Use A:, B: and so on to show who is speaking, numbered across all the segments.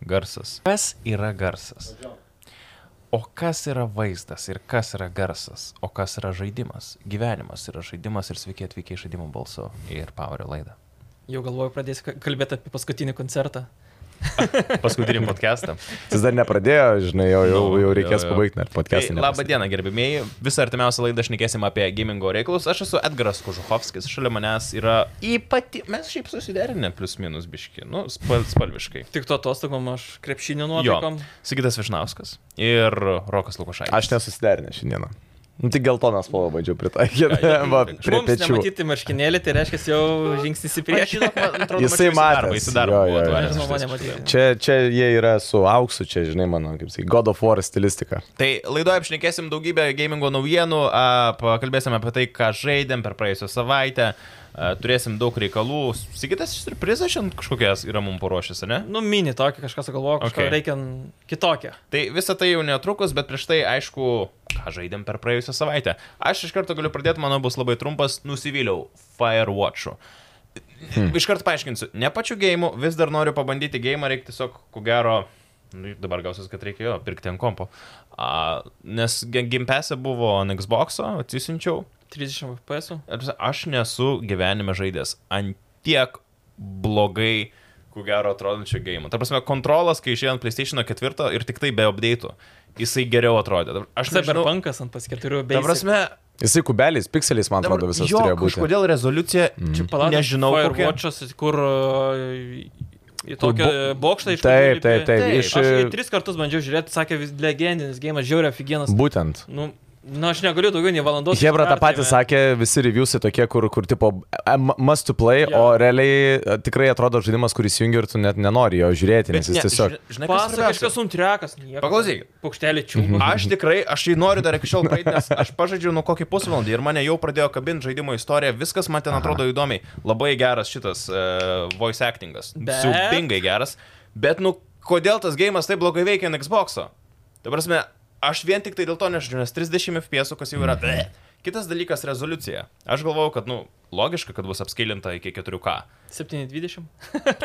A: Garsas. Kas yra garsas? O kas yra vaizdas ir kas yra garsas? O kas yra žaidimas? Gyvenimas yra žaidimas ir sveiki atvykę į žaidimų balso ir Power laidą.
B: Jau galvoju, pradėsiu ka- kalbėti apie paskutinį koncertą.
A: Paskutinį podcastą.
C: Jis dar nepradėjo, žinai, jau, jau,
A: Nu,
C: jau reikės
A: jo, jo.
C: pabaigti, ar
A: Tai,
C: podcast'ą.
A: labą dieną, gerbimieji. Visą artimiausią laidą šnekėsim apie gamingo reikalus. Aš esu Edgaras Kožuhovskis, šalia manęs yra ypati... Mes šiaip susiderinę plius minus biški, nu, spal, spalviškai.
B: Tik to atostogom aš krepšinio
A: Jo,
B: nuotaikom.
A: Sigitas Višnauskas ir Rokas Lukošaitis.
C: Aš nesusiderinęs šiandieną. Nu, tik geltoną spalvą bandžiau pritaikyti.
A: Jo, jo,
C: va,
A: prie pečių.
C: Prie
B: Mums
C: pečių.
B: nematyti marškinėlį, tai reiškia jau žingsnis į
A: Aš
B: priekį.
A: žinok, man atrodo,
C: Jisai
A: mačiau į darbą,
C: matęs.
A: Į darbą buvo
C: Jo, jo, jo.
A: atvažiavęs
B: Nežinau,
A: šitas
B: mane
A: kažkodėl.
B: matyti.
C: Čia, čia jie yra su auksu, čia, žinai, mano, kaip sakai, God of War stilistika.
A: Tai laidoje apšnekėsim daugybę gamingo naujienų, a, pakalbėsim apie tai, ką žaidėm per praėjusią savaitę, a, turėsim daug reikalų. Sigitas surprizą šiandien kažkokias yra mums paruošęs, ne?
B: Nu, mini tokį kažką sugalvoju, kažką
A: Okay.
B: okay. reikia n- kitokią.
A: Tai visa tai jau netrukus, bet prieš tai, aišku, ką žaidėm per praėjusią savaitę. Aš iš karto galiu pradėti, manau, bus labai trumpas, nusivyliau Firewatch'u. Hmm. Iš karto paaiškinsiu, ne pačiu gėjimu, vis dar noriu pabandyti gėjimą, reikia tiesiog, ko gero, nu, dabar gausis, kad reikia jo pirkti ant kompo. A, nes gimpesė buvo ant Xbox'o, atsisinčiau,
B: 30 FPS.
A: Ta prasme, Aš nesu gyvenime žaidęs ant tiek blogai, ku gero atrodančio gėjimo. Ta prasme, kontrolas, kai išėjo ant PlayStation 4 ir tik tai be update'ų, jisai geriau atrodė. Ta- Aš nežinau.
B: Cyberpunkas ant paskirturių bei...
A: Ta prasme,
C: Jisai kubeliais, pikseliais, man atrodo, visas
A: jo,
C: turėjo būti.
A: kažkodėl rezoliucija,
B: Čia
A: mm.
B: palauk.
A: nežinau, kokia.
B: Firewatch'as, kur e, į tokį
C: Kur
B: bokštą iš...
C: Taip, taip, taip.
A: Taip,
C: Iš...
B: Aš jį tris kartus bandžiau žiūrėti, sakė, vis- legendinis gėjimas, žiauriai aфиgenas.
C: Būtent.
B: Nu, nu, aš negaliu daugiau nei valandos.
C: Hebra tą
B: ištverti,
C: patį
B: man.
C: sakė, visi reviewsai tokie, kur, kur tipo a, m- must to play,
B: Jo.
C: o realiai a, tikrai atrodo žaidimas, kuris jungi ir tu net nenori jo žiūrėti, nes jis tiesiog...
A: Žinai, kas
B: Pasaka,
A: svarbiausia?
B: kažkas suntrekas. nieko.
A: Paklausyk. Mhm.
B: Paukštelį čiūpą.
A: Aš tikrai, aš jį noriu dar iki šiol praeiti, nes aš pažadžiau nu kokį pusvalandį ir mane jau pradėjo kabinti žaidimo istorija, viskas man ten atrodo įdomiai, labai geras šitas uh, voice actingas,
B: Bet-
A: siubingai geras, bet nu kodėl tas gėjimas taip blogai veikia ant Xbox'o? Tai prasme, aš vien tik tai dėl to nežinau, nes 30 FPS, kas jau yra. bleh. Kitas dalykas - rezoliucija. Aš galvojau, kad nu logiška, kad bus apskilinta iki 4K.
B: 720.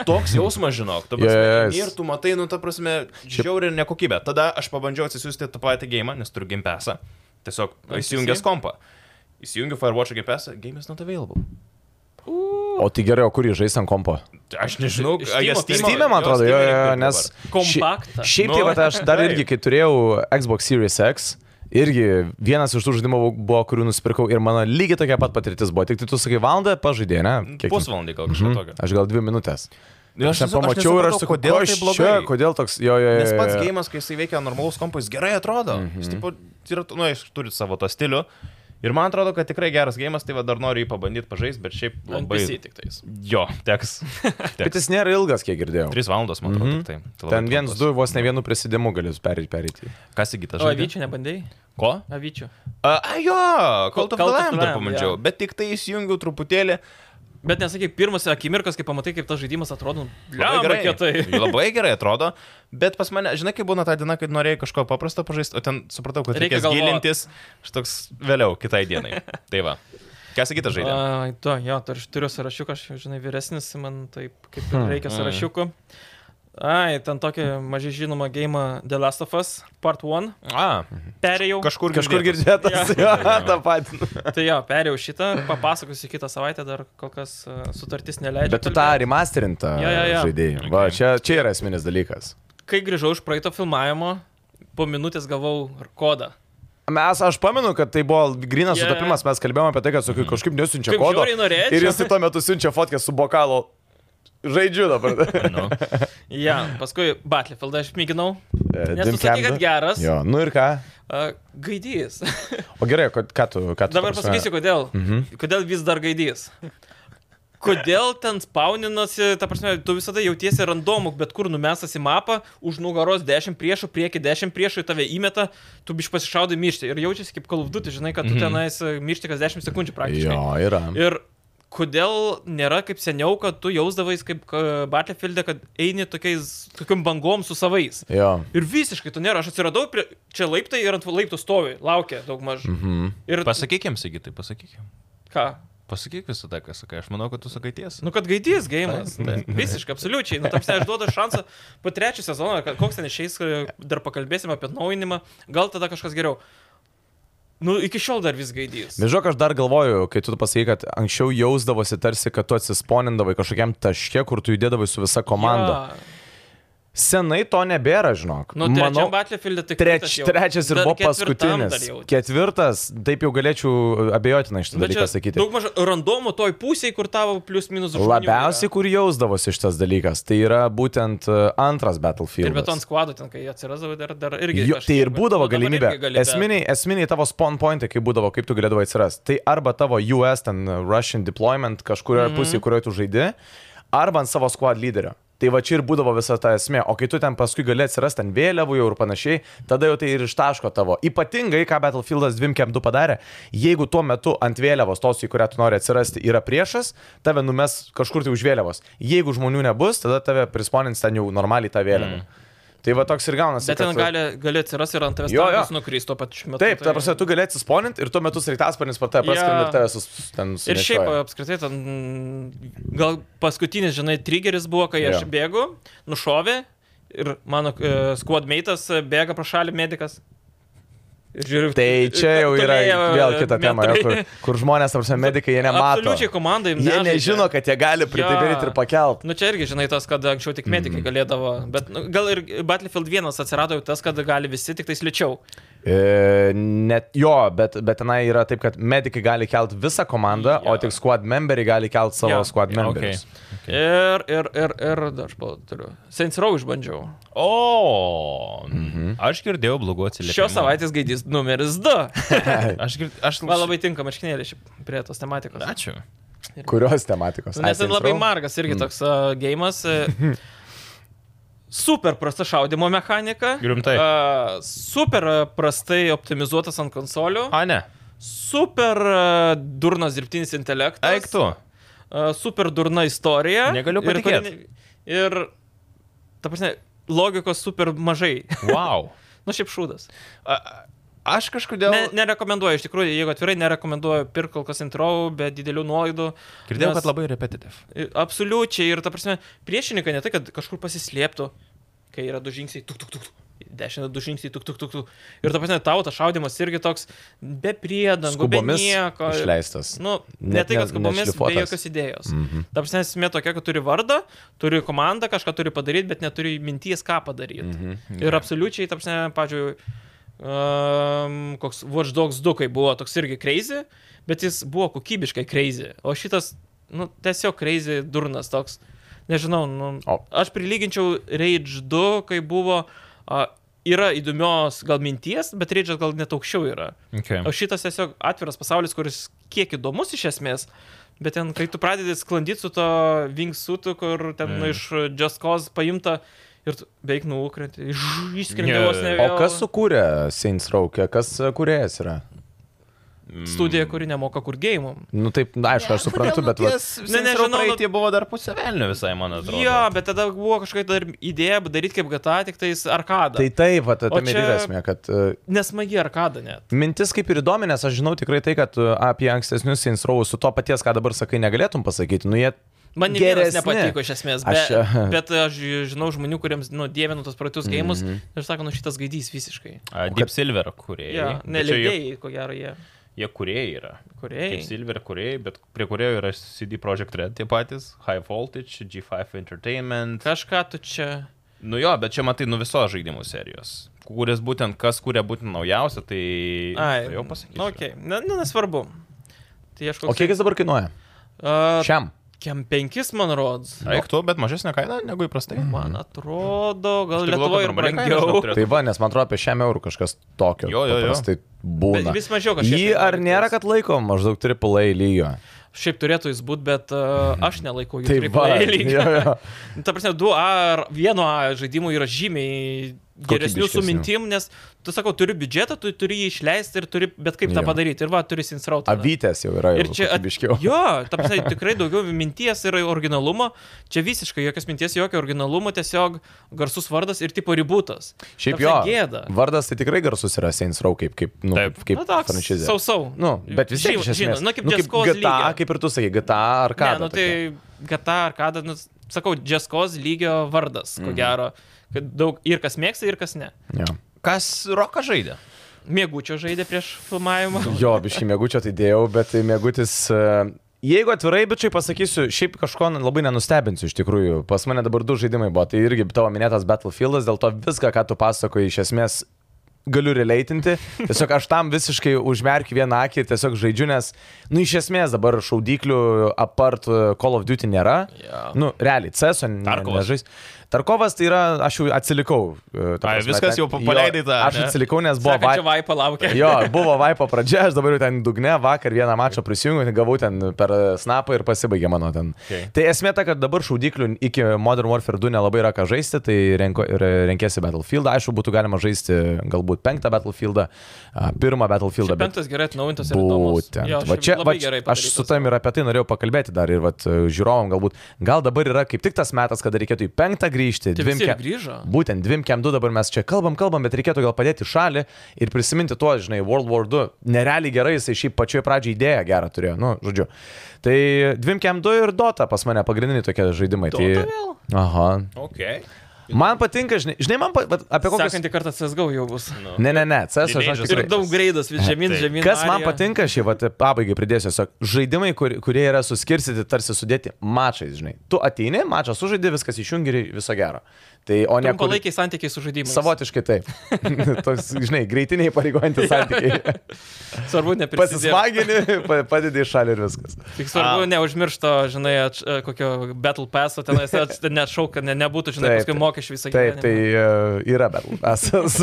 A: Toks jausmas, žinok, tu prasme, yes.
C: Yes.
A: ir tu matai, nu, ta prasme, žiauri nekokybė. Tada aš pabandžiau atsisiųsti tą patį gėjimą, nes turiu gimpesą. Tiesiog įsijungęs kompą. Įsijungiu Firewatch gimpesą, game is not available.
C: O tai gerai, o kur jį žais ant kompo?
A: Aš nežinau,
B: Iš
A: a, jie
B: Steam'o pirmo-
A: Steam'e,
C: Steam'e, man atrodo, jo, jo, jo,
A: reikėtų
C: nes...
A: dabar.
B: Kompaktą.
C: Ši, šiaip
A: Nu,
C: tai, bet aš dar
A: taip.
C: irgi, kai turėjau Xbox Series X, irgi vienas iš tų žaidimų buvo, kurių nusipirkau ir mano lygiai tokia pat patirtis buvo. Tik tai tu sakai, valandą pažaidė, ne? Kiek ten?
A: Pusvalandį gal Nu, kažką tokio.
C: Aš gal dvi minutės.
A: Ir
C: Aš ten pamačiau ir aš
A: nesupratau,
C: sakau, kodėl
A: tai
C: aš
A: blogai.
C: čia, kodėl toks, jo, jo, jo.
A: Nes pats
C: jo, jo.
A: gėjimas, kai jisai veikia normalus kompas, gerai atrodo. Mm -hmm.
C: Mhm.
A: Jis, tipo, yra, nu, jis turi savo tą stilių. Ir man atrodo, kad tikrai geras gėjimas, tai va dar noriu jį pabandyti pažaisti, bet šiaip labai...
B: NPC tik tais.
A: Jo, teks. teks.
C: Bet jis nėra ilgas, kiek girdėjau.
A: 3 valandos, man atrodo, mm -hmm. tai. tai
C: Ten
A: labai
C: vienas,
A: trumpas.
C: du, vos ne vienu prisidėmu galiu perėti. perėti.
A: Kas įgytas
B: O
A: žodis?
B: avyčių nebandai?
A: Ko?
B: Avyčių.
A: A, a, jo, Call of the
B: Call of the
A: Lamb dar
B: Lamb,
A: pamačiau,
B: jo.
A: bet tik tai įsijungiau truputėlį.
B: Bet nesakyk, pirmas akimirkas, kai pamatai, kaip tas žaidimas atrodo, nu,
A: Labai
B: labai kietai.
A: labai gerai atrodo, bet pas mane, žinai, kai būna ta diena, kai norėjai kažko paprasto pažaisti, o ten supratau, kad
B: Reikia
A: reikės
B: galvot.
A: gilintis, aš toks vėliau, kitai dienai. Tai va. Kas įgytas žaidė?
B: A, Tu, jo, tu, aš turiu sąrašiuką, aš, jau, žinai, vyresnis, man taip kaip
C: Hmm.
B: ir reikia
A: mm.
B: sąrašiukų. Ai, ten tokį mažai žinomą gėjimą The Last of Us Part 1.
A: A,
B: Mhm. Perėjau.
A: kažkur,
C: Kažkur
A: girdėtas.
C: girdėtas, jo, tą patį.
B: Tai jo, perėjau šitą, papasakosiu kitą savaitę, dar kol kas a, sutartis neleidžia.
C: Bet tu tą
B: kalbėt.
C: remasterintą
B: Jo, jo, jo.
C: žaidėjai. Va,
A: Okay.
C: čia, čia yra esminis dalykas.
B: Kai grįžau iš praeito filmavimo, po minutės gavau r- kodą.
C: Mes, aš pamenu, kad tai buvo grinas
B: Jo, jo.
C: yeah. sutapimas, mes kalbėjome apie tai, kad su, kažkaip nesiunčia
B: Mhm. Kaip
C: kodo.
B: žiauriai norėčiau.
C: Ir jis tuo metu siunčia fotkę su bokalo. Žaidžiu dabar.
A: Nu,
B: Ja, paskui Battlefield aš mėginau.
C: E,
B: Nes tu
C: Dim
B: sakei,
C: Camden.
B: kad geras.
C: Jo, nu ir ką?
B: A, Gaidys.
C: O gerai, kad, ką tu, ką tu...
B: Dabar
C: ta prasme-
B: pasakysiu, kodėl. Kodėl vis dar gaidys. Kodėl ten spauninasi, ta prasme, tu visada jautiesi randomuk, bet kur numesas į mapą, už nugaros 10 priešų, prieki 10 priešų, į tave įmeta, tu biš pasišaudai myšti ir jaučiasi kaip kalvduti, žinai, kad tu tenais e, myšti kas 10 sekundžių praktiškai.
C: Jo, yra.
B: Ir kodėl nėra kaip seniau, kad tu jausdavais kaip e, Battlefield'e, kad eini tokiais, tokiam bangom su savais.
C: Jo.
B: Ir visiškai to nėra, aš atsiradau, prie, čia laiptai ir ant laiptų stovi, laukia daug maž.
C: Mhm.
B: Ir
A: pasakykim, sakytai, pasakykim.
B: ką?
A: Pasakyk visą tą, ką sakai. Aš manau, kad tu sakai tiesą.
B: Nu, kad gaidys gėjimas. Visiškai, absoliučiai. Nu, tamsiai, aš duodu šansą po trečio sezono, kad koks ten išeis, dar pakalbėsim apie atnaujinimą, gal tada kažkas geriau. Nu, iki šiol dar vis gaidys.
C: Bet žinok, aš dar galvoju, kai tu pasakai, kad anksčiau jausdavosi tarsi, kad tu atsisponindavai kažkokiam taške, kur tu judėdavai su visa komanda.
B: Jo.
C: Senai to nebėra, žinok.
B: Nu, trečiam tai Battlefield'e tik
C: Treč, trečias ir buvo paskutinis. Ketvirtas, taip jau galėčiau abejotinai šitą dalyką sakyti.
B: Daug maž randomų toj pusėje, kur tavo plius minus žodžiu.
C: Labiausiai, kur jausdavosi šitas dalykas, tai yra būtent e, antras Battlefield.
B: Ir beton skvado ten, kai atsirado, dar, dar irgi.
C: Jo, tai
B: kažkiek,
C: ir
B: bet
C: būdavo
B: dabar
C: galimybė.
B: irgi gali, bet-
C: Esminiai, esminiai tavo spawn pointai, kaip būdavo, kaip tu galėdavai atsirasti. Tai arba tavo US ten uh, Russian deployment kažkurioje mm
B: Mhm.
C: -hmm. pusėje, kurioje tu žaidi, arba ant savo squad lyderio. Tai va čia ir būdavo visa ta esmė. O kai tu ten paskui gali atsirasti ant vėliavų jau ir panašiai, tada jau tai ir ištaško tavo. Ypatingai, ką Battlefieldas 2.2 padarė, jeigu tuo metu ant vėliavos tos, į kurią tu nori atsirasti, yra priešas, tave numes kažkur tai už vėliavos. Jeigu žmonių nebus, tada tave prisponins ten jau normaliai tą vėliavą. Mm. Tai va toks ir gaunasi.
B: Mhm. Bet
C: kad
B: ten
C: va-
B: gali, gali atsirasti ir ant tavęs
C: Jo, jo.
B: tankas nukrys tuo pačiu metu.
C: Taip, ta
B: tai-
C: prasme, tu gali atsisponinti ir tuo metu sraigtasparnis pat tave
B: Jo.
C: praskrenda ir tave sus, ten su...
B: Ir šiaip e, apskritai, ten, gal paskutinis, žinai, triggeris buvo, kai aš
C: Jo.
B: bėgu, nušovė ir mano uh, squadmate'as e, bėga pro šalį medikas. Ir Žiūriu, e,
C: Tai čia jau yra vėl kita tema, jo, kur, kur žmonės, ta prasme, medikai, jie nemato.
B: Absoliučiai komandai.
C: Jie nežino, kad jie gali
B: Jo.
C: pritaikyt ir pakelt.
B: Nu čia irgi, žinai, tas, kad anksčiau tik medikai
A: Mhm.
B: galėdavo, bet nu, gal ir Battlefield 1 atsirado jau tas, kad gali visi tik tais lėčiau.
C: E, net jo, bet, bet tenai yra taip, kad medikai gali kelt visą komandą,
B: Jo.
C: o tik squad memberiai gali kelt savo
B: Jo.
C: squad
A: Jo, okei.
C: memberius.
B: Ir, ir, ir, ir, dar aš pala- turiu. Saints Row išbandžiau.
A: O, mhm. aš girdėjau blogų atsiliepimų.
B: Šios savaitės gaidys numeris 2.
A: Aš, gird, aš
B: Man labai tinka marškinėlė šiaip prie tos tematikos.
A: Ačiū.
C: Kurios tematikos?
B: Nu, Nes ten
C: Assassin's
B: labai
C: Row?
B: margas
A: Mm.
B: irgi toks uh, gėjimas. Uh, super prasta šaudimo mechanika.
A: Rimtai?
B: Uh, super uh, prastai optimizuotas ant konsolių.
A: A, ne.
B: Super uh, durnas dirbtinis intelektas.
A: Eik tu.
B: Uh, super durna istorija.
A: Negaliu
B: Ir kuri-
A: patikėt.
B: Ir, ta prasme, logikos super mažai.
A: Wow.
B: nu, šiaip šūdas.
A: A, aš kažkodėl...
B: Ne, nerekomenduoju, iš tikrųjų, jeigu atvirai, nerekomenduoju pirkti kol kas intro be didelių nuolaidų.
A: Girdėjau,
B: nes-
A: kad labai repetitiv.
B: Ir Absoliučiai ir ta prasme, priešininkai ne tai, kad kažkur pasislėptų, kai yra du žingsniai, tuk, tuk, tuk. Dešinė du žingsniai, tuk, tuk, tuk, tuk. Ir ta prasme, tau tas šaudimas irgi toks be priedangų, nu, be
C: Skubomis
B: nieko.
C: išleistas.
B: Nu, ne
C: Net
B: tai, kad
C: ne-
B: skubomis, be
C: nešlifuotas.
B: jokios idėjos. Mhm. Ta prasme, esmė tokia, kad turi vardą, turi komandą, kažką turi padaryti, bet neturi minties, ką padaryti. Mhm. Ir absoliučiai, ta prasme, pažiūrėjau, um, koks Watch Dogs 2, kai buvo toks irgi crazy, bet jis buvo kokybiškai crazy. O šitas, nu, tiesiog crazy durnas toks. Nežinau, nu,
C: O.
B: aš prilyginčiau Rage 2, kai buvo, uh, yra įdomios gal minties, bet Rage gal net aukščiau yra.
A: Okay.
B: O šitas tiesiog atviras pasaulis, kuris kiek įdomus iš esmės, bet ten, kai tu pradedi sklandyti su to wingsuitu, kur ten mm. iš Just Cause paimta ir tu beveik nuukrenti, išskrendi
A: Ne.
B: vos ne.
C: O
B: vėl.
C: kas sukūrė Saints Row, kas kuriejas yra?
B: Studija,
A: Mm.
B: kuri nemoka kur gėjimų.
C: Nu taip, na, aišku, aš suprantu, bet...
A: Ne,
C: vat-
B: nežinau,
A: nežinau,
B: nu-
A: praeitie buvo dar pusė velnio visai, man atrodo.
B: Jo, bet tada buvo kažkokia dar idėja daryti kaip GTA, tik tais arkadą.
C: Tai
B: Tai...
C: taip, va, ta-
B: O
C: tame ir
B: čia-
C: yra esmė, kad e,
B: Nesmagi arkada net.
C: mintis kaip ir įdomi, nes aš žinau tikrai tai, kad e, apie ankstesnius Saints Row su to paties, ką dabar sakai, negalėtum pasakyti. Nu, jie...
B: Man nė vienas
C: Geresni.
B: nepatiko iš esmės, be,
C: Aš,
B: aš...
C: e,
B: bet aš žinau žmonių, kuriems nu, dievinu tos praeitus gėjimus
C: Mhm.
B: mm -hmm. ir sako, nu šitas gaidys visiškai.
A: A, Deep Silver kūrėjai.
B: Ja,
A: Bet čia jie-
B: Nelidėjai, ko gero, jie.
A: Jie kūrėjai yra.
B: Kūrėjai.
A: Kaip Silver kūrėjai, bet prie kūrėjų yra CD Projekt Red tie patys, High Voltage, G5 Entertainment.
B: Kažką tu čia.
A: Nu jo, bet čia matai nu visos žaidimų serijos. Kuris būtent, kas kūrė būtent naujausią, tai...
B: Ai, Nu,
A: tai jau pasakysiu.
B: Na, okay. na, na, nesvarbu. Tai aš
C: O kiek jis dabar kainuoja?
B: Uh,
C: Šiam.
B: Kem penkis, man rods. Nu,
A: Eik tu, bet mažesnė kaina negu įprastai.
B: Man
C: Mhm.
B: atrodo, gal
A: Aš tai galvoju,
B: Lietuvoje
A: kad
B: ir
A: normali kaina, žinok,
B: brangiau.
A: turėtų
C: Tai va, nes man atrodo apie šiam eurų kažkas tokio.
A: Jo, jo, jo.
C: Tai būna.
B: Bet vis mažiau kažkiek
C: Jį
B: tai
C: ar
B: gali
C: nėra,
B: keist.
C: kad laiko maždaug AAA lygio?
B: Šiaip turėtų jis būti, bet uh, aš nelaikau jų
C: Mhm. Tai va.
B: AAA lygio.
C: jo, jo.
B: Ta prasme, 2A ar 1A žaidimų yra žymiai geresnių su
C: Kokybiškesnių.
B: mintim, nes tu sakau, turi biudžetą, tu turi jį išleisti ir turi bet kaip tą
C: Jo.
B: padaryti. Ir va, turi sinsrautą.
C: Avytės jau yra
B: Ir čia at-
C: biškiau.
B: Jo, ta prasme, tikrai daugiau minties ir originalumo. Čia visiškai jokios minties, jokio originalumo, tiesiog garsus vardas ir tipo ributas.
C: Šiaip
B: ta
C: jo.
B: prasme, gėda.
C: Vardas tai tikrai garsus yra Saints Row kaip, kaip, nu, kaip, kaip franšizė.
B: Sau, sau.
C: Nu, bet vis tiek, iš esmės.
B: nu, kaip
C: nu,
B: Just
C: kaip
B: Cause
C: GTA,
B: lygio.
C: kaip ir tu sakai, GTA ar ką.
B: Ne, nu tai gata ar kada, nu, sakau, džeskos lygio vardas,
C: Mm.
B: ko gero. Kad daug ir kas mėgsta, ir kas ne.
C: Jo,
A: Kas roką žaidė?
B: Mėgučio žaidė prieš filmavimą.
C: jo biškai mėgučio tai dėjau, bet mėgutis... Jeigu atvirai, bičiai pasakysiu, šiaip kažko labai nenustebinsiu iš tikrųjų. Pas mane dabar du žaidimai buvo, tai irgi tavo minėtas Battlefieldas, dėl to viską, ką tu pasakoji, iš esmės galiu releitinti. Tiesiog aš tam visiškai užmerkiu vieną akį ir tiesiog žaidžiu, nes, nu, iš esmės dabar šaudyklių apart e, Call of Duty nėra.
A: Jo.
C: Nu, realiai, CESO
A: Tarkovas.
C: nežais. Tarkovas tai yra, aš jau atsilikau. e, ta
A: Ai, viskas
C: ten-
A: jau pa- paleidai
C: jo,
A: tą,
C: Aš
A: ne?
C: atsilikau, nes buvo
B: Buvo čia
C: vai...
B: vai palaukė.
C: Jo, buvo vaipo pradžia, aš dabar jau ten dugne, vakar vieną mačą prisijungiau, ten gavau ten per snapą ir pasibaigė mano ten.
A: Okay.
C: Tai esmė ta, kad dabar šaudyklių iki Modern Warfare 2 nelabai yra ką žaisti, tai renko, ir renkėsi Battlefield, aišku, būtų galima žaisti galbūt penktą Battlefieldą, a, pirmą
B: Šiaip
C: Battlefieldą, bet
B: Penktas gerai atnaujintas ir įdomus.
C: Būtent.
B: Jo,
C: va
B: šiaip
C: čia, va,
B: labai gerai
C: aš su tam ir apie tai norėjau pakalbėti dar ir vat, e, žiūrovam galbūt. Gal dabar yra kaip tik tas metas, kada reikėtų į penktą grįžti.
B: Tai
C: dvim
B: visi ir
C: ke-
B: grįžo.
C: Būtent dviem kem du dabar mes čia kalbam, kalbam, bet reikėtų gal padėti į šalį ir prisiminti tuo, žinai, World War 2. Nerealiai gerai jisai šiaip pačioje pradžioje idėją gerą turėjo, nu, žodžiu. Tai dviem kem du ir Dota pas mane pagrindiniai tokie žaidimai.
B: Tai...
C: Tai... Aha.
A: Ok.
C: Man patinka, žinai, žinai man pat, apie kokią...
B: Sekantį kartą CSGO jau bus.
A: Nu.
C: Ne, ne, ne, CS aš
A: Teenagers
C: žinau,
B: Ir
C: tikrai.
B: daug greidas, vis žemyn,
A: Taip.
B: žemyn.
C: Kas man
B: arija.
C: patinka šį, va, pabaigai pridėsiu, tiesiog žaidimai, kur, kurie yra suskirstyti, tarsi sudėti mačais, žinai. Tu ateini, mačą sužaidi, viskas išjungi ir viso gero. Tai o ne kur...
B: Trumpalaikiai santykiai su žaidimu.
C: Savotiškai taip. Toks, žinai, greitiniai pareigojantis santykiai.
B: Svarbu neprisidėti.
C: Pasismagini, pa- padedi į šalį ir viskas.
B: Tik svarbu
A: Am.
B: neužmiršto, žinai, atš, e, kokio Battle Pass, ten nešauk, kad ne, nebūtų, žinai,
C: Taip,
B: paskui
C: taip.
B: mokesčių visą
C: Taip, tai e, yra Battle Passas.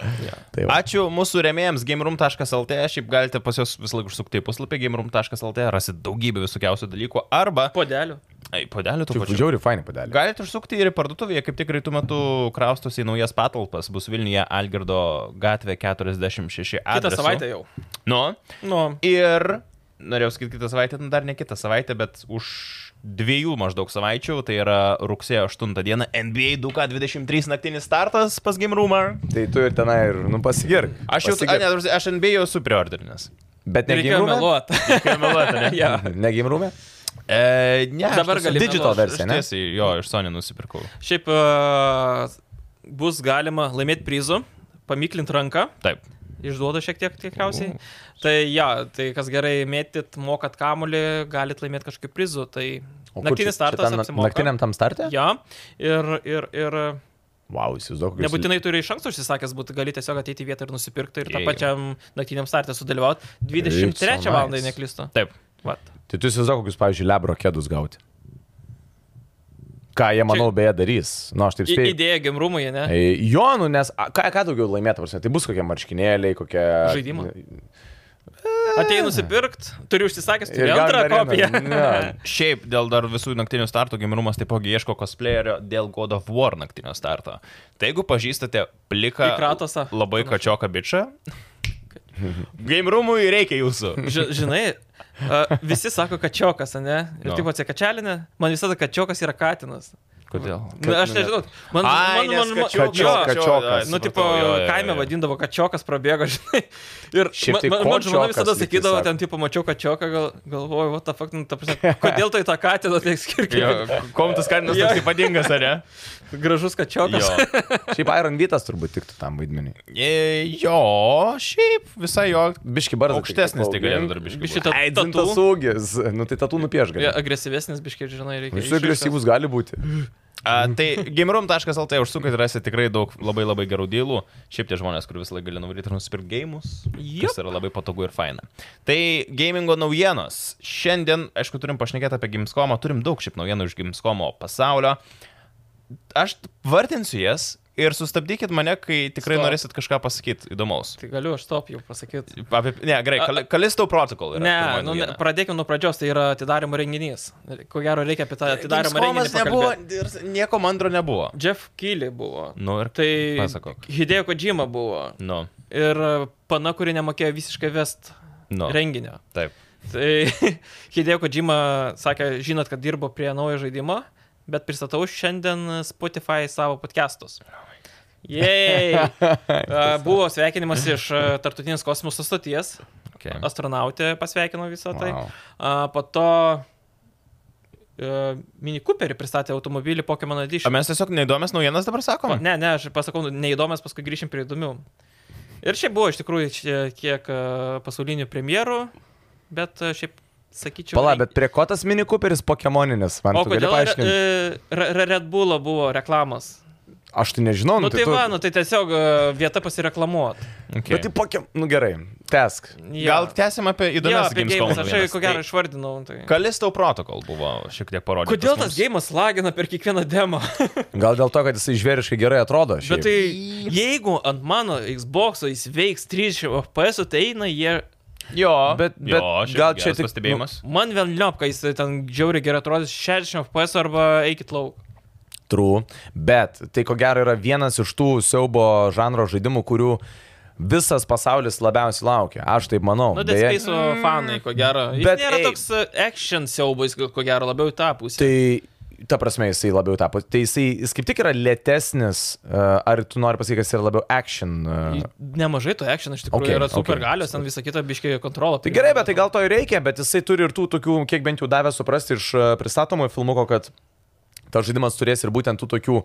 C: tai va.
A: Ačiū mūsų remėjams gameroom.lt, šiaip galite pas juos visą laiką užsukti į puslapį gameroom.lt, rasit daugybę visokiausių dalykų, arba,
B: Podelių.
A: ai, podelių tų pačių.
C: Žiauri, fainai padelė.
A: Galite užsukti ir į parduotuvėje, kaip tik greitų metų kraustosi į naujas patalpas, bus Vilniuje Algirdo gatvė 46.
B: Kitą
A: adresu.
B: savaitę jau.
A: Nu,
B: Nu,
A: ir norėjau sakyti kitą savaitę, nu, dar ne kitą savaitę, bet už dviejų maždaug savaičių, tai yra rugsėjo 8 diena, NBA 2K23 naktinis startas pas Game Rumor.
C: Tai tu ir tenai ir, nu, pasigirk.
A: Aš jau, a, ne, ta prasme, aš NBA jau esu priordinęs.
C: Bet ne
B: reikėjo
C: gimrume.
B: meluoti.
A: Ja.
C: Ne gimrume?
A: E, ne, aš
B: Dabar
A: tiesiog-
B: gali
A: Digital
B: meluot.
C: versija, ne?
A: Aš tiesiai, jo, iš Sony nusipirkau.
B: Šiaip e, bus galima laimėti prizų, pamiklint ranką,
A: Taip.
B: išduoda šiek tiek tikriausiai. Tai ja, tai kas gerai mėtyt, mokat kamulį, galit laimėti kažkokių prizų. Tai
C: O kur
B: naktinis
C: čia- čia
B: startas
C: tam na-
B: apsimoka.
C: Naktiniam tam startė?
B: Ja, ir, ir, ir
C: Wow, įsivaizduok, kokius-
B: nebūtinai turi iš anksto užsisakęs būti, gali tiesiog ateiti į vietą ir nusipirkti ir tam
A: Jei.
B: pačiam naktiniam startė sudalyvauti.
C: Taip, so
B: 23 val.
C: nice.
B: neklystu.
A: Taip.
B: Vat.
C: Tai tu įsivaizduok, kokius, pavyzdžiui, lebro kėdus gauti. Ką jie, manau, beje, darys. Nu, aš taip
B: I,
C: spėjau.
B: idėja gimrumui, ne?
C: E, Jo, nu, nes a, ką, ką daugiau laimėtų, prasme, tai bus kokie marškinėliai, kokie...
B: Žaidimą? Atėjai nusipirkt, turi užsisakęs,
C: Ir
B: turi antrą
C: gal dar
B: kopiją.
C: vieną. Ne.
A: Šiaip dėl dar visų naktinių startų gimirumas taipogi ieško cosplayerio dėl God of War naktinio starto. Tai jeigu pažįstate pliką,
B: Į Kratosą.
A: labai kačioką bičią, gimrumui reikia jūsų.
B: Ži, žinai, a, visi sako kačiokas, ne?
A: No.
B: Ir no. taip atsikačelinė, man visada kačiokas yra katinas.
A: Kodėl?
B: Na, aš nežinau. Man,
A: Ai,
B: man, man, man,
C: kačiokas-
B: jo,
C: kačiokas.
B: Nu, tipo, kaime vadindavo kačiokas prabėgo, žinai. Ir
C: Šiaip
B: man,
C: tai
B: man, man žmona
C: kočiokas
B: visada
C: lyg tai
B: sakydavo,
C: sako.
B: ten, tipo, mačiau kačioką, gal, galvoju, what the fuck, nu, ta prasme, kodėl tai tą katiną tiek skirkia?
A: Kom tas katinas toks
B: Jo.
A: ypatingas, ar ne?
B: Gražus kačiokas.
A: Jo.
C: Šiaip Iron Vytas turbūt tiktų tam vaidmenį.
A: E, jo, šiaip visai jo.
C: Biški baras.
A: Aukštesnis tai galėtų darbiškai.
B: Biški
A: būt.
B: ta-
C: Eidzintas
B: tatų.
C: ūgis. Nu, tai tatų
B: Ja,
C: nupieš
B: Mm,
C: gali.
B: agresyvesnis, biškai, žinai, reikia.
C: Visi agresyvus gali būti.
A: A, tai gimrum.lt užsukit, rasite tikrai daug labai labai gerų dėlų. Šiaip tie žmonės, kur visą laiką gali nuvaryti ir nusipirkti gėjimus. Jis yra labai patogu ir faina. Tai gamingo naujienos. Šiandien, aišku, turim pašnekėti apie Gamescomą, turim daug šiaip naujienų iš Gamescomo pasaulio. Aš vartinsiu jas ir sustabdykit mane, kai tikrai
B: Stop.
A: norėsit kažką pasakyti įdomaus.
B: Tai galiu aš stop jau pasakyti.
A: Apie, ne, gerai,
B: A-
A: Kali- Kalisto protokol. yra
B: Ne,
A: pirmoji
B: nu, ne,
A: naujiena.
B: pradėkime nuo pradžios, tai yra atidarimo renginys. Ko gero reikia apie tą atidarimo renginį.
A: Gamescomas nebuvo
B: Nebuvo...
A: ir nieko mandro nebuvo.
B: Jeff Keely buvo.
A: Nu ir
B: Tai
A: Pasakok.
B: Hideo Kojima buvo.
A: Nu,
B: Ir pana, kuri nemokėjo visiškai vest
A: nu.
B: no. renginio.
A: Taip.
B: Tai Hideo Kojima sakė, žinot, kad dirbo prie naujo žaidimo, bet pristatau šiandien Spotify savo podcastus. Jei! Buvo sveikinimas iš a, tarptautinės kosmoso stoties,
A: Okay.
B: astronautė pasveikino visą tai.
C: Wow.
B: A, Po to e, Mini Cooperį pristatė automobilį Pokémon
A: O
B: Edition.
A: mes tiesiog neįdomias naujienas dabar sakom?
B: Ne, ne, aš pasakau, neįdomias, paskui grįšim prie įdomių. Ir šiaip buvo iš tikrųjų čia kiek e, pasaulinių premjerų, bet e, šiaip sakyčiau.
C: Pala, bet prie ko tas mini Cooperis Pokemoninis, man
B: O
C: tu gali
B: kodėl re,
C: paaiškinti.
B: e, re, re- Red Bullo buvo reklamos?
C: Aš tai nežinau,
B: Nu tai
C: tu...
B: va, nu tai tiesiog e, vieta pasireklamuot.
A: Okay.
C: Bet tai Pokemon, nu gerai, tesk.
B: Jo.
A: Gal tęsim apie
B: Jo,
A: įdomias
B: apie
A: Gamescom.
B: gėjimus, aš jau ko gero išvardinau. Tai.
A: Kalisto protokol buvo šiek tiek parodytas.
B: Kodėl tas
A: mums.
B: gėjimas lagina per kiekvieną demo?
C: Gal dėl to, kad jisai žvėriškai gerai atrodo.
B: Bet
C: šiaip.
B: tai jeigu ant mano Xbox jis veiks 30 FPS, tai eina jie...
A: Jo,
C: Bet-
A: jo,
C: bet
A: šiaip
C: gal čia
A: geras
C: tik,
A: pastebėjimas.
B: Man vėl liopka, jis ten džiauriai gerai atrodys 60 FPS arba eikit lauk.
C: True, bet tai ko gero yra vienas iš tų siaubo žanro žaidimų, kurių visas pasaulis labiausiai laukia. Aš taip manau.
B: Nu,
C: Beje,
B: Dead Space fanai, ko gero. Jis
C: Bet
B: bet nėra
C: ei-
B: toks e, action siaubais, ko gero, labiau į tą pusę.
C: tai ta prasme jisai labiau tapo. Tai jisai jis kaip tik yra lėtesnis, e, ar tu nori pasakyti, kad jis yra labiau action. e,
B: Nemažai to action iš tikrųjų
C: Okay,
B: okay, yra
C: okay.
B: supergalios, okay. ten visą kitą biškiai kontrolą.
C: Tai gerai, bet tai gal to ir reikia, bet jisai turi ir tų tokių, kiek bent jau davė suprasti iš e, pristatomojo filmuko, kad tas žaidimas turės ir būtent tų tokių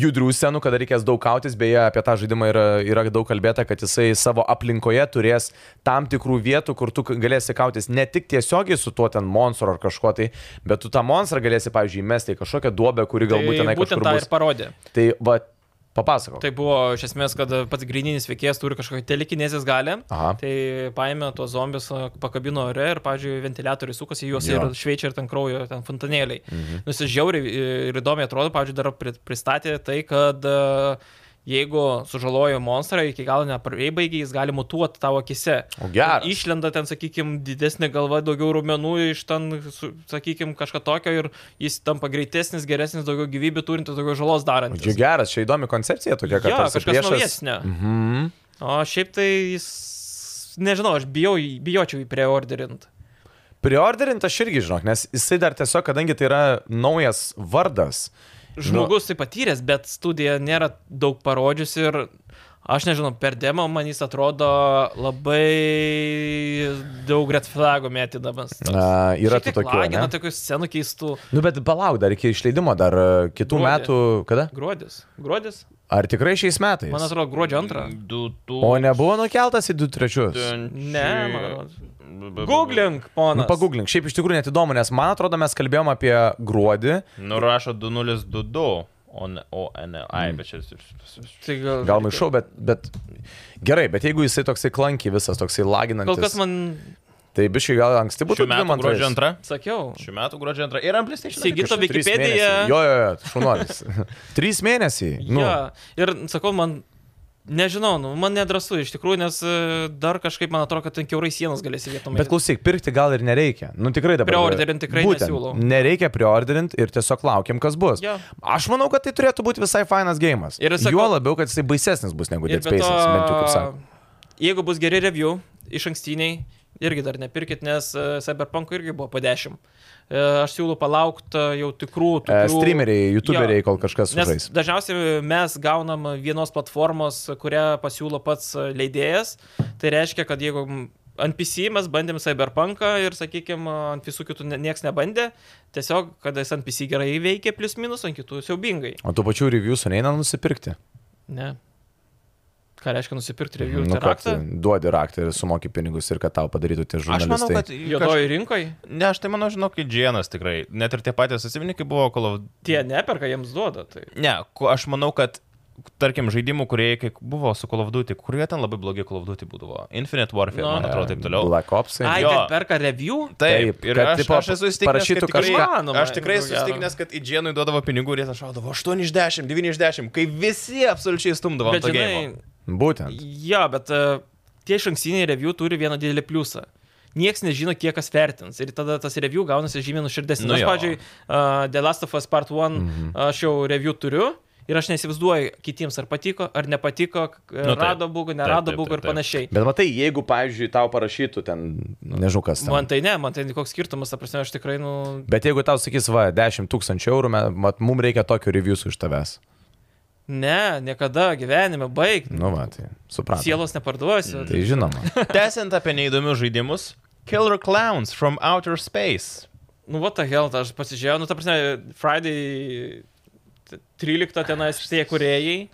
C: judrių scenų, kada reikės daug kautis, beje, apie tą žaidimą yra, yra daug kalbėta, kad jisai savo aplinkoje turės tam tikrų vietų, kur tu k- galėsi kautis ne tik tiesiogiai su tuo ten monstru ar kažkuo tai, bet tu tą monstrą galėsi, pavyzdžiui, mesti į kažkokią duobę, kuri galbūt tenai
B: Tai būtent
C: kažkur
B: tą
C: bus.
B: ir parodė.
C: Tai va, papasakok.
B: Tai buvo iš esmės, kad pats grindinis veikėjas turi kažkokią telekinezės galę.
C: Aha.
B: Tai paėmė tuos zombius, a, pakabino ore ir, pavyzdžiui, ventiliatoriai sukasi juos
C: Jo.
B: jo. ir šveičia ir ten kraujo, ten fontanėliai. Mhm. Nusižiauriai ir įdomiai atrodo, pavyzdžiui, dar pri- pristatė tai, kad a, jeigu sužalojo monstrą iki galo nepraeibaigį, jis gali mutuoti tavo akise.
C: O geras.
B: Ir Išlenda ten, sakykime, didesnė galva, daugiau raumenų iš ten, sakykime, kažką tokio ir jis tampa greitesnis, geresnis, daugiau gyvybių turintis, daugiau žalos darantis.
C: Džiugi geras, čia įdomi koncepcija tokia, kad
B: Jo,
C: tarsi
B: kažkas
C: priešas-
B: naujesnio.
C: Mhm.
B: O šiaip tai jis, nežinau, aš bijau, jį- bijočiau jį preorderint.
C: Priorderint aš irgi žinok, nes jisai dar tiesiog, kadangi tai yra naujas vardas. Nu.
B: Žmogus tai patyręs, bet studija nėra daug parodžiusi ir aš nežinau, per demo man jis atrodo labai daug red flagų mėtydamas.
C: Na, yra
B: Šiek
C: tų
B: tiek
C: tokių,
B: Lagina
C: ne?
B: tokių scenų keistų.
C: Nu, bet palauk, dar iki išleidimo, dar e, kitų
B: Gruodį.
C: metų, kada?
B: Gruodis. Gruodis?
C: Ar tikrai šiais metais?
B: Man atrodo, gruodžio antrą.
A: Du, tu,
C: O nebuvo nukeltas į 2-3.
B: Ne, man atrodo. Googlink,
C: Nu,
B: ponas.
C: pagūglink, šiaip iš tikrųjų net įdomu, nes man atrodo mes kalbėjom apie gruodį,
A: Nurašo 2022. O ne, o e, ne,
B: Hmm.
A: ai, bet čia.
B: Tai gal,
C: gal maišau, bet, bet gerai, bet jeigu jisai toksai klankiai visas, toksai laginantis,
B: Kol kas man
C: tai biškai gal anksti
A: Šių
C: būtų
A: metų
C: 22.
A: gruodžio antrą.
B: sakiau.
A: Šių metų gruodžio antrą. Ir amplistėčiai.
B: Sigita
C: Kažkur trys
B: Wikipedia-
C: mėnesiai. Jo, jo, jo, šunuolis. Trys mėnesiai.
B: Nu.
C: Nu,
B: Ja. Ir sakau, man, nežinau, nu, man nedrasu iš tikrųjų, nes e, dar kažkaip man atrodo, kad ten keurai sienas galėsi vietom.
C: Bet klausyk, pirkti gal ir nereikia. Nu tikrai dabar.
B: Preorderint tikrai
C: Būtent,
B: nesiūlau.
C: Nereikia preorderint ir tiesiog laukiam, kas bus.
B: Jo.
C: Aš manau, kad tai turėtų būti visai fainas gėjimas.
B: Ir sakau-
C: Juo labiau, kad jisai baisesnis bus negu
B: Ir
C: Dead
B: be
C: Space, bent jau kaip sako.
B: to, jeigu bus geri review iš ankstiniai, irgi dar nepirkit, nes e, Cyberpunk irgi buvo po 10. E, Aš siūlau palaukti jau tikrų,
C: E,
B: tikrų...
C: Streameriai, YouTuberiai,
B: Jo.
C: kol kažkas
B: Nes
C: sužais.
B: dažniausiai mes gaunam vienos platformos, kurią pasiūlo pats leidėjas. Tai reiškia, kad jeigu m, ant PC mes bandėm Cyberpunką ir, sakykime, ant visų kitų ne- nieks nebandė, tiesiog, kad jis ant PC gerai veikia, plus minus, ant kitų siaubingai.
C: O tų pačių reviewsų neina nusipirkti.
B: Ne. Ką reiškia nusipirkti review nu,
C: Nu, kad
B: raktą?
C: duodi raktą ir sumoki pinigus ir kad tau padarytų tie
A: Aš manau,
C: žurnalistai.
A: kad. kaž-
B: Jodoji rinkoje?
A: Ne, aš tai manau, žinok, kaip Džienas tikrai. Net ir tie patys asmenininkai buvo Call of
B: Tie neperka, jiems duoda. Tai.
A: Ne, ko- aš manau, kad tarkim, žaidimų, kurie kaip buvo su Call of Duty, kurie ten labai blogi Call of Duty būdavo. Infinite Warfare,
B: No.
A: man atrodo, taip toliau.
C: e, Black Ops.
B: Ai,
A: Jo.
B: kad perka review?
A: Taip,
C: Taip,
A: ir aš,
C: kad, tipo,
A: aš esu įstikinęs,
C: parašytų
A: kad tikrai,
B: kažką.
A: aš tikrai
B: Įmanoma,
A: esu
B: ko gero.
A: įstikinęs, kad į Džienui duodavo pinigų ir jie atšaudavo 8 iš 10, 9 iš 10, kai visi absoliučiai stumdavo ant
B: Bet
A: to žinai...
B: žinai,
C: Būtent.
B: jo, bet e, tie šanksiniai review turi vieną didelį pliusą. Niekas nežino, kiek kas vertins. Ir tada tas review gaunasi žymiai nuširdesnis.
A: Nu
B: Nu, aš,
A: jo. Mhm.
B: pavyzdžiui, uh, The Last of Us Part 1 mm -hmm. aš jau review turiu. Ir aš neįsivaizduoju kitiems, ar patiko, ar nepatiko,
A: Nu
B: nu,
A: taip.
B: rado būgų,
A: Taip,
B: nerado
A: taip,
B: būgų ir
A: taip, taip.
B: panašiai.
C: Bet matai, jeigu, pavyzdžiui, tau parašytų ten, nežinau kas. Ten.
B: Man tai ne, man tai koks skirtumas, ta prasme, aš tikrai, nu,
C: Bet jeigu tau sakys, va, 10 tūkstančių eurų, me- mat, mums reikia tokių reviewsų iš tavęs.
B: ne, niekada gyvenime baig.
C: Nu, va, tai suprantu.
B: Sielos neparduosiu.
C: Tai žinoma.
A: Tęsiant apie neįdomius žaidimus, Killer Clowns from Outer Space.
B: Nu, what the hell, aš pasižiūrėjau, nu, ta prasme, Friday t- 13 tenais tie kuriejai.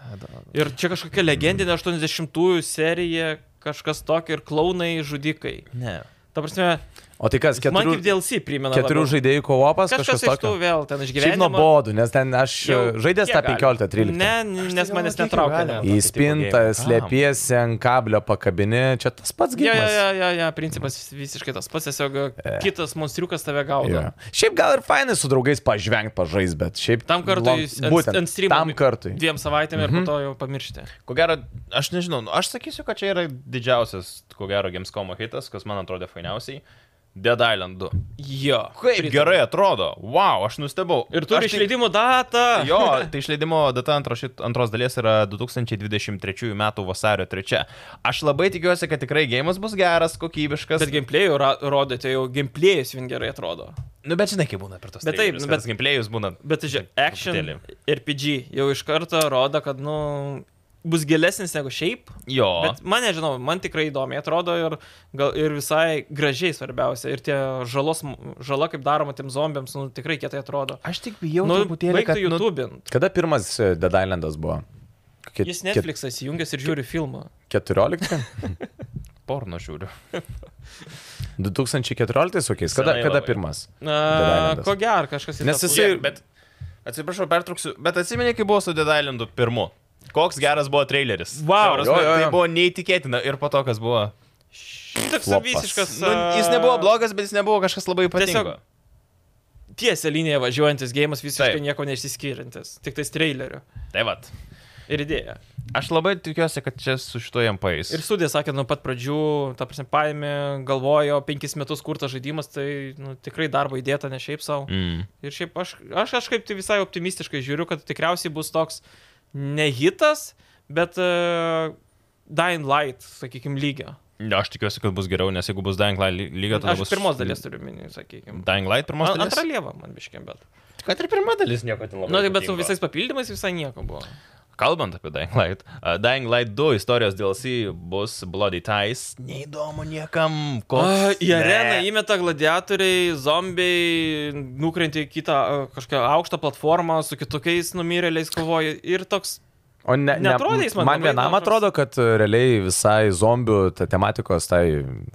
B: Ir čia kažkokia legendinė 80-ųjų serija, kažkas tokio ir klaunai žudikai.
A: Ne.
B: Ta prasme,
C: O tai kas,
B: keturių, man kaip
C: keturių,
B: DLC primena.
C: keturių
B: labiau.
C: žaidėjų koopas,
B: kažkas
C: kažkas
B: iš tų
C: tokio.
B: vėl ten
C: Šiaip
B: išgyvenimo.
C: nuobodu, nes ten aš e,
B: Jau
C: žaidęs tą
B: kiek gali?
C: 15-13.
B: Ne, n- nes
A: galvoju, kiek
B: manęs
A: jau
B: netraukia.
A: galima.
B: ne.
A: tokio
C: Į
A: tipo
C: spintą
A: game. Kam?
C: slėpiesi ant kablio pakabini, čia tas pats
B: Jo, jo, jo,
C: gyvenimas.
B: jo, jo, principas visiškai tas pats, tiesiog kitas monstriukas tave
C: E. Jo.
B: gaudo.
C: Šiaip gal ir fainai su draugais pažvengti, pažais, bet šiaip...
B: Tam
C: long-
B: kartui jis ant,
C: būtent,
B: ant streamo.
C: Tam kartui. Mhm.
B: Dviem savaitėm ir po to jau pamiršti.
A: Ko gero, aš nežinau, nu, aš sakysiu, kad čia yra didžiausias, ko gero, Gamescom hitas, kas man atrodė fainiausiai. Dead Island 2.
B: Jo.
A: Kaip
B: pritariu.
A: gerai atrodo, wow, aš nustebau.
B: Ir turi
A: Aš tai-
B: išleidimo datą.
A: Jo, tai išleidimo data antro šit, antros dalies yra 2023 m. vasario 3. Aš labai tikiuosi, kad tikrai gėjimas bus geras, kokybiškas.
B: Bet gameplay'ų ra- rodėte, jau gameplay'us vien gerai atrodo.
A: Nu, bet žinai, kaip būna per tos
B: Bet taip,
A: trailerius,
B: nu,
A: kad
B: bet-
A: gameplayus būna.
B: Bet, žiūrėk, action
A: Truputėlį.
B: RPG jau iš karto rodo, kad, nu, bus gilesnis negu šiaip.
A: Jo.
B: O. Bet man nežinau, man tikrai įdomiai atrodo ir, gal, ir visai gražiai svarbiausia. Ir tie žalos, žala kaip daroma tiem zombiams, nu, tikrai kietai atrodo.
A: Aš tik bijau
B: nu,
A: truputėlį, kad...
B: baigtų YouTube'int.
C: Kada pirmas e, Dead Islandas buvo? Kokie
B: Jis
C: ket-
B: Netflix'as įjungęs ir žiūri filmą.
C: 14?
A: Nu, porno žiūriu.
C: 2014 kokiais? Kada,
A: Senai
C: kada
A: labai.
C: pirmas?
B: Na,
C: Islandas.
B: ko gero, kažkas į
C: Nes
B: tą
C: jisai-
B: pusę.
A: Žiūrėk, bet... Atsiprašau, pertrauksiu. Bet atsimeni, kai buvo su Dead Islandu pirmu. Koks geras buvo traileris.
B: Vau.
A: Ta prasme,
C: Jo, jo, jo.
A: tai buvo neįtikėtina. Ir po to, kas buvo.
B: Toks
C: Flopas.
B: visiškas.
A: Nu, jis nebuvo blogas, bet jis nebuvo kažkas labai
B: Tiesiog
A: ypatingo.
B: Tiesią liniją važiuojantis gėjimas visiškai
A: Taip.
B: Taip. nieko neišsiskiriantis. Tik tais traileriu.
A: Tai vad.
B: Ir idėja.
A: Aš labai tikiuosi, kad čia su šituo jam paės.
B: Ir studija sakė nuo pat pradžių, ta prasme, paėmė, galvojo, penkis metus kurtas žaidimas, tai nu, tikrai darbo įdėta ne šiaip savo.
A: Mm.
B: Ir šiaip aš, aš kažkaip tai visai optimistiškai žiūriu, kad tikriausiai bus toks nehitas, bet uh, Dying Light, sakykime, lygio.
A: Ne, Aš tikiuosi, kad bus geriau, nes jeigu bus Dying Light ly- lyga, tada
B: Aš
A: bus...
B: pirmos dalies turiu minį, sakykime.
A: Dying Light pirmos dalies. Nu,
B: Antra lieva man biškiam, bet.
A: Kad ir pirma dalis nieko ten labai.
B: Na, tai bet su
A: ypatingo.
B: visais papildymais visai nieko buvo.
A: Kalbant apie Dying Light, uh, Dying Light 2 istorijos DLC bus Bloody Ties. Neįdomu niekam,
B: A,
A: koks.
B: į areną
A: ne.
B: įmeta gladiatoriai, zombiai, nukrenti į kitą a, kažkokią aukštą platformą, su kitokiais numirėliais kovoja ir toks...
C: O ne, ne,
B: Neatrodė jis man
C: man
B: labai
C: vienam
B: gal toks-
C: atrodo, kad e, realiai visai zombių ta tematikos, tai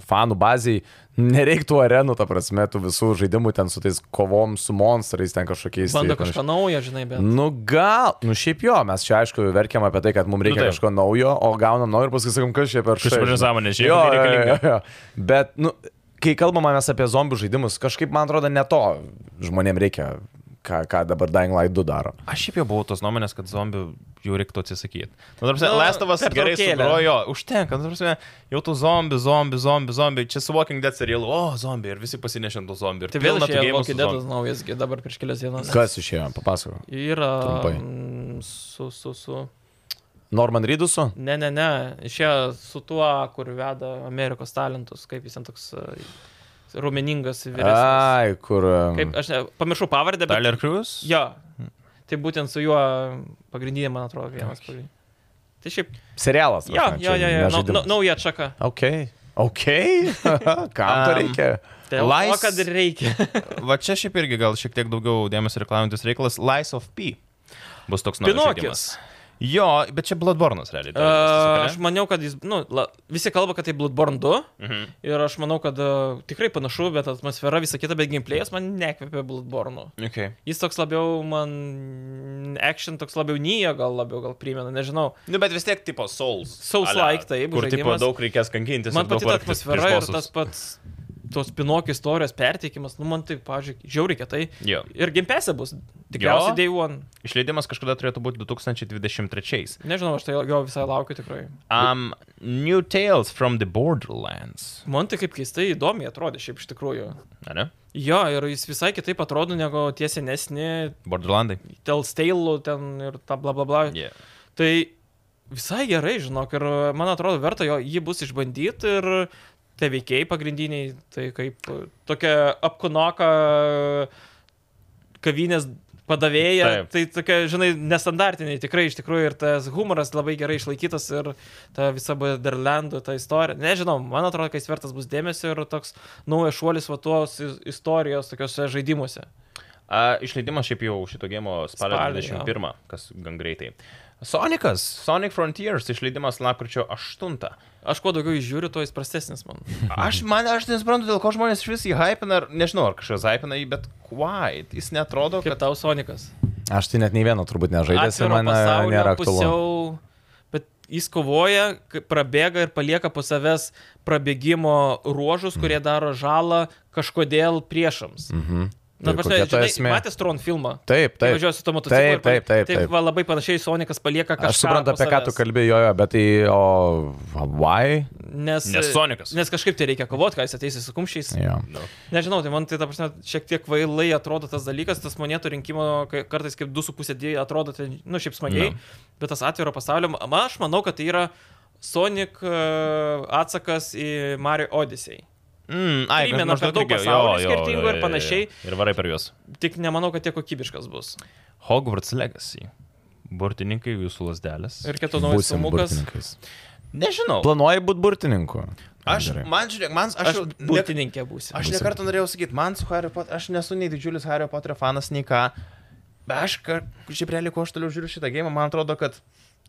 C: fanų baziai nereiktų arenų, ta prasme, tų visų žaidimų ten su tais kovom, su monstrais, ten kažkokiais.
B: Bando
C: tai panašiai.
B: kažką naujo, žinai, bet...
C: Nu gal, nu šiaip jo, mes čia aišku verkiam apie tai, kad mums reikia
A: taip.
C: nu, kažko naujo, o gaunam naujo ir paskui sakom, kas čia per
A: Kas
C: štai,
A: per
C: žinai.
A: nesąmonė, čia
C: Jo,
A: nieko
C: jo, jo,
A: nereikalinga.
C: jo. Bet, nu, kai kalbame mes apie zombių žaidimus, kažkaip man atrodo ne to žmonėm reikia, ką, ką dabar Dying Light 2 daro.
A: Aš šiaip jau buvau tos nuomonės, kad zombių jau reiktų atsisakyti. Na, tarsi,
B: Nu,
A: Lestovas gerai
B: pertraukėlė.
A: sugrojo, užtenka, nu, tarsi, jau tų zombių, zombių, zombių, zombių, čia su Walking Dead serialu, o, zombių, ir visi pasinešė ant tų zombių.
B: Tai vėl
A: metų
B: išėjo
A: gėjimas
B: kokį dėdą naujas, gi dabar prieš kelias dienas.
C: Kas išėjo, papasakok.
B: Yra...
C: Trumpai.
B: mm, Su, su, su...
C: Norman Rydusu?
B: Ne, ne, ne. Išėjo su tuo, kur veda Amerikos talentus, kaip jis ten toks a, raumeningas vyresnis.
C: Ai, kur. um,
B: Kaip, aš ne, pamiršau pavardę, bet...
A: Tyler Cruz?
B: Jo. Tai būtent su juo pagrindinė, man atrodo, vienas pagrindinė. Tai šiaip.
C: Serialas.
B: Jo,
C: prasme,
B: jo,
C: čia
B: jo,
C: ne
B: jo.
C: žaidimas.
B: Nauja atšaka.
C: Ok. Ok. Kam to
A: Um,
C: reikia?
B: Tai Lais...
A: Lais-
B: o, kad ir reikia.
A: Va čia šiaip irgi gal šiek tiek daugiau dėmesio reklamantis reikalas Lies of P. Bus toks naujas
B: Pinokis.
A: žaidimas. Jo, bet čia Bloodborne'as realiai.
B: Uh,
A: Uh,
B: aš maniau, kad jis, nu, la, visi kalba, kad tai Bloodborne 2
A: mhm.
B: ir aš manau, kad uh, tikrai panašu, bet atmosfera visą kitą, bet gameplayas man nekvėpė Bloodborne'u.
A: okay.
B: Jis toks labiau man, action toks labiau nyja, gal labiau gal primena, nežinau.
A: Nu, bet vis tiek tipo Souls.
B: Souls-like, taip,
A: Kur tipo
B: žaidimas.
A: daug reikės kankintis.
B: Man
A: ir daug
B: pati ta
A: vargtis
B: atmosfera
A: prieš
B: ir tas
A: bossus.
B: pats tos pinokio istorijos perteikimas, nu man tai, pažiūrėk, žiauriai kietai.
A: Jo.
B: Ir gimpesė bus, tikriausiai
A: Jo.
B: day one.
A: Išleidimas kažkada turėtų būti 2023.
B: Nežinau, aš tai jo visai laukiu tikrai.
A: Um, New Tales from the Borderlands.
B: Man tai kaip keistai įdomiai atrodė šiaip iš tikrųjų.
A: Ar ne?
B: Jo, ir jis visai kitaip atrodo negu tie senesni,
A: Borderlandai.
B: Telstale ten ir ta bla bla bla.
A: Yeah.
B: Tai visai gerai, žinok, ir e, man atrodo verta jo, jį bus išbandyti ir tie veikiai pagrindiniai, tai kaip e, tokia apkunoka kavinės padavėja,
A: Taip.
B: tai tokia, žinai, nestandartiniai tikrai iš tikrųjų ir tas humoras labai gerai išlaikytas ir ta visa Baderlandų ta istorija. Nežinau, man atrodo, kad jis vertas bus dėmesio ir toks naujas šuolis va tos is- istorijos tokiuose žaidimuose.
A: A, išleidimas šiaip jau šito gėmo spalio
B: Spalį,
A: 21, kas gan greitai. Sonicas, Sonic Frontiers išleidimas lapkričio 8.
B: Aš kuo daugiau įžiūriu, tuo jis prastesnis man.
A: Aš, man, aš nesuprantu, dėl ko žmonės iš vis jį hypina, ar nežinau, ar kažkas hypina jį, bet why? Jis netrodo,
B: Kaip
A: kad...
B: tau Sonikas?
C: Aš tai net nei vieno turbūt nežaidęs ir
B: atviro
C: man e,
B: pasaulio
C: nėra aktualu.
B: pusiau, bet jis kovoja, k- prabėga ir palieka po savęs prabėgimo
C: Mm.
B: ruožus, kurie daro žalą kažkodėl priešams.
C: Mhm.
B: Na,
C: Ir
B: prasme,
C: kokia ta
B: žinai,
C: esmė?
B: matęs Tron filmą.
C: Taip,
B: Taip,
C: taip.
B: važiuosiu su to motociklu. ir
C: Taip, taip,
B: pali-
C: taip, taip.
B: va, labai panašiai Sonikas palieka kažką.
C: Aš
B: po
C: suprantu, apie ką tu
B: savęs.
C: kalbėjai, bet tai, o, why?
B: Nes,
A: Nes Sonicas.
B: Nes kažkaip tai reikia kovoti, kai jis ateis su kumščiais.
C: Jo.
A: No.
B: Nežinau, tai man tai, ta prasme, šiek tiek vailai atrodo tas dalykas, tas monetų rinkimo kai- kartais kaip 2,5D atrodo, tai, nu, šiaip smagiai,
A: Nu.
B: no. bet tas atviro pasaulio, man aš manau, kad tai yra Sonic e, atsakas į Mario Odyssey.
A: Mm, ai,
B: Primena
A: maždaug
B: per daug
A: irgi, jo,
B: pasaulių
A: jo,
B: skirtingų
A: jo,
B: ir
A: jo,
B: panašiai.
A: jo. Ir varai per juos.
B: Tik nemanau, kad tiek kokybiškas bus.
A: Hogwarts Legacy. Burtininkai jūsų lasdelės.
B: Ir kito naujas
C: Būsim
B: sumukas.
C: burtininkais.
A: Nežinau.
C: Planuoji būti burtininku.
A: Aš,
C: Gerai.
A: man, žiūrėk, man, aš,
B: Aš
A: jau ne-
B: būtininkė būsiu.
A: Aš
C: Būsim.
A: nekartą norėjau sakyti, man su Harry Potter, aš nesu nei didžiulis Harry Potter fanas, nei ką. Bet aš, kar- šiaip realiai, kuo aš toliau žiūriu šitą gėjimą, man atrodo, kad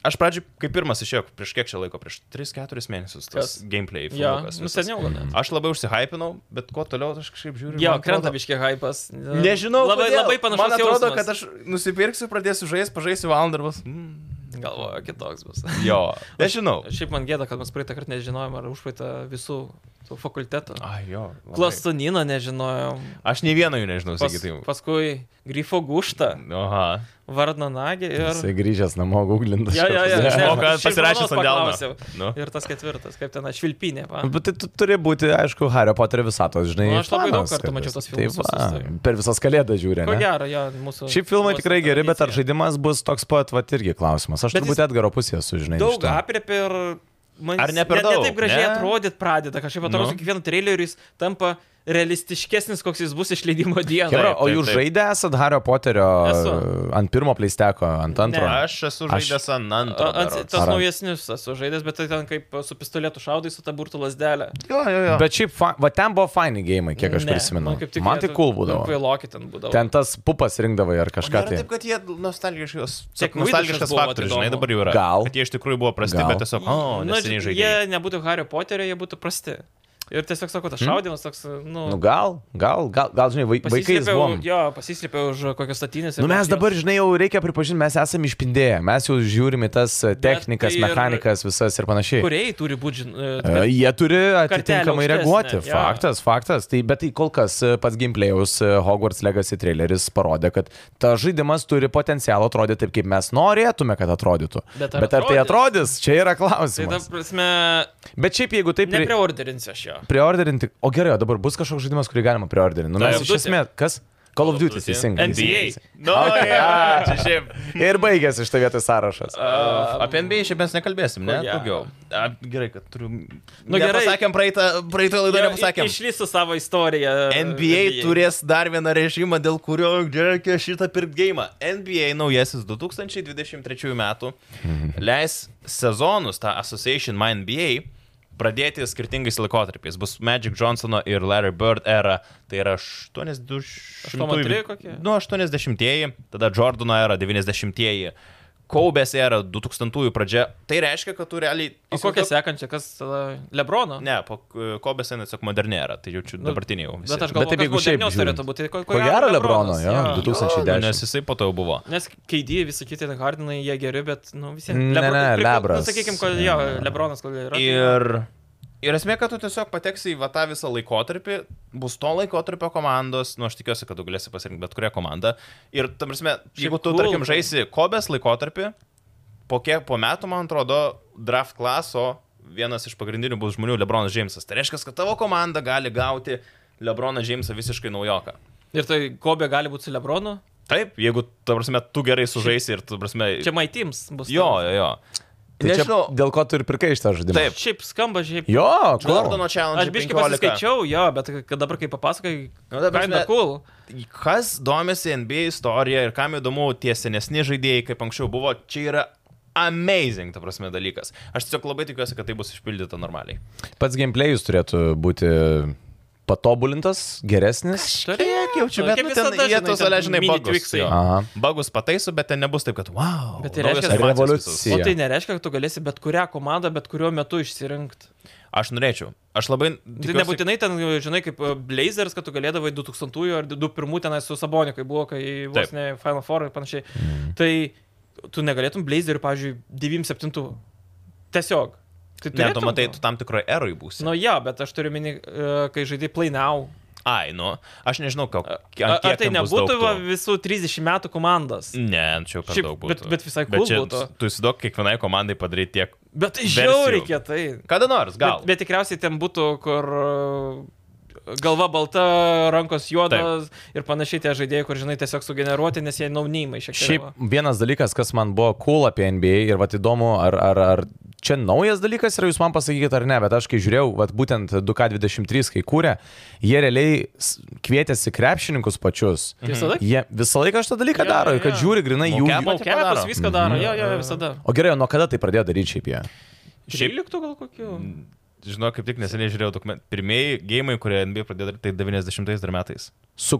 A: aš pradžiui, kai pirmas išėjo, prieš kiek čia laiko, prieš 3-4 mėnesius tas
B: Kas?
A: gameplay.
B: Ja,
A: filmukas
B: nu
A: visas.
B: seniau gal net.
A: Aš labai užsihypinau, bet kuo toliau aš kažkaip žiūriu.
B: Mm. Jo,
A: man
B: krenta
A: atrodo-
B: biškiai hypas.
A: Nežinau,
B: labai,
A: kodėl.
B: labai panašus.
A: Man atrodo,
B: jausmas.
A: kad aš nusipirksiu, pradėsiu žaisti, pažaisiu valandą ir bus. Mm,
B: Galvoju, kitoks bus.
A: jo, nežinau.
B: Šiaip man gėda, kad mes praeitą kartą nežinojom ar užpraeitą visų tų fakultetų.
A: Ai, jo. labai.
B: Plastoniną nežinojom.
C: Nu,
A: Aš nei vieno jų nežinau,
B: Pas,
A: sakytum.
C: tai-
B: paskui Grifo Guštą,
A: Aha.
B: Varnanagį ir...
C: Jisai grįžęs namo googlintas.
B: Jo, jo, jo,
C: kažkas.
B: ne,
A: O kad
B: šiaip
A: pasirašęs
B: žmonos
A: ant delno.
B: paklausiau.
A: Nu.
B: Ir tas ketvirtas, kaip ten, švilpinė. va.
C: Bet tai tu turi būti, aišku, Hario Poterio visatos, žinai.
B: Nu, aš labai daug
C: fanas,
B: kartų
C: kad
B: mačiau
C: vis-
B: tuos filmus
C: tai
B: visus,
C: va,
B: tai.
C: Per visas kalėdas žiūrė.
B: Ko
C: ne?
B: gero, jo, mūsų...
C: Šiaip filmai
B: mūsų
C: tikrai geri, bet ar
B: tradicija.
C: žaidimas bus toks pat, va, irgi klausimas. Aš
B: Bet
C: turbūt
B: jis-
C: Edgaro pusėje sužinai. iš
B: Daug
C: to.
B: apriepia ir... Man
A: Ar
B: jis
A: ne per
B: Ne,
A: daug,
B: taip gražiai
A: ne?
B: atrodyt pradeda, kažkaip atrodo,
A: Nu.
B: su kiekvienu traileriu jis tampa realistiškesnis, koks jis bus išleidimo dieną.
A: Chebra,
C: Chebra,
A: Taip,
C: o
A: taip,
C: jūs
A: taip.
C: žaidė esat Hario Poterio
B: Esu.
C: ant pirmo pleisteko, ant antro?
B: Ne.
A: Aš esu žaidęs ant antro.
B: Ant-
A: berods.
B: Tas
C: Ar-
B: naujesnis esu žaidęs, bet tai ten kaip su pistoletu šaudai su ta burtų lasdelė.
A: Jo, jo, jo.
C: Bet šiaip, fa- va ten buvo faini gėjimai, kiek aš
B: Ne,
C: prisimenu.
B: man kaip tik
C: Man tai
B: jie-
C: cool
B: nu,
C: būdavo.
B: Kvailokit ten būdavo.
C: Ten tas pupas rinkdavai ar
A: O
C: kažką
A: nėra
C: tai.
A: taip, kad jie nostalgiškas,
B: Tiek Witcher
A: nostalgiškas
B: buvo
A: faktorius, žinai,
B: įdomu.
A: dabar jau yra.
C: Gal.
A: Kad jie iš tikrųjų buvo prasti,
C: Gal.
A: bet tiesiog, o,
B: Nu,
A: neseniai
B: žinai,
A: žaidė.
B: jie nebūtų Hario Poterio, jie būtų prasti. Ir tiesiog sakau, tas šaudimas toks, nu...
C: Hmm? Nu gal, gal, gal, gal žinai, vai- vaikais
B: pasislėpiau-
C: buvom.
B: Jo, pasislėpiau už kokios statinės. ir
C: Nu mes
B: mašinos.
C: dabar, žinai, jau reikia pripažinti, mes esame išpindėję, mes jau žiūrime tas e, technikas,
B: tai ir-
C: mechanikas visas ir panašiai.
B: Kuriai turi būti,
C: E,
B: žinai...
C: Jie turi atitinkamai
B: aukštesnė,
C: reaguoti.
B: jo.
C: Faktas, faktas. Tai, bet tai kol kas e, pats gameplay'aus e, Hogwarts Legacy traileris parodė, kad ta žaidimas turi potencialą atrodyti taip, kaip mes norėtume, kad atrodytų.
B: Bet
C: Bet
B: ar
C: ar, bet ar tai atrodys, čia yra
B: Tai ta
C: klausimas.
B: prasme,
C: Bet šiaip jeigu taip... Pri...
B: nepreorderinsiu aš jo.
C: Priorderinti. O gerai, o dabar bus kažkoks žaidimas, kurį galima priorderinti. Nu,
B: Call
C: mes
B: of
C: iš
B: Duty.
C: esmės, kas? Call of Duty, teisingai.
B: NBA.
C: teisingai.
A: Nu, jo, čia šiaip.
C: Ir baigėsi iš to vietoj sąrašas.
B: Um,
A: Uh, apie NBA šiaip mes nekalbėsim, ne?
B: ko gero.
A: Daugiau. A, gerai, kad turiu.
B: Nu,
A: Nu,
B: gerai.
A: gerai. Sakėm praeitą, praeitą laidą, nepasakėm.
B: Išlysiu savo istoriją.
A: NBA turės dar vieną režimą, dėl kurio reikia šitą pirkt gėjimą. NBA naujasis 2023 metų
B: Mhm.
A: leis sezonus tą Association My NBA pradėti skirtingais laikotarpiais. Bus Magic Johnsono ir Larry Bird era, tai yra 82...
B: 83 kokie?
A: Nu, 80-ieji, tada Jordano era 90-ieji. Kaubės era 2000-ųjų pradžia. Tai reiškia, kad tu realiai...
B: O kokią sekančią, kas tada? Lebrono?
A: Ne, po Kaubės era tiesiog moderni era, tai jaučiu dabartinį jau.
B: Nu, Bet aš
C: Bet
B: galvoju,
C: taip,
B: kad
C: jeigu šiaip
B: modernios
C: žiūrint.
B: turėtų būti. Ko,
C: Ko gero Lebrono,
B: Lebronas,
C: jo,
B: jo.
C: 2010.
A: Nu, Nes jisai po to jau buvo.
B: Nes keidėjai visi kiti, ten Hardinai, jie geri, bet, nu, visi.
C: Ne, ne, Lebras.
B: Nu, sakykime, kodėl, jo, Lebronas kodėl yra.
A: Ir, ir esmė, kad tu tiesiog pateksi į va, tą visą laikotarpį, bus to laikotarpio komandos, nu aš tikiuosi, kad tu galėsi pasirinkti bet kurią komandą. Ir, tam prasme,
B: Šiaip
A: jeigu tu,
B: cool.
A: tarkim, žaisi kobės laikotarpį, po kiek po metų, man atrodo, draft klaso vienas iš pagrindinių bus žmonių Lebronas Džeimsas. Tai reiškia, kad tavo komanda gali gauti Lebroną Džeimsą visiškai naujoką.
B: Ir tai Kobė gali būti su Lebronu.
A: Taip, jeigu, ta prasme, tu gerai sužaisi ir, ta prasme,
B: Čia My Teams bus.
A: jo, jo, jo.
C: Tai čia,
A: Nežinau,
C: dėl ko tu ir pirkai šitą žaidimą?
A: Taip.
B: Šiaip skamba, šiaip.
C: Jo,
A: Jordano
C: Gordano.
A: challenge.
B: Aš biškai pasiskaičiau, jo, bet kad dabar kai papasakai,
A: Nu, ta prasme-
B: kinda cool.
A: Kas domisi NBA istorija ir kam įdomu tie senesni žaidėjai, kaip anksčiau buvo, čia yra amazing, ta prasme, dalykas. Aš tiesiog labai tikiuosi, kad tai bus išpildyta normaliai.
C: Pats gameplayus turėtų būti patobulintas, geresnis.
A: Kiek jaučiu, bet
B: Kaip
A: nu, ten
B: visada,
A: jie
B: žinai,
A: tos,
B: ten
A: ale, žinai,
B: mini
A: bagus.
B: twiksai.
A: jo.
C: Aha.
A: Bagus pataiso, bet ten nebus taip, kad wow.
B: Bet tai
A: naujos
B: reiškia-
A: animacijos
C: Revoliucija.
A: visos.
B: O tai nereiškia, kad tu galėsi bet kurią komandą, bet kuriuo metu išsirinkti.
A: Aš norėčiau. Aš labai...
B: Tai
A: tikiuosi-
B: nebūtinai ten, žinai, kaip e, Blazers, kad tu galėdavai 2000-ųjų ar 2001-ųjų tenai su Sabonikai buvo, kai vos
A: Taip.
B: ne Final Four ir panašiai. Tai tu negalėtum Blazerių, pavyzdžiui, 97-ųjų. Tiesiog.
A: Ne,
B: Tai
A: tu
B: turėtum
A: matai, tu tam tikroje erui būsi.
B: Nu, ja, bet aš turiu mini, e, kai žaidai Plainau.
A: Ai, nu, aš nežinau, ką...
B: Ar ar tai nebūtų va, visų 30 metų komandas?
A: Ne, čia jau per
B: Šiaip,
A: daug būtų.
B: bet- bet visai
A: Bet
B: cool
A: čia
B: būtų.
A: Tu įsidok kiekvienai komandai padaryti tiek...
B: Bet tai
A: Versijų.
B: žiauriai kietai.
A: Kada nors, gal.
B: Bet, bet tikriausiai ten būtų, kur e, galva balta, rankos juodos Taip. ir panašiai tie žaidėjai, kur žinai tiesiog sugeneruoti, nes jie naunimai šiek tiek.
A: nu,
C: Šiaip vienas dalykas, kas man buvo cool apie NBA ir vat įdomu, ar, ar, ar čia naujas dalykas yra, jūs man pasakykite ar ne, bet aš kai žiūrėjau, vat būtent 2K23, kai kūrė, jie realiai s- kvietėsi krepšininkus pačius.
B: Visada?
C: Jie visą laiką šitą dalyką
B: Mhm. Jo,
C: daro
B: jo,
C: ir kad
B: jo.
C: žiūri grinai jų.
A: Mocap?
C: jų-
A: Mokyklą
B: Mokepas
A: daro. Mhm.
B: viską daro, jo, jo, jo, visada.
C: O gerai, o nuo kada tai pradėjo daryti šiaip jie?
A: Šiaip-
B: 13 gal kokiu?
A: Žinau, kaip tik neseniai žiūrėjau dokumentą. Pirmieji gėjimai, kurie NBA pradėjo daryti, tai 90-ais dar metais.
C: Su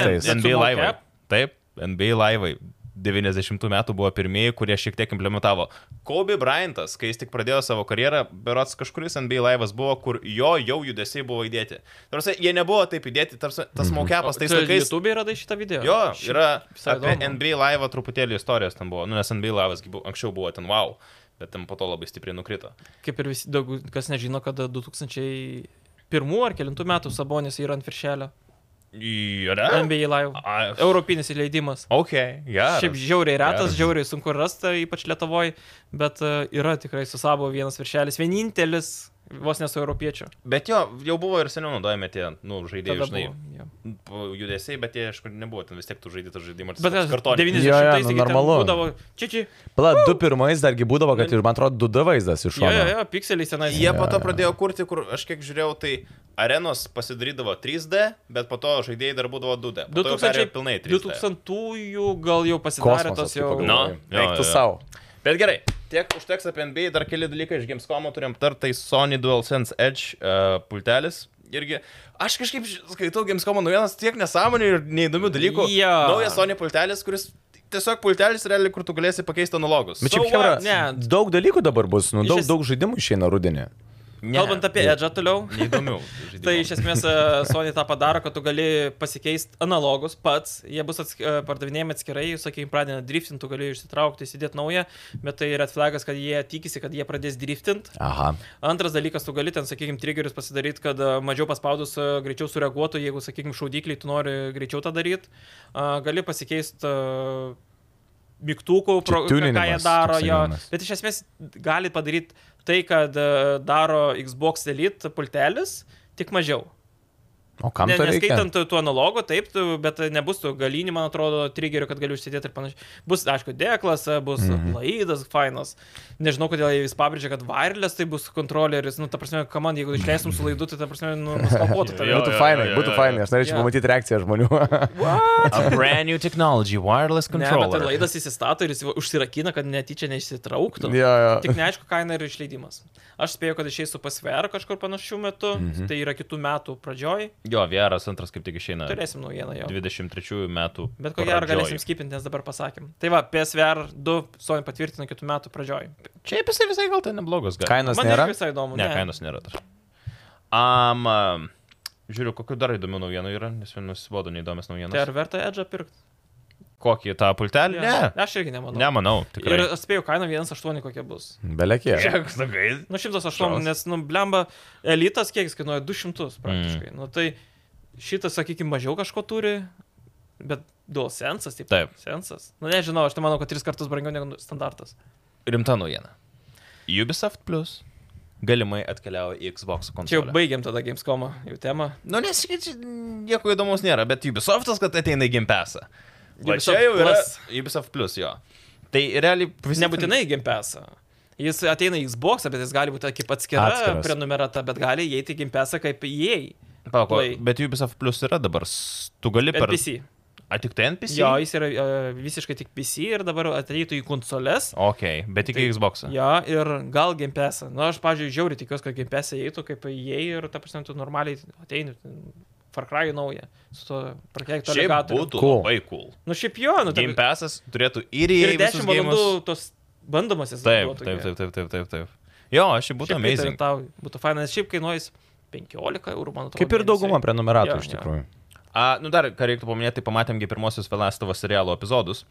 B: Ne, ne, ne,
C: tais.
B: ne.
A: NBA
B: su
A: laivai.
B: mocap?
A: Taip, NBA laivai. 90 metų buvo pirmieji, kurie šiek tiek implementavo. Kobe Bryantas, kai jis tik pradėjo savo karjerą, berots kažkuris NBA laivas buvo, kur jo jau judesiai buvo įdėti. Tarsi, jie nebuvo taip įdėti, tarsi tas maukiapas tais
B: Tu
A: laikais.
B: Mhm. YouTube radai šitą video.
A: Jo,
B: Šiaip
A: yra
B: visai
A: apie
B: įdomu.
A: NBA laivą truputėlį istorijos ten buvo, nu, nes NBA laivas gi bu- anksčiau buvo ten wow, bet ten po to labai stipriai nukrito.
B: Kaip ir visi, daug kas nežino, kad 2001 ar 2009 metų Sabonis yra ant viršelio.
A: Yra?
B: NBA Live.
A: Ai,
B: Europinis įleidimas.
A: Ok, gerai.
B: Šiaip žiauriai retas,
A: Geras.
B: žiauriai sunku rasta, ypač Lietuvoje, bet e, yra tikrai su savo vienas viršelis, vienintelis, vos nesu europiečiu.
A: Bet jo, jau buvo ir seniau naudojami tie, nu, žaidėjai,
B: Tada
A: žinai,
B: buvo, jo.
A: buvo. judesiai, bet jie, aišku, nebuvo, ten vis tiek tu žaidži tą žaidimą.
B: Bet aš
A: kartonį.
B: 90-aisiais
C: Jo, jo, nu,
B: taigi ten
C: normalu.
B: būdavo, čia čia,
C: Pala, du pirmais dargi būdavo, kad ir man atrodo, du D vaizdas iš
B: jo, jo,
C: šono.
B: jo, pikseliai senai.
A: Jie po to pradėjo kurti, kur aš kiek žiūrėjau, tai arenos pasidarydavo 3D, bet po to žaidėjai dar būdavo 2D. Po to jau perėjo pilnai tai. 3D.
B: 2000-ųjų gal jau pasidarė
C: Kosmosas, tai
B: tas
C: kaip
B: jau.
C: pagalvoji.
A: Na, jo,
C: Eik tu
A: jo.
C: savo.
A: Bet gerai, tiek užteks apie NBA, dar keli dalykai iš Gamescomo turėjom tartai tai Sony DualSense Edge uh, pultelis. Irgi, aš kažkaip ž- skaitau Gamescomo naujienas tiek nesąmonių ir neįdomių dalykų.
B: Jo.
A: Naujas Sony pultelis, kuris tiesiog pultelis realiai, kur tu galėsi pakeisti analogus.
C: Bet
B: So
C: šiaip,
B: what?
C: Hebra,
B: Ne.
C: daug dalykų dabar bus, nu,
B: Iš
C: daug,
B: es-
C: daug žaidimų išeina rudenį.
A: Ne,
B: Kalbant apie Edge toliau.
A: Neįdomių.
B: Tai iš esmės e, Sony tą padaro, kad tu gali pasikeisti analogus pats, jie bus atsk e, pardavinėjami atskirai, sakykime, pradeda driftinti, tu gali išsitraukti, įsidėti naują, bet tai red flagas, kad jie tikisi, kad jie pradės driftinti.
C: Aha.
B: Antras dalykas, tu gali ten, sakykime, triggerius pasidaryti, kad e, mažiau paspaudus e, greičiau sureaguotų, jeigu, sakykime, šaudikliai tu nori greičiau tą daryti. Gali pasikeisti mygtukų, pro, ką ką jie
C: tuninimas
B: daro.
C: toksai
B: Jo.
C: vienas.
B: Bet iš esmės gali padaryti tai, kad e, daro Xbox Elite pultelis, tik mažiau.
C: O kam
B: Ne,
C: to reikia?
B: neskaitant tų analogų, taip, tu, bet nebus tų galinį, man atrodo, trigerių, kad galiu užsidėti ir panašiai. Bus, aišku, deklas, bus mm.
C: Mhm.
B: laidas, fainas. Nežinau, kodėl jie vis pabrėžia, kad wireless tai bus kontroleris. Nu, ta prasme, komandai, jeigu išleistum su laidu, tai ta prasme, nu, nuskapotų tave.
A: Jo,
C: Būtų
A: jo,
C: fainai,
A: jo, jo,
C: būtų
A: jo.
C: fainai, aš norėčiau
B: Jo.
C: pamatyti reakciją žmonių.
A: A brand new technology, wireless
B: Ne, bet tai
A: controller.
B: laidas įsistato ir jis užsirakina, kad netyčia neišsitrauktų.
C: Jo, jo.
B: Tik neaišku, kaina ir
C: Mhm.
B: išleidimas. Aš spėjau, kad išeis su PSVR kažkur panašiu metu, mm -hmm. tai yra kitų metų pradžioj.
A: Jo, VR'as antras kaip tik išeina
B: Turėsim naujieną jau.
A: 23 metų.
B: Bet ko gero
A: pradžioj.
B: galėsim skipinti, nes dabar pasakėm. Tai va, PSVR 2 Sony patvirtino kitų metų pradžioj.
A: Šiaip jisai visai gal tai neblogas gal.
C: Kainos
B: Man
C: nėra.
B: irgi visai įdomu.
A: Ne, kainos nėra. dar. Am, am, žiūriu, kokiu dar įdomių naujienų yra, nes jau nusibodo neįdomias naujienas.
B: Tai ar verta Edge pirkti?
A: Kokį tą pultelį? Ne.
B: Aš irgi nemanau.
A: Nemanau,
B: Ir
A: tikrai.
B: aš spėjau kainą 1,8 kokia bus.
C: Belekie.
A: Žiūrėk, sakai.
B: Nu, 108,
A: Šaus.
B: nes, nu, blemba, elitas kiek jis kainuoja 200 praktiškai. Mm. Nu, tai šitas, sakykime, mažiau kažko turi, bet dual sensas, taip.
A: Taip.
B: Sensas. Nu, nežinau, aš tai manau, kad tris kartus brangiau negu standartas.
A: Rimta naujiena. Ubisoft Plus galimai atkeliauja į Xbox konsolę.
B: Čia jau baigiam tada Gamescomą, jau temą.
A: Nu, nes čia- čia nieko įdomaus nėra, bet Ubisoftas, kad ateina į Game Passą. Va
B: Ubisoft
A: čia jau yra
B: Plus.
A: Ubisoft Plus, jo. Tai realiai
B: Jis
A: visi...
B: nebūtinai į Game Passą. Jis ateina į Xbox, bet jis gali būti kaip atskira
C: Atskiras.
B: prenumerata, bet gali įeiti į Game Passą kaip įėjai.
A: Pako,
B: Play.
A: bet Ubisoft Plus yra dabar. s- Tu gali per...
B: PC.
A: A, tik tai NPC?
B: Jo, jis yra uh, visiškai tik PC ir dabar ateitų į konsoles.
A: Ok, bet tik
B: Tai-
A: į Xboxą.
B: Ja, ir gal gimpesą. Na, aš, pažiūrėjau, žiauriai tikiuosi, kad gimpesą įeitų kaip jie ir, ta prasme, tu normaliai ateini. ten, Far Cry nauja, su to prakeikto
A: Šiaip
B: legatoriu.
A: būtų
C: Cool.
A: labai cool.
B: Nu, šiaip jo, nu,
A: Game
B: taip.
A: Passas turėtų ir į
B: Ir
A: visus
B: 10 valandų
A: gėjimus.
B: tos bandomasis.
A: Taip, taip, taip, taip, taip, taip, taip. Jo, aš jį būtų
B: Šiaip pritariu
A: amazing.
B: Tau, būtų fainas, šiaip kainuojas 15 eurų, man atrodo.
C: Kaip ir dauguma
B: mėnesiui.
C: prenumeratų
B: Jo,
C: iš
B: jo.
C: tikrųjų.
A: A, nu dar, ką reiktų paminėti, tai pamatėmgi pirmosius Velastovo serialo epizodus.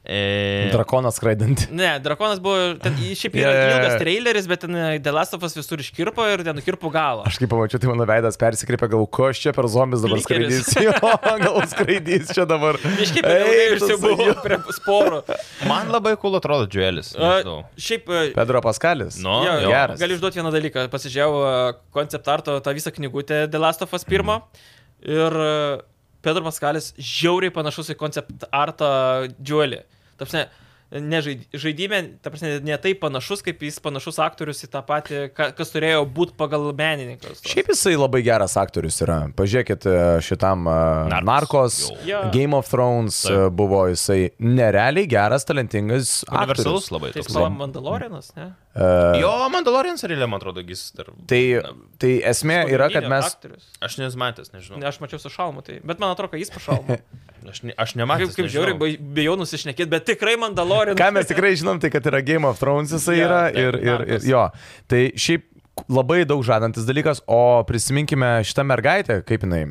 A: E...
C: Drakonas skraidantį.
B: Ne, Drakonas buvo, ten jis šiaip yra
C: Yeah.
B: ilgas traileris, bet ten eh, Delastovas visur iškirpo ir ten nukirpo galą.
C: Aš kaip pamačiau, tai mano veidas persikreipė, galvoju, ko aš čia per zombis dabar
B: Klikeris.
C: skraidys. Jo, gal skraidys čia dabar.
B: Iš kaip ir ilgai
C: Eik tu
B: užsibuvo
C: su-
B: prie sporų.
A: Man labai cool atrodo Džuelis.
B: A,
A: nežinau.
B: Šiaip e,
C: Pedro Paskalis.
A: Nu,
B: Jo,
A: jo,
B: jo.
C: geras.
B: Galiu išduoti vieną dalyką. Pasižiūrėjau konceptarto tą visą knygutę Delastofas pirmo. Ir e, Pedro Paskalis žiauriai panašus į konceptartą Džiuelį. Tapsne, ne žaid- žaidime, ta prasme, ne taip panašus, kaip jis panašus aktorius į tą patį, ka- kas turėjo būti pagal menininkus.
C: Šiaip jisai labai geras aktorius yra. Pažiūrėkit e, šitam Narkos,
A: Narkos,
C: Narkos
B: jau. Jo.
C: Game of Thrones
A: Taip.
C: e, buvo jisai nerealiai geras, talentingas aktorius. E,
A: Universalus labai
B: Tai jis
A: toks.
B: buvo Mandalorianas, ne?
A: Jo, Mandalorian serialė, man atrodo, jis dar.
C: Tai, tai esmė yra, kad
B: Pagrindinio
C: mes...
B: aktorius.
A: Aš nesu matęs, nežinau.
B: Ne, aš mačiau su šalmu, tai. Bet man atrodo, kad jis pašalmu.
A: Aš, ne, aš nematęs.
B: Kaip, kaip
A: nežinau.
B: žiauriai bai- bijau nusišnekėti, bet tikrai Mandalorianas.
C: Ką mes tikrai žinom, tai kad yra Game of Thrones jisai
B: Jo,
C: yra
B: taip,
C: ir, ir,
B: Narkos.
C: ir jo. Tai šiaip labai daug žadantis dalykas, o prisiminkime šitą mergaitę, kaip jinai,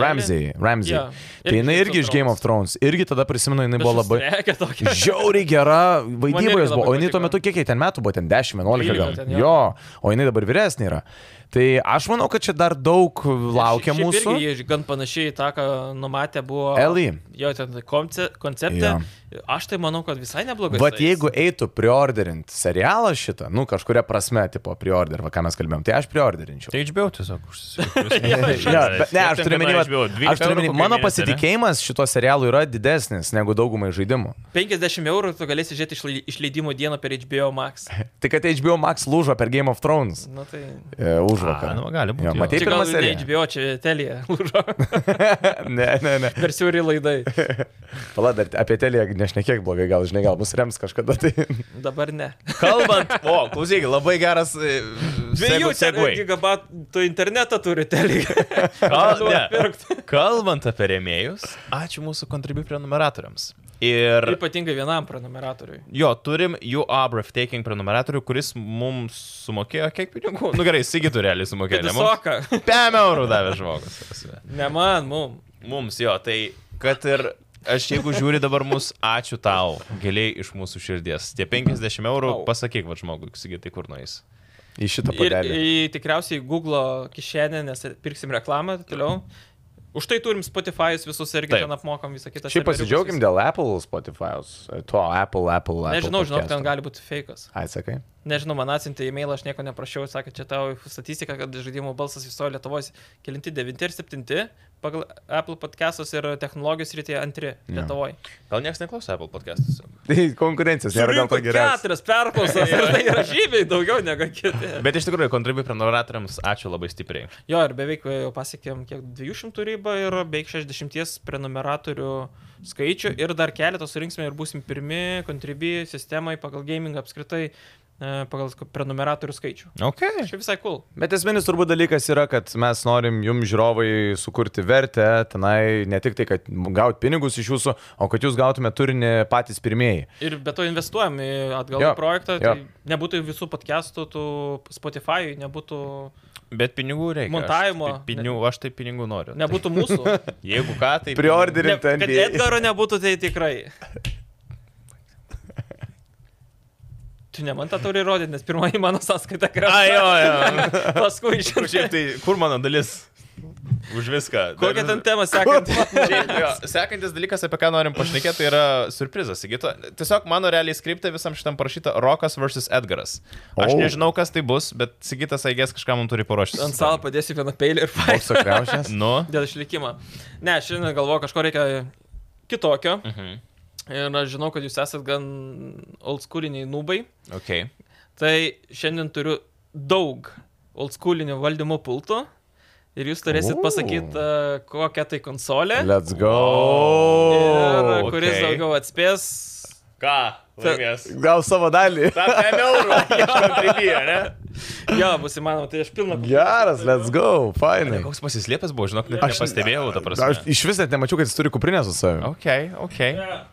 C: Ramsey. Ramsey.
B: Jo.
C: Tai jinai
B: Irgi
C: irgi
B: iš
C: iš Game
B: Thrones.
C: of Thrones. Irgi tada prisimenu, jinai buvo labai...
B: Reikia tokio.
C: Žiauriai gera
B: Man
C: vaidyba
B: irgi
C: jos buvo.
B: labai
C: O jinai tuo
B: patiko.
C: metu, kiek jai ten metų buvo, ten 10, 11 gal.
B: 12 ten, jo.
C: Jo, o jinai dabar vyresnė yra. Tai aš manau, kad čia dar daug laukia
B: Šiaip
C: mūsų.
B: Irgi, jie gan panašiai į tą, ką numatė buvo.
C: Ellie.
B: Jo, ten konce, koncepte. Ja. Aš tai manau, kad visai neblogai.
C: Vat jeigu eitų priorderint serialą šitą, nu kažkuria prasme, tipo priorder, va ką mes kalbėjom, tai aš priorderinčiau.
A: Tai HBO tiesiog
C: Jo,
A: užsisakė.
C: bet ne, aš turiu menį, aš turiu menį, mano pasitikėjimas šito serialu yra didesnis negu daugumai žaidimų.
B: 50 eurų tu galėsi žiūrėti išlai- išleidimo dieną per HBO Max.
C: Tai kad HBO Max lūžo per Game of Thrones
B: Na tai.
C: e,
A: A,
C: užvakarą.
A: nu, gali būti,
C: Jo,
A: jo.
C: matei
B: Čia
C: pirmą
B: gal ne
C: seriją?
B: HBO, čia Telija.
C: Ne, ne, ne.
B: per siūri laidai.
C: Pala, dar apie teliją nešnekiek blogai, gal žinai, gal mus rems kažkada. Tai...
B: Dabar ne.
A: Kalbant, o, klausyk, labai geras. e,
B: Dviejų
A: segu- segway.
B: gigabatų internetą turi Telija.
A: Kal,
B: Galiu atpirkt.
A: ne. Kalbant apie rėmėjus, ačiū mūsų kontribių prenumeratoriams. Ir
B: Ypatingai vienam prenumeratoriui.
A: jo, turim UA Breathtaking prenumeratorių, kuris mums sumokėjo kiek pinigų. Nu gerai, Sigitų realiai sumokėjo. ne mums.
B: Visoka.
A: 5 eurų davė žmogus. ta prasme.
B: Ne man, mum.
A: Mums jo, tai kad ir aš jeigu žiūri dabar mus, ačiū tau, giliai iš mūsų širdies. Tie 50 eurų,
B: Au.
A: pasakyk, va žmogui, sigitai kur nueis.
C: Į šitą
B: Ir
C: padelį.
B: į, tikriausiai Google kišenę, nes pirksim reklamą ir toliau. Už tai turim Spotify'us visus irgi
A: Taip.
B: ten apmokam visą kitą.
C: Šiaip pasidžiaugim dėl Apple Spotify'us. e, To Apple, Apple, Apple.
B: Nežinau, žinau, ten
C: podcast'o.
B: gali būti fejkas.
C: Atsakai.
B: Nežinau, man atsintė e-mailą, aš nieko neprašiau, sakė, čia tavo statistika, kad žaidimų balsas visoje Lietuvoje kelinti, devinti ir septinti, pagal Apple podcastus ir technologijos rytėje antri
C: Jo.
B: Lietuvoje.
A: Gal niekas neklauso Apple podcastus.
C: Tai konkurencijos nėra dėl to geresnė.
B: keturias perklausas ir tai yra žymiai daugiau negu kiti.
A: Bet iš tikrųjų, kontribių prenumeratoriams ačiū labai stipriai.
B: Jo, ir beveik e, jau pasiekėm kiek 200 ribą ir beveik 60 prenumeratorių skaičių ir dar keletą surinksime ir būsim pirmi kontribi sistemai pagal gaming apskritai e, pagal sk- prenumeratorių skaičių.
A: Ok.
B: Čia visai cool.
C: Bet esminis turbūt dalykas yra, kad mes norim jums žiūrovai sukurti vertę, tenai ne tik tai, kad gaut pinigus iš jūsų, o kad jūs gautumėte turinį patys pirmieji.
B: Ir be to investuojam į atgal
C: Jo,
B: į projektą,
C: jo.
B: tai nebūtų visų podcastų, tų Spotify, nebūtų,
A: Bet pinigų reikia.
B: Montavimo.
A: Aš, tai pinigų, aš tai pinigų noriu. Ne.
B: nebūtų mūsų. Ne,
A: Jeigu ką, tai...
C: Priorderį. Rimta
B: kad
C: NBA.
B: Edgaro nebūtų, tai tikrai. Tu ne man tą turi rodyti, nes pirmoji mano sąskaita
A: Ai, jo,
B: krenta.
A: jo.
B: Paskui
A: Kur šiaip
B: išrinkti.
A: tai, kur mano dalis? Už viską.
B: Kokią
A: Dar-
B: ten temą sekant?
A: Šiaip, Tai jo, sekantis dalykas, apie ką norim pašnekėti, tai yra surprizas. Sigita. Tiesiog mano realiai skriptė visam šitam parašyta Rokas vs. Edgaras. Aš
C: Oh.
A: oh. nežinau, kas tai bus, bet Sigitas Aigės kažką mums turi paruošti.
B: Ant stalo padėsiu vieną peilį ir paaiškinsiu.
C: Koks akriaušės?
A: Nu.
B: Dėl išlikimo. Ne, šiandien galvoju, kažko reikia kitokio.
A: Mhm.
B: Ir aš žinau, kad jūs esat gan oldschooliniai nubai.
A: Ok.
B: Tai šiandien turiu daug oldschoolinio valdymo pultų. Ir jūs turėsit
C: O.
B: pasakyti, uh, kokia tai konsolė.
C: Let's go.
B: Ir
A: Oh,
B: kuris
A: okay.
B: daugiau atspės.
A: Ką?
B: Ta-
A: Laimės.
C: Gal savo dalį.
A: Ta 5 eurų. Kažkam pribijo, ne?
B: Jo, bus įmanoma, tai aš pilną.
C: Geras, let's go. Fainai.
A: Tai Koks pasislėpęs buvo, žinok, net
C: Aš-
A: nepastebėjau, ta prasme.
C: Aš iš vis net nemačiau, kad jis turi kuprinę su savimi.
A: Ok, ok.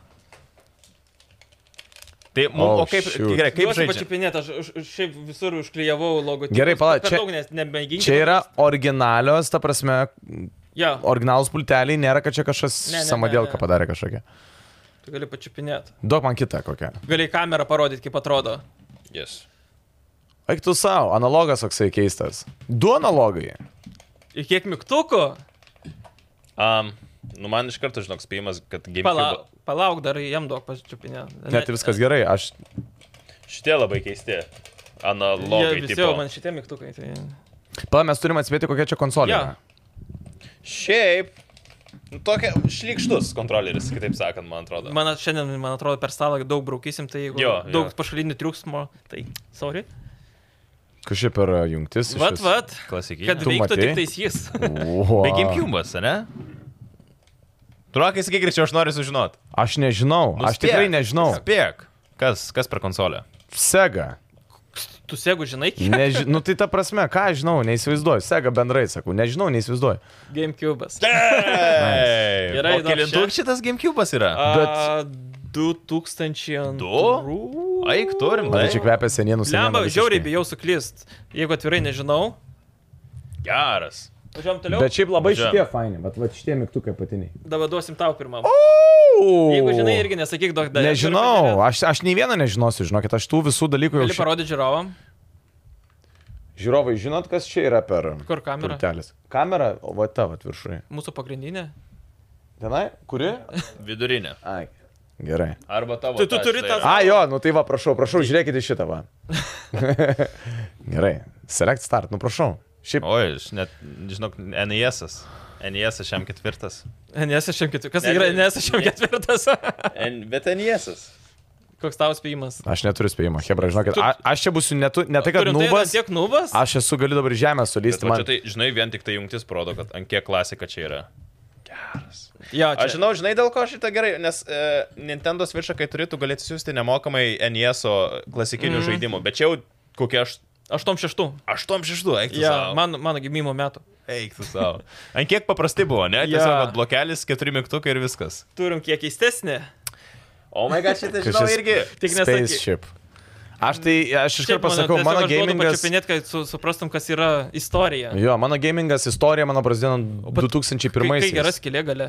A: Tai mums,
C: Oh,
A: o kaip,
C: shoot.
A: gerai, kaip
B: Kaip aš
A: žaidžiu?
B: pačiupinėt, aš, aš, aš šiaip visur užklyjavau logo.
C: Gerai, pala, čia-
B: Daug, nes nebeiginčiau.
C: Čia yra originalios, ta prasme,
B: Jo,
C: originalus pulteliai, nėra, kad čia kažkas
B: Ne, ne, ne, ne.
C: samadėlka padarė kažkokią.
B: tu gali pačiupinėt.
C: Duok man kitą kokią.
B: Gali kamerą parodyti, kaip atrodo.
A: Yes.
C: Eik tu savo, analogas toksai keistas. Du analogai.
B: Ir kiek mygtukų?
A: Um, nu, man iš karto, žinok, spėjimas, kad GameCube.
B: Palauk, palauk dar jam daug pačiupinė.
C: Net tai viskas gerai, aš
A: Šitie labai keisti. Analogai.
B: Visi
A: tipo.
B: jau man šitie mygtukai. Tai...
C: Pala, mes turime atspėti, kokia čia konsolė.
B: Jo.
C: yra.
A: Šiaip. Nu, tokia šlikštus kontroleris, kitaip sakant, man atrodo.
B: Man šiandien, man atrodo, per stalą daug braukysim, tai jeigu
A: Jo, jo.
B: daug pašalinių triukšmo, tai sorry.
C: Kažkaip per jungtis. iš
B: Vat,
C: vis.
B: vat,
A: Klasikinis.
B: kad
C: Tu
B: veiktų
C: matei?
B: tik tais jis.
C: Wow.
A: Be GameCube'as, ne? Truokai, sakyk, greičiau aš noriu sužinoti.
C: Aš nežinau,
A: Nu,
C: aš
A: spėk.
C: tikrai nežinau.
A: Spėk. Kas, kas per konsolę?
C: Sega.
B: Tu sėgu, žinai,
C: Neži... Nu tai ta prasme, ką aš žinau, neįsivaizduoju. Sega bendrai sakau, nežinau, neįsivaizduoju.
B: GameCube'as.
A: Taip.
B: Gerai,
A: o
B: dar
A: kilintuk šitas GameCube'as yra?
B: A, 2000.
A: Du? Aik, turim,
C: Man
A: tai
C: tai čia kvepia
B: Lemba,
C: senienų senienų
B: žiauriai
C: visiškai.
B: bijau suklist. Jeigu atvirai nežinau.
A: geras.
B: Važiuom toliau.
C: Bet šiaip labai
A: Važiuojam.
C: šitie faini, bet va šitie mygtukai apatiniai.
B: Dabar duosim tau pirmam. Jeigu žinai, irgi nesakyk daug dalykų.
C: Nežinau, aš, aš nei vieną nežinosiu, žinokit, aš tų visų dalykų jau.
B: Gali parodyti žiūrovam,
C: Žiūrovai, žinot, kas čia yra per
B: kur kamera.
C: pultelis? Kamera, o va ta, va viršuje.
B: Mūsų pagrindinė.
C: Tenai, kuri?
A: Vidurinė.
C: Ai, gerai.
A: Arba tavo.
B: Tai tu
A: ta,
B: turi
A: štai
B: tą-
A: yra.
C: A, jo, nu tai va, prašau, prašau, žiūrėkit į šitą va. Gerai, select start, nu prašau. Šiaip,
A: Oi, aš net, žinok, E NES. -as. NES šiam ketvirtas.
B: NS64. Kas
A: Ne,
B: tai yra
A: ne,
B: NS64?
A: N, E bet NES. -as.
B: Koks tavo spėjimas?
C: aš neturiu spėjimo, Hebra, žinokit, a, aš čia būsiu netu, ne tai, kad
B: Turim dainą
C: nubas,
B: Tiek nubas?
C: aš esu galiu dabar į žemę
A: Bet
C: sulysti,
A: va
C: man
A: čia tai, žinai, vien tik tai jungtis parodo, kad ant kiek klasika čia yra.
B: Jo, čia.
A: Aš žinau, žinai, dėl ko šitą gerai, nes e, Nintendo Switch'ą, kai turi, tu galėsi siūsti nemokamai NES
B: Mhm.
A: klasikinių mm. žaidimų, bet čia jau kokie aš...
B: 86.
A: 86, eik tu
B: Ja,
A: savo. Man...
B: man, mano gimimo metų.
A: Eik tu savo. Ant kiek paprasti buvo, ne?
B: Jo.
A: Tiesiog vat blokelis, keturi mygtukai ir viskas.
B: Turim kiek keistesnį.
A: O oh my god, šitą
C: žinau irgi.
B: Tik nesakyk.
C: spaceship. Aš tai, aš iš karto pasakau, mano gamingas.
B: Pačiupinėt, kad su, suprastum, kas yra istorija.
C: Jo, mano gamingas istorija mano prasidėjo nuo
B: Bet
C: 2001.
B: Tai geras kilė gale.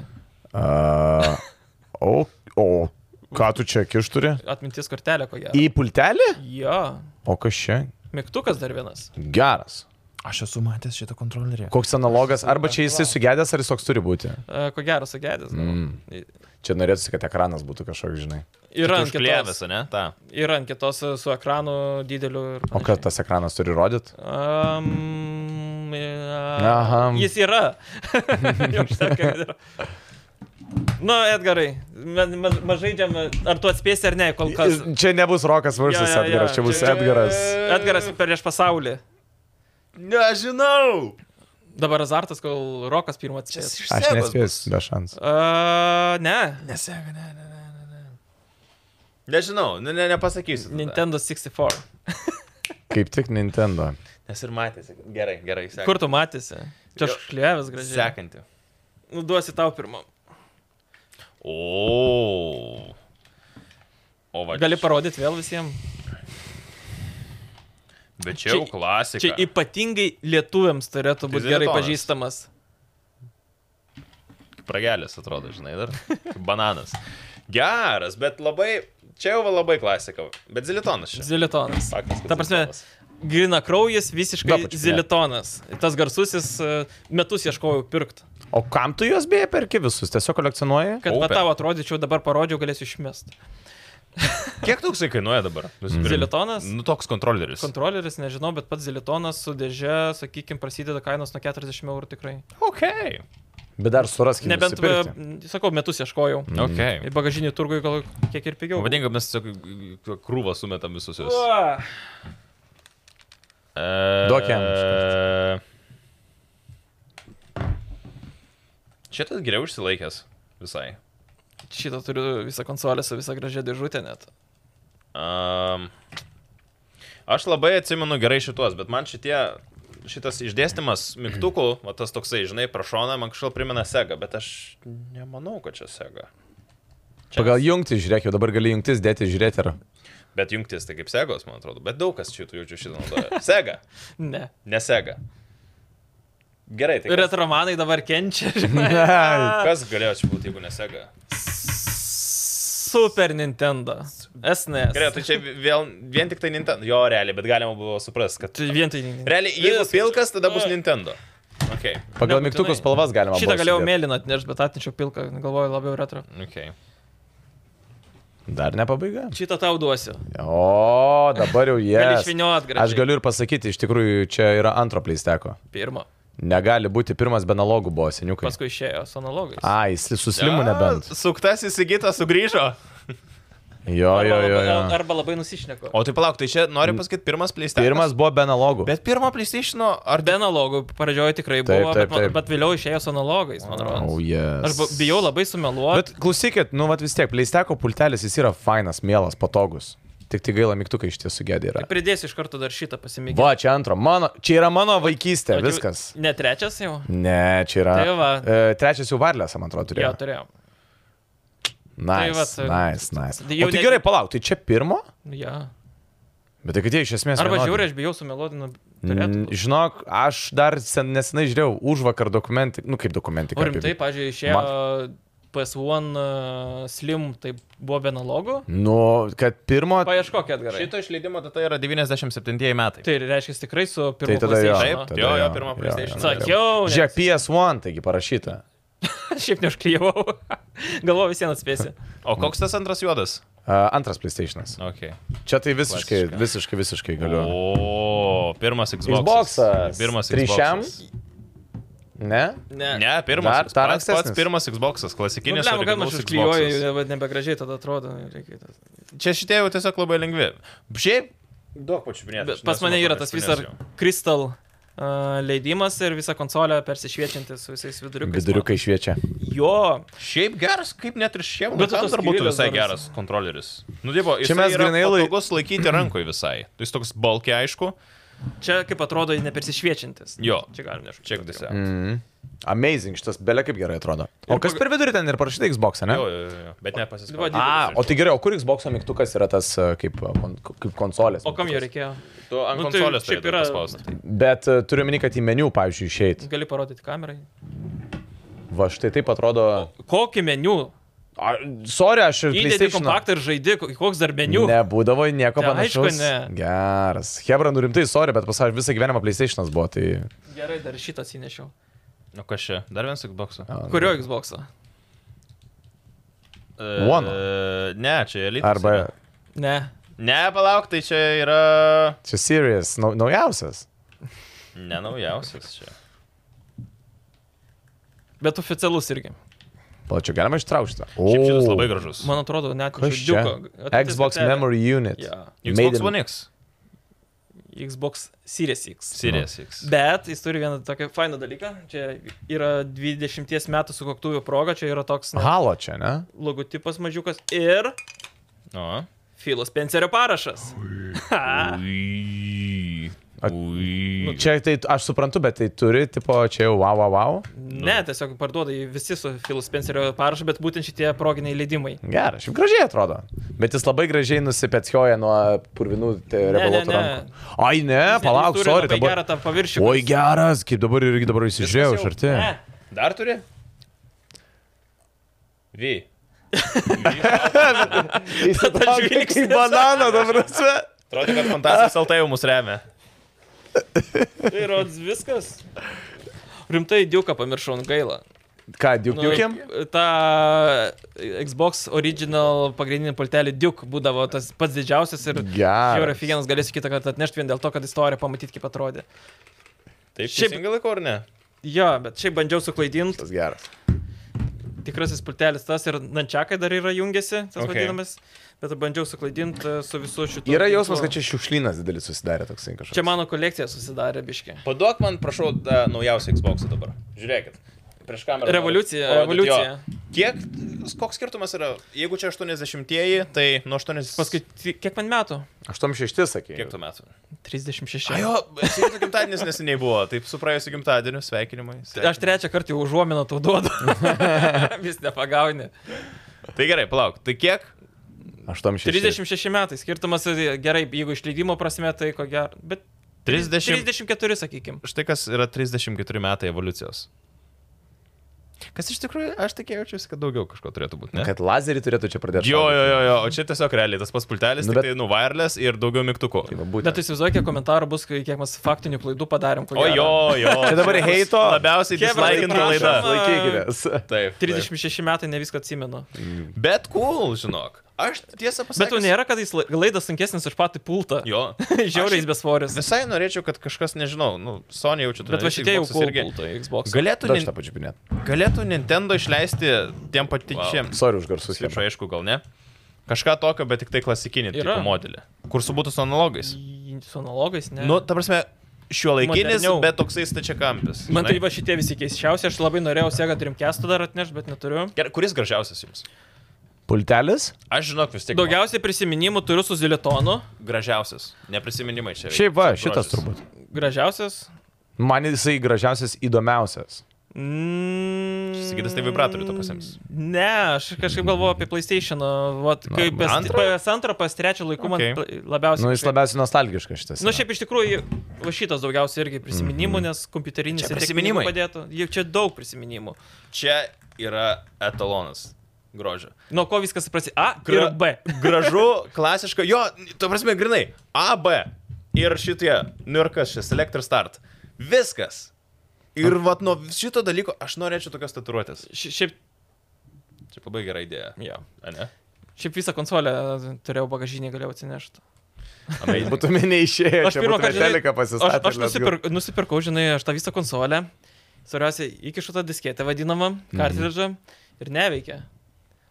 C: A, o, o ką tu čia kišturi?
B: Atminties kortelė, ko gero.
C: Į pultelį?
B: Jo.
C: O kas čia?
B: Mygtukas dar vienas.
C: Geras.
A: Aš esu matęs šitą kontrolerį.
C: Koks analogas, arba čia jisai sugedęs, ar jis toks turi būti?
B: E, Ko gero, sugedęs. Mm.
C: Čia norėtųsi, kad ekranas būtų kažkoks, žinai.
B: Ir ant kitos.
A: Užklėvęs, ne? Ta.
B: Ir ant kitos e, su ekranu dideliu. ir
C: O
B: panašiai.
C: ką tas ekranas turi rodyti?
B: Um,
C: Aha.
B: Aha. Jis yra. Jau užtenka, kad yra. Nu, Edgarai, ma- ma- mažai džiam, ar tu atspėsi ar ne, kol kas.
C: Čia nebus Rokas vs.
B: Jo, jo, jo,
C: Edgaras, čia bus
B: čia-
C: Edgaras.
B: Edgaras prieš pasaulį.
A: Nežinau.
B: Dabar azartas, kol Rokas pirmas atspės.
C: Aš nespėsiu, be šansų.
B: Uh, ne.
A: Nesega, ne, ne, ne, ne. Nežinau, ne, ne, nepasakysiu. tada.
B: Nintendo 64.
C: Kaip tik Nintendo.
A: Nes ir matėsi. Gerai, gerai. Sekanti.
B: Kur tu matėsi? Čia aš
A: Jo.
B: šliavęs gražiai.
A: Sekanti.
B: Nu, duosi tau pirmą.
A: O. O va.
B: Gali parodyti vėl visiems.
A: Bet čia jau
B: Čia-
C: Tai
A: klasika.
B: Čia ypatingai lietuviams turėtų būti gerai
A: Zilitonas.
B: pažįstamas.
A: Pragelis atrodo, žinai, dar. Kaip Bananas. Geras, bet labai. Čia jau va labai klasika. Bet zilitonas čia.
B: Zilitonas.
A: Faktas, kad
B: Ta prasme,
A: zilitonas.
B: grina kraujas, visiškai
C: Dapač, ne.
B: zilitonas. Tas garsusis e, metus ieškojau pirkti.
C: O kam tu juos beje perki visus? Tiesiog kolekcionuoji?
B: Kad
A: Kaupia.
B: va tau atrodyčiau, dabar parodžiau, galėsiu išmesti.
A: Kiek toksai kainuoja dabar? Nusipirkt?
B: Zilitonas?
A: Nu toks kontroleris.
B: Kontroleris, nežinau, bet pats zilitonas su dėže, sakykime, prasideda kainos nuo 40 eurų tikrai.
A: Ok.
C: Bet dar surask, kaip
B: Nebent,
C: nusipirkti. Nu,
B: e, sakau, metus ieškojau.
A: Ok.
B: Į bagažinį turgų gal kiek ir pigiau.
A: Vadinga, mes tiesiog krūvą sumetam visus juos.
B: Uo.
A: E,
C: Duok jam
A: Šitas geriau išsilaikęs visai.
B: Šitą turiu visą konsolę su visą gražią dėžutę net.
A: Um, aš labai atsimenu gerai šitos, bet man šitie, šitas išdėstymas mygtukų, va tas toksai, žinai, prašona, man kažkaip primena Sega, bet aš nemanau, kad čia Sega. Čia,
C: Pagal jungti žiūrėk, jau dabar gali jungtis dėti žiūrėti ir...
A: Bet jungtis tai kaip Segos, man atrodo, bet daug kas šitų jaučiu šitą naudoja. Sega,
B: Ne.
A: ne Sega. Gerai, tai kas,
B: Retromanai dabar kenčia, žinai.
A: kas galėjo čia būti, jeigu ne Sega?
B: Super Nintendo. E SNES.
A: Gerai, tai čia vėl, vien tik tai Nintendo. Jo, realiai, bet galima buvo suprasti, kad...
B: Tai vien tai Nintendo.
A: Realiai, jeigu
B: Viskas.
A: pilkas, tada bus
B: Oi.
A: Nintendo. Okay.
C: Pagal
B: Nebūtinai.
C: mygtukų spalvas galima.
B: Šitą
C: buvo
B: galėjau
C: sudėt.
B: mėlyną atnešti, bet atnešiau pilką, galvoju labiau retro.
A: Okay.
C: Dar ne pabaiga.
B: Šitą tau duosiu.
C: O, dabar jau jie.
B: Gali išvyniot gražiai.
C: Aš galiu ir pasakyti, iš tikrųjų čia yra antro pleisteko.
B: Pirmą.
C: Negali būti pirmas be analogų buvo seniukai.
B: Paskui išėjo su analogais.
C: A, jis suslimu nebent.
A: Suktas įsigytas sugrįžo.
C: Jo, jo,
B: arba,
C: jo.
B: labai,
C: jo.
B: arba labai nusišneku.
A: O tai palauk, tai čia noriu pasakyti pirmas PlayStation.
C: Pirmas buvo be analogų.
A: Bet pirmo PlayStation ar
B: Be analogų pradžioje tikrai
C: Taip,
B: buvo,
C: taip,
B: bet, man-
C: taip.
B: bet vėliau išėjo su analogais, man
C: Oh,
B: atrodo.
C: yes.
B: Aš bu- bijau labai
C: Bet
B: sumeluoti.
C: klausykit, nu vat vis tiek, pleisteko pultelis jis yra fainas, mielas, patogus. Tik tai gaila mygtukai iš tiesų gėdė yra.
B: tai Pridėsiu iš karto dar šitą pasimėginti.
C: Va, čia antro. Mano, čia yra mano vaikystė,
B: Vat jau-
C: viskas.
B: Ne trečias jau?
C: Ne, čia yra.
B: Tai va.
C: E, trečias jau varlės, man atrodo, turėjo.
B: Jo, turėjau. tai va,
C: Nice,
B: tai-
C: nice, nice.
B: Tai jau
C: O tai
B: ne-
C: gerai, palauk, tai čia pirmo?
B: Ja.
C: Bet tai kad jie iš esmės.
B: Arba
C: vienodi.
B: žiūri, aš bijau nu, sumelodinu.
C: Mm, Žinok, aš dar sen, nesenai žiūrėjau už vakar dokumentį, nu kaip dokumentį.
B: O rimtai, pažiūrėjau, išėjo PS1 uh, Slim, tai buvo be analogų.
C: Nu, kad pirmo.
B: Paieškokit gerai.
A: šito išleidimo data yra 97 metai.
B: Tai reiškia tikrai su
C: Tai
B: pirmu
C: tada jo.
A: Taip,
B: PlayStation.
C: tada
A: jo, jo, pirmo PlayStation.
B: Sakiau, nes-
C: Žiūrėk, PS1, taigi parašyta.
B: Šiaip neužklyjau. Galvoju, vis vien atspėsi.
A: O koks tas antras juodas?
C: Uh, antras PlayStationas.
A: Okay.
C: Čia tai visiškai,
A: Klasiška.
C: visiškai, visiškai galiu.
A: O, pirmas Xbox.
C: Xboxas.
A: Pirmas Xbox.
C: Trišiam? Ne?
A: Ne, pirmas.
C: Dar-
A: Xbox.
C: dar
A: pats, pats
C: ankstesnis.
A: pirmas Xboxas,
B: Nu,
A: klasikinis.
B: ne, gal Nu, aš
A: originalus Xboxas.
B: užklyjuoju, bet nebegražiai tada atrodo. nu, reikia tas-
A: Čia šitie jau tiesiog labai lengvi. Šiaip. Daug pačiupinėtų.
B: Bet Pas mane yra tas visas Crystal uh, leidimas ir visa konsolė persišviečianti su visais viduriukais.
C: Viduriukai šviečia.
B: Jo,
A: Šiaip geras, kaip net ir šiam.
B: Bet
A: Bet
B: tu
A: tam
B: tos
A: dar būtų
B: skylės
A: visai
B: dar
A: geras kontroleris. Nu, dievo, jis
C: mes grinai lai-
A: Jėgos laikyti rankoje visai. Tai jis toks balkiai, aišku.
B: čia kaip atrodo nepersišviečiantis.
A: Jo.
B: Čia galim nešti.
A: Čia gdisi.
C: Amazing, šitas belė kaip gerai atrodo. O kas per vidurį ten ir parašyta Xbox, ne?
A: Jo, jo, jo, jo. Bet nepasiskaitai.
B: didelis
C: A, o tai gerai, o kur Xbox mygtukas yra tas e, kaip, e, kon, kaip konsolės?
B: O kam jo
C: mygtukas?
B: reikėjo?
A: Tu ant
B: Nu, tai
A: konsolės
B: šiaip
A: taip
B: yra-
A: yra paspausti.
C: Bet e, turiu meni, kad į meniu, pavyzdžiui, išeit.
B: Gali parodyti kamerai.
C: Va štai taip atrodo.
B: Kokį meniu?
C: A, sorry, aš ir
B: Įdėti
C: PlayStation.
B: kompaktą ir žaidi, ko- koks dar meniu.
C: Nebūdavo nieko
B: Tai aišku,
C: panašaus.
B: ne.
C: Geras. Hebra, nu rimtai, sorry, bet pasakysiu, visą gyvenimą PlayStation'as buvo. Tai...
B: Gerai, dar šitą atsinešiau.
A: Nu, kas čia? Dar vienas Xbox.
B: Kurio Xbox'o?
C: One.
A: E, Ne, čia
B: tai
A: elitas.
C: Arba
A: yra.
B: Ne.
A: Ne, palauk, tai čia yra.
C: čia Series, nau, naujausias.
A: Ne naujausias čia.
B: Bet oficialus irgi.
C: Plačiau galima ištraukti. O,
A: Šiaip šitas labai gražus.
B: Man atrodo, net
C: Kas čia? Xbox Memory Unit.
B: tai Ja.
C: Made
A: Xbox
C: in-
A: One X.
B: Xbox Series X.
A: Series
C: Nu.
A: X.
B: Bet jis turi vieną tokį fainą dalyką. Čia yra 20 metų sukaktuvių proga, čia yra toks na,
C: Halo čia, ne?
B: logotipas mažiukas ir
A: O.
B: Filos Spencerio parašas. Ha.
A: Ui.
C: At-
B: Nu,
A: Ui.
C: Čia tai aš suprantu, bet tai turi, tipo, čia jau wow, wow, wow.
B: ne, tiesiog parduoda jį visi su Filos Spencerio parašu, bet būtent šitie proginiai leidimai.
C: Gerai, šiaip gražiai atrodo. Bet jis labai gražiai nusipetskioja nuo purvinų te- rebaluotų
B: ne, ne.
C: rankų. Ai, ne, palauk,
B: Jis turi
C: sorry,
B: labai
C: dabar.
B: gerą tą paviršių.
C: Oi, geras, kaip dabar irgi dabar įsižiūrėjau iš arti.
B: Ne,
A: Dar turi? Vy.
B: tas
C: Įsitraukė
B: žvilgsnis.
C: Kaip bananą dabar. prasme.
A: Atrodo, kad fantastas LT jau mus remia.
B: tai rods viskas. Rimtai Diuką pamiršau, nu, gaila.
C: Ką, Duke
B: Nu,
C: Duke'im?
B: tą Xbox original pagrindinį poltelį Duke būdavo tas pats didžiausias ir
C: Geras.
B: jau yra figenas galėsiu kitą kartą atnešti vien dėl to, kad istoriją pamatyti kaip atrodė.
A: Taip,
B: Šiaip-
A: šiaip gal laiku ar ne?
B: Jo, bet šiaip bandžiau suklaidinti.
C: Tas geras.
B: Tikrasis pultelis tas ir Nančiakai dar yra jungiasi, tas
A: Okay.
B: okay. vadinamas. Bet bandžiau suklaidinti su visu šitu.
C: Yra jausmas, kad čia šiukšlynas didelis susidarė toksai kažkoks.
B: Čia mano kolekcija susidarė biški.
A: Paduok man, prašau, tą naujausią Xbox dabar. Žiūrėkit. Prieš kamerą.
B: Revoliucija,
A: Parodyt,
B: revoliucija.
A: jo. Kiek, koks skirtumas yra, jeigu čia 80-ieji, tai nuo 80.
B: Paskui, kiek man metų?
C: 86, sakė.
A: Kiek tu metų?
B: 36.
A: Ajo, jūsų gimtadienis neseniai buvo, taip su praėjusiu gimtadieniu, sveikinimai.
B: Aš trečią kartą jau užuominą tau duodu. Vis nepagauni.
A: Tai gerai, palauk, tai kiek?
C: 86.
B: 36 metai, skirtumas e, gerai, jeigu išleidimo prasme, tai ko gero. Bet
A: 30.
B: 34, sakykim.
A: Štai kas yra 34 metai evoliucijos. Kas iš tikrųjų, aš tikėjaučiausi, kad daugiau kažko turėtų būti, ne?
C: Kad lazerį turėtų čia pradėti.
A: Jo, jo, jo, jo, o čia tiesiog realiai tas pats pultelis,
C: Nu,
A: nu, bet...
C: bet-
A: tai nu wireless ir daugiau mygtukų.
C: Tai va,
B: Bet
C: būtent.
B: tu įsivaizduoji, kiek komentarų bus, kai- kiek mes faktinių klaidų padarėm. ko
A: O
B: gero.
A: jo, jo.
C: Čia dabar heito.
A: Labiausiai
B: Chebra, tai
A: dislaikinta laida.
B: prašom.
C: Laikykitės.
A: Taip.
B: 36 metai ne viską atsimenu.
A: Taip. Bet cool, žinok. Aš tiesą pasakiau.
B: Bet tu nėra, kad jis la- laidas sunkesnis už patį pultą.
A: Jo.
B: Žiauriai jis besvoris.
A: Visai norėčiau, kad kažkas, nežinau, nu, Sonia jaučiu turi.
B: Bet va šitie jau cool pultai Xbox.
A: Galėtų,
C: Aš
A: nin...
C: tą pačiupinėt.
A: Galėtų Nintendo išleisti tiem patiečiam. Wow.
C: Sorry už garsus.
A: Atsiprašau, aišku, gal ne. Kažką tokio, bet tik tai klasikinį tipo
B: Yra.
A: modelį. Kur su būtų su analogais.
B: Į- Su analogais, ne?
A: Nu, ta prasme, šiuo laikinis,
B: Moderniau.
A: bet toksai stačiakampis.
B: Man tai
A: žinai.
B: va šitie visi keisčiausi, aš labai norėjau Sega Dreamcast'ą dar atnešti, bet neturiu.
A: Gerai, kuris gražiausias jums?
C: Pultelis?
A: Aš žinok vis tiek.
B: Daugiausiai prisiminimų turiu su Zilitonu.
A: Gražiausias. Neprisiminimai čia.
C: Šiaip va,
A: Čia grožis.
C: šitas turbūt.
B: Gražiausias.
C: Man jisai gražiausias, įdomiausias.
B: Mm,
A: Sigitas, tai vibratorių tau pasiims.
B: Ne, aš kažkaip galvoju apie PlayStation. Vat,
C: Na,
B: kaip pas,
A: antrą?
B: pas antrą, pas trečią laiku okay.
A: Okay.
B: man pla- labiausiai.
C: Nu, jis
B: kažkaip-
C: labiausiai nostalgiškas šitas.
B: Nu,
C: yra.
B: šiaip iš tikrųjų, va šitas daugiausiai irgi prisiminimų, nes kompiuterinis
A: Mhm. Čia
B: ir tiek
A: prisiminimai.
B: knygų padėtų. Jau čia daug prisiminimų.
A: Čia yra etalonas grožio.
B: Nuo ko viskas prasidėjo? A,
A: Gra-
B: ir B.
A: Gražu, klasiška. Jo, tu prasme, grinai. A, B. Ir šitie. Nu ir kas šis, Electric Start. Viskas. Ir vat nuo šito dalyko aš norėčiau tokios tatuiruotės.
B: Ši- Šiaip,
A: Čia labai gera idėja.
B: jo.
A: A, ne?
B: Šiaip visą konsolę turėjau bagažinį, galėjau atsinešti.
A: Amazing.
C: Tai Būtume neišėję.
B: Aš
C: Aš
B: pirmą
C: pirmą
B: kartą,
C: kartą
B: žinai,
C: teliką
B: Aš,
C: pasistatęs.
B: aš nusipirk, nusipirkau, žinai, aš tą visą konsolę. Svarbiausia, įkišu tą disketę vadinamą, kartridžą ir neveikia.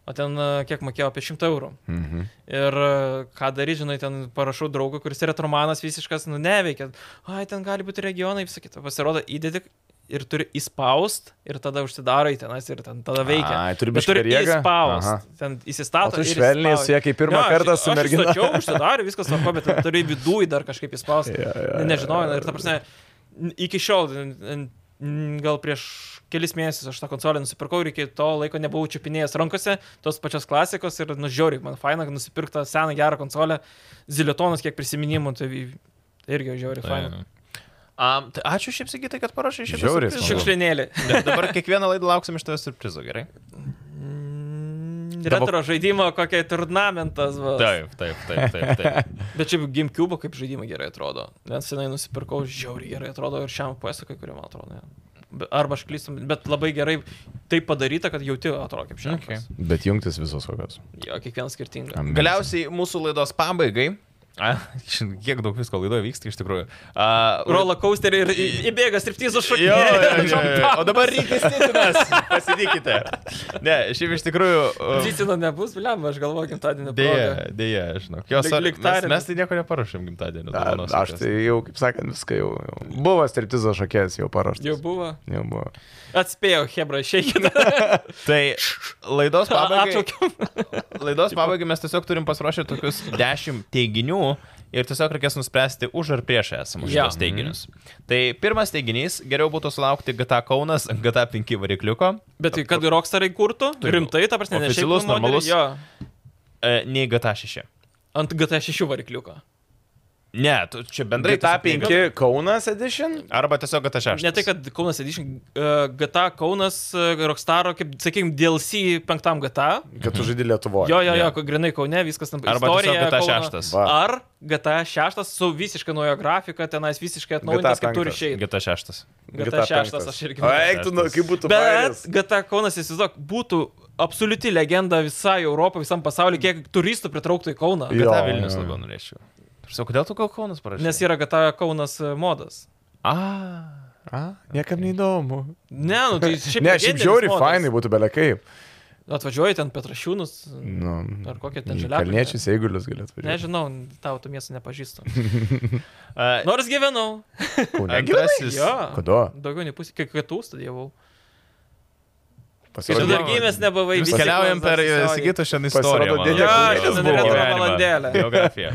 B: O ten e, kiek mokėjau apie 100 eurų.
C: Mhm.
B: Ir e, ką daryti, žinai, ten parašau draugui, kuris yra romanas visiškas, nu neveikia. Ai, ten gali būti regionai, visą kitą. Pasirodo, įdedi ir turi įspaust ir tada užsidaro į tenas ir ten tada veikia.
C: Ai, turi
B: Bet
C: biškį
B: turi
C: jėgą? Aha.
B: įspaust, ten
C: O
B: įsistato.
C: tu
B: ir
C: švelniai
B: įspaudi.
C: su ja kaip pirmą
B: Jo, aš-
C: kartą su mergina.
B: Aš jau užsidariau, viskas tvarko, bet ten turi viduje dar kažkaip įspausti.
C: Jo,
B: Yeah,
C: jo,
B: yeah,
C: jo,
B: yeah, Nežinau,
C: jo.
B: ir ta prasme, n- iki šiol, n- n- n- gal prieš kelis mėnesius aš tą konsolę nusipirkau ir iki to laiko nebuvau čiupinėjęs rankose tos pačios klasikos ir nužiūriu, man faina, kad nusipirktą seną gerą konsolę, ziliotonas kiek prisiminimų, tai irgi žiauri
A: Tai, nu,
B: faina.
A: Am, tai ačiū šiaip sakytai, kad parašai šitą.
C: Žiauriai
A: siurprizą.
C: smagu.
B: Šiukšlinėlį.
A: Bet Dabar kiekvieną laidą lauksim iš tavęs surprizo, gerai?
B: Mm,
C: Tavo-
B: Retro žaidimo kokia turnamentas. Va.
A: Taip, taip, taip, taip. taip.
B: Bet šiaip GameCube kaip žaidimai gerai atrodo. Net senai nusipirkau, žiauriai gerai atrodo ir šiam PS kai kuriam atrodo. ne. Be- Arba aš klystu, bet labai gerai tai padaryta, kad jauti atrodo kaip šiam.
A: Okay.
C: Bet jungtis visos kokios.
B: Jo, kiekvienas skirtingas.
C: Am-
A: Galiausiai mūsų laidos pabaigai A, kiek daug visko laidoje vyksta iš tikrųjų. A,
B: Roller coasterį ir į- įbėga striptizo šaknį.
A: Jo, jo, jo, jo. O dabar Rikis Titinas, pasidykite. Ne, šiaip iš tikrųjų. a,
B: Zicino nebus, bliam, aš galvoju, gimtadienio proga.
A: Deja, deja, žinok. Jos,
B: Lyg-
A: ar,
B: lyg
A: mes,
B: tarėmės.
A: mes tai nieko neparuošėm gimtadienio.
C: A,
A: dovanos
C: Aš
A: tokios.
C: tai jau, kaip sakant, viską jau. jau. Buvo striptizo šakės jau paruoštas.
B: Jau buvo.
C: Jau buvo.
B: Atspėjau, Hebra, išeikite.
A: Tai laidos pabaigai,
B: Atšaukiau.
A: laidos pabaigai mes tiesiog turim pasiruošę tokius 10 teiginių ir tiesiog reikės nuspręsti už ar prieš esamus
B: Jo. Mhm.
A: šios teiginius. Tai pirmas teiginys - geriau būtų sulaukti GTA Kaunas, GTA 5 varikliuko,
B: Bet tai, kad ir Rockstarai kurtų,
A: Taip.
B: rimtai, ta prasme, ne šiaip
A: Oficialus,
B: modelį,
A: normalus.
B: Jo,
A: e, nei GTA 6.
B: ant GT6 varikliuko.
A: Ne, tu čia bendrai
C: GTA
A: tiesiog
C: 5 Kaunas Edition.
A: Arba tiesiog GTA 6.
B: Ne tai, kad Kaunas Edition, e, GTA Kaunas, e, Rockstaro, kaip, sakykime, DLC penktam GTA.
C: Kad tu žaidži Lietuvoje.
B: Jo, jo, jo, grinai Kaune, viskas tam
A: Arba
B: istorija
A: tiesiog GTA
B: Kauno.
A: 6.
C: Va.
B: Ar GTA 6 su visiškai nauja grafika, tenais visiškai atnaujintas, kaip turi
C: penktas.
B: išeiti.
A: GTA 6.
B: GTA 6 aš irgi.
C: O
B: noriu.
C: eik tu, nu, kaip būtų.
B: Bet
C: fainas.
B: GTA Kaunas, įsivaizduok, būtų absoliuti legenda visai Europai, visam pasauliui, kiek turistų pritrauktų į Kauną.
C: Jo,
A: GTA Vilnius
C: jo, jo.
A: labiau norėčiau. Tiesiog, kodėl tu gal Kaunas parašai?
B: Nes yra GTA Kaunas e, modas.
A: A.
C: A, niekam neįdomu.
B: Ne, nu tai šiaip
C: Ne, šiaip
B: legendinis
C: žiauri,
B: modas.
C: fainai būtų belekaip.
B: Atvažiuoji ten Petrašiūnus,
C: Nu,
B: ar kokią ten
C: į
B: žalią.
C: Kalniečius, eigulius galėtų važiuoti.
B: Nežinau, tau tų miestų nepažįstu.
A: A,
B: Nors gyvenau.
C: Kaune.
A: Antrasis.
B: Nu, Jo.
C: Kada?
B: Daugiau nei pusė, kai kitų studijavau. Kai tu
A: Pasirodo-
B: dar gimęs nebuvai.
A: Vis
B: visi
A: keliaujam per
C: e,
B: klausos tiesiogiai.
A: Sigito šiandien
C: Pasirodo,
A: istoriją. mano.
C: dėdė
B: Jo,
C: Kaunas
B: šiandien
C: buvo.
B: yra
A: Gyvenimą,
B: valandėlė.
A: Biografiją.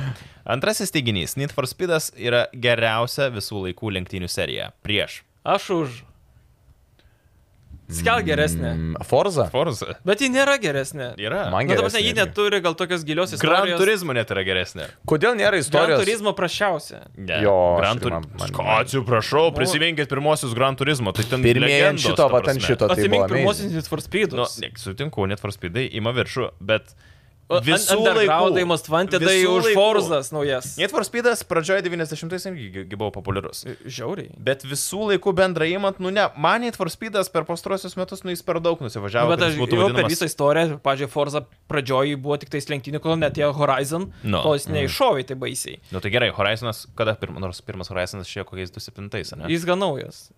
A: Antrasis teiginys. Need for Speedas yra geriausia visų laikų lenktynių serija. Prieš.
B: Aš už. Skel geresnė.
C: Mm, Forza?
A: Forza.
B: Bet ji nėra geresnė.
A: Yra.
C: Man-
B: Na, ta prasme,
C: geresnė
B: ji
C: irgi.
B: neturi gal tokios gilios
A: Gran
B: istorijos.
A: turizmo net yra geresnė.
C: Kodėl nėra
B: Gran
C: istorijos?
B: turizmo prašiausia.
A: Ne.
C: Jo, aš
A: Gran
C: irgi
A: Tur-
C: man- man-
A: Ką, Atsiprašau, prisiminkit pirmosius Gran turizmo. Tai ten
C: Pirmieji ant
A: legendos,
C: šito,
A: ta
C: va ant
A: prasme.
C: šito. Tai
B: Atsimink
C: buvo
B: pirmosius
C: amazing.
B: Need for
A: Nu,
B: Speedus.
A: ne, sutinku, net for speedai ima viršų, bet
B: O, un-
A: visų
B: Undergroundai,
A: laikų.
B: Most Wantedai
A: Visų
B: tai už
A: laikų.
B: Forzas naujas.
A: Net for speedas pradžioje 90-ais irgi gi- gi buvo populiarus.
B: Žiauriai.
A: Bet visų laikų bendrai imant, nu ne, man Need for Speedas per pastarosius metus, nu jis per daug nusivažiavo.
B: Bet
A: kad
B: aš
A: jis
B: jau per visą istoriją, pažiūrėjau, Forza pradžioj buvo tik tais lenktynių, kol netėjo Horizon,
A: Nu.
B: no. kol jis neiššovė tai baisiai.
A: Nu tai gerai, Horizonas, kada pirma, nors pirmas Horizonas šie kokiais 27-ais, ne?
B: Jis gan naujas,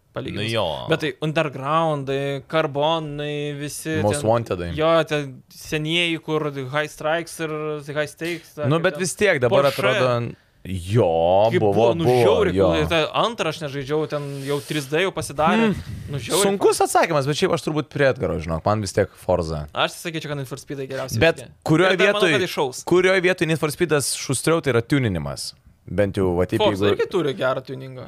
A: Nu
B: palyginus.
A: jo.
B: Bet tai undergroundai, karbonai, tai visi.
C: Most
B: ten-
C: Wantedai.
B: Jo, ten senieji, kur High Strikes ir High Stakes. ar
C: Nu,
B: kaip
C: bet
B: ten.
C: vis tiek dabar
B: Porsche.
C: atrodo. Jo,
B: Kaip
C: buvo,
B: nu
C: buvo.
B: žiauriai,
C: jo.
B: kol- tai antrą aš nežaidžiau, ten jau 3D jau
A: Hmm,
B: pasidarė. Mm. Nu, žiauriai.
C: Sunkus atsakymas, bet šiaip aš turbūt prie atgaro, žinok, man vis tiek Forza.
B: Aš tai sakyčiau, kad Inforspeedai geriausiai.
C: Bet
B: veikia.
C: kurioje
B: Ir dar manau,
C: vietoje
B: kad išaus.
C: kurioje vietoj Need for Speedas šustriau tai yra tuninimas. Bent jau, va, taip,
B: Forza
C: jeigu
B: irgi turi gerą tuningą.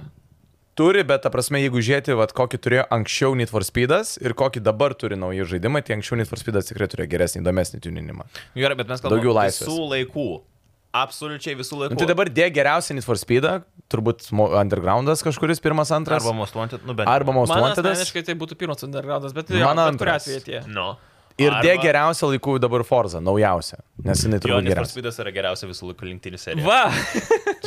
C: turi, bet, ta prasme, jeigu žiūrėti, va, kokį turėjo anksčiau Need for Speedas ir kokį dabar turi nauji žaidimai, tai anksčiau Need for Speedas tikrai turėjo geresnį, įdomesnį tuninimą.
A: Nu, gerai, bet mes kalbame
C: Daugiau laisvės.
A: Visų laikų. Absoliučiai visų laikų.
C: Nu, tai dabar dėja geriausią Need for Speedą, turbūt mo- Undergroundas kažkuris, pirmas, antras,
A: Arba Most Wanted, nu bent.
C: arba Most
B: Man
C: Wantedas.
B: asmeniškai tai būtų pirmas undergroundas, bet
C: Mano
B: man antras
C: antras.
B: vietė.
A: Nu.
C: Ir
A: Arba-
C: dėja geriausią laikų dabar Forza, naujausią, nes jinai
A: Jo,
C: turbūt
A: Need for
C: geriausia.
A: Speedas yra geriausia visų laikų lenktynių serija.
B: Va,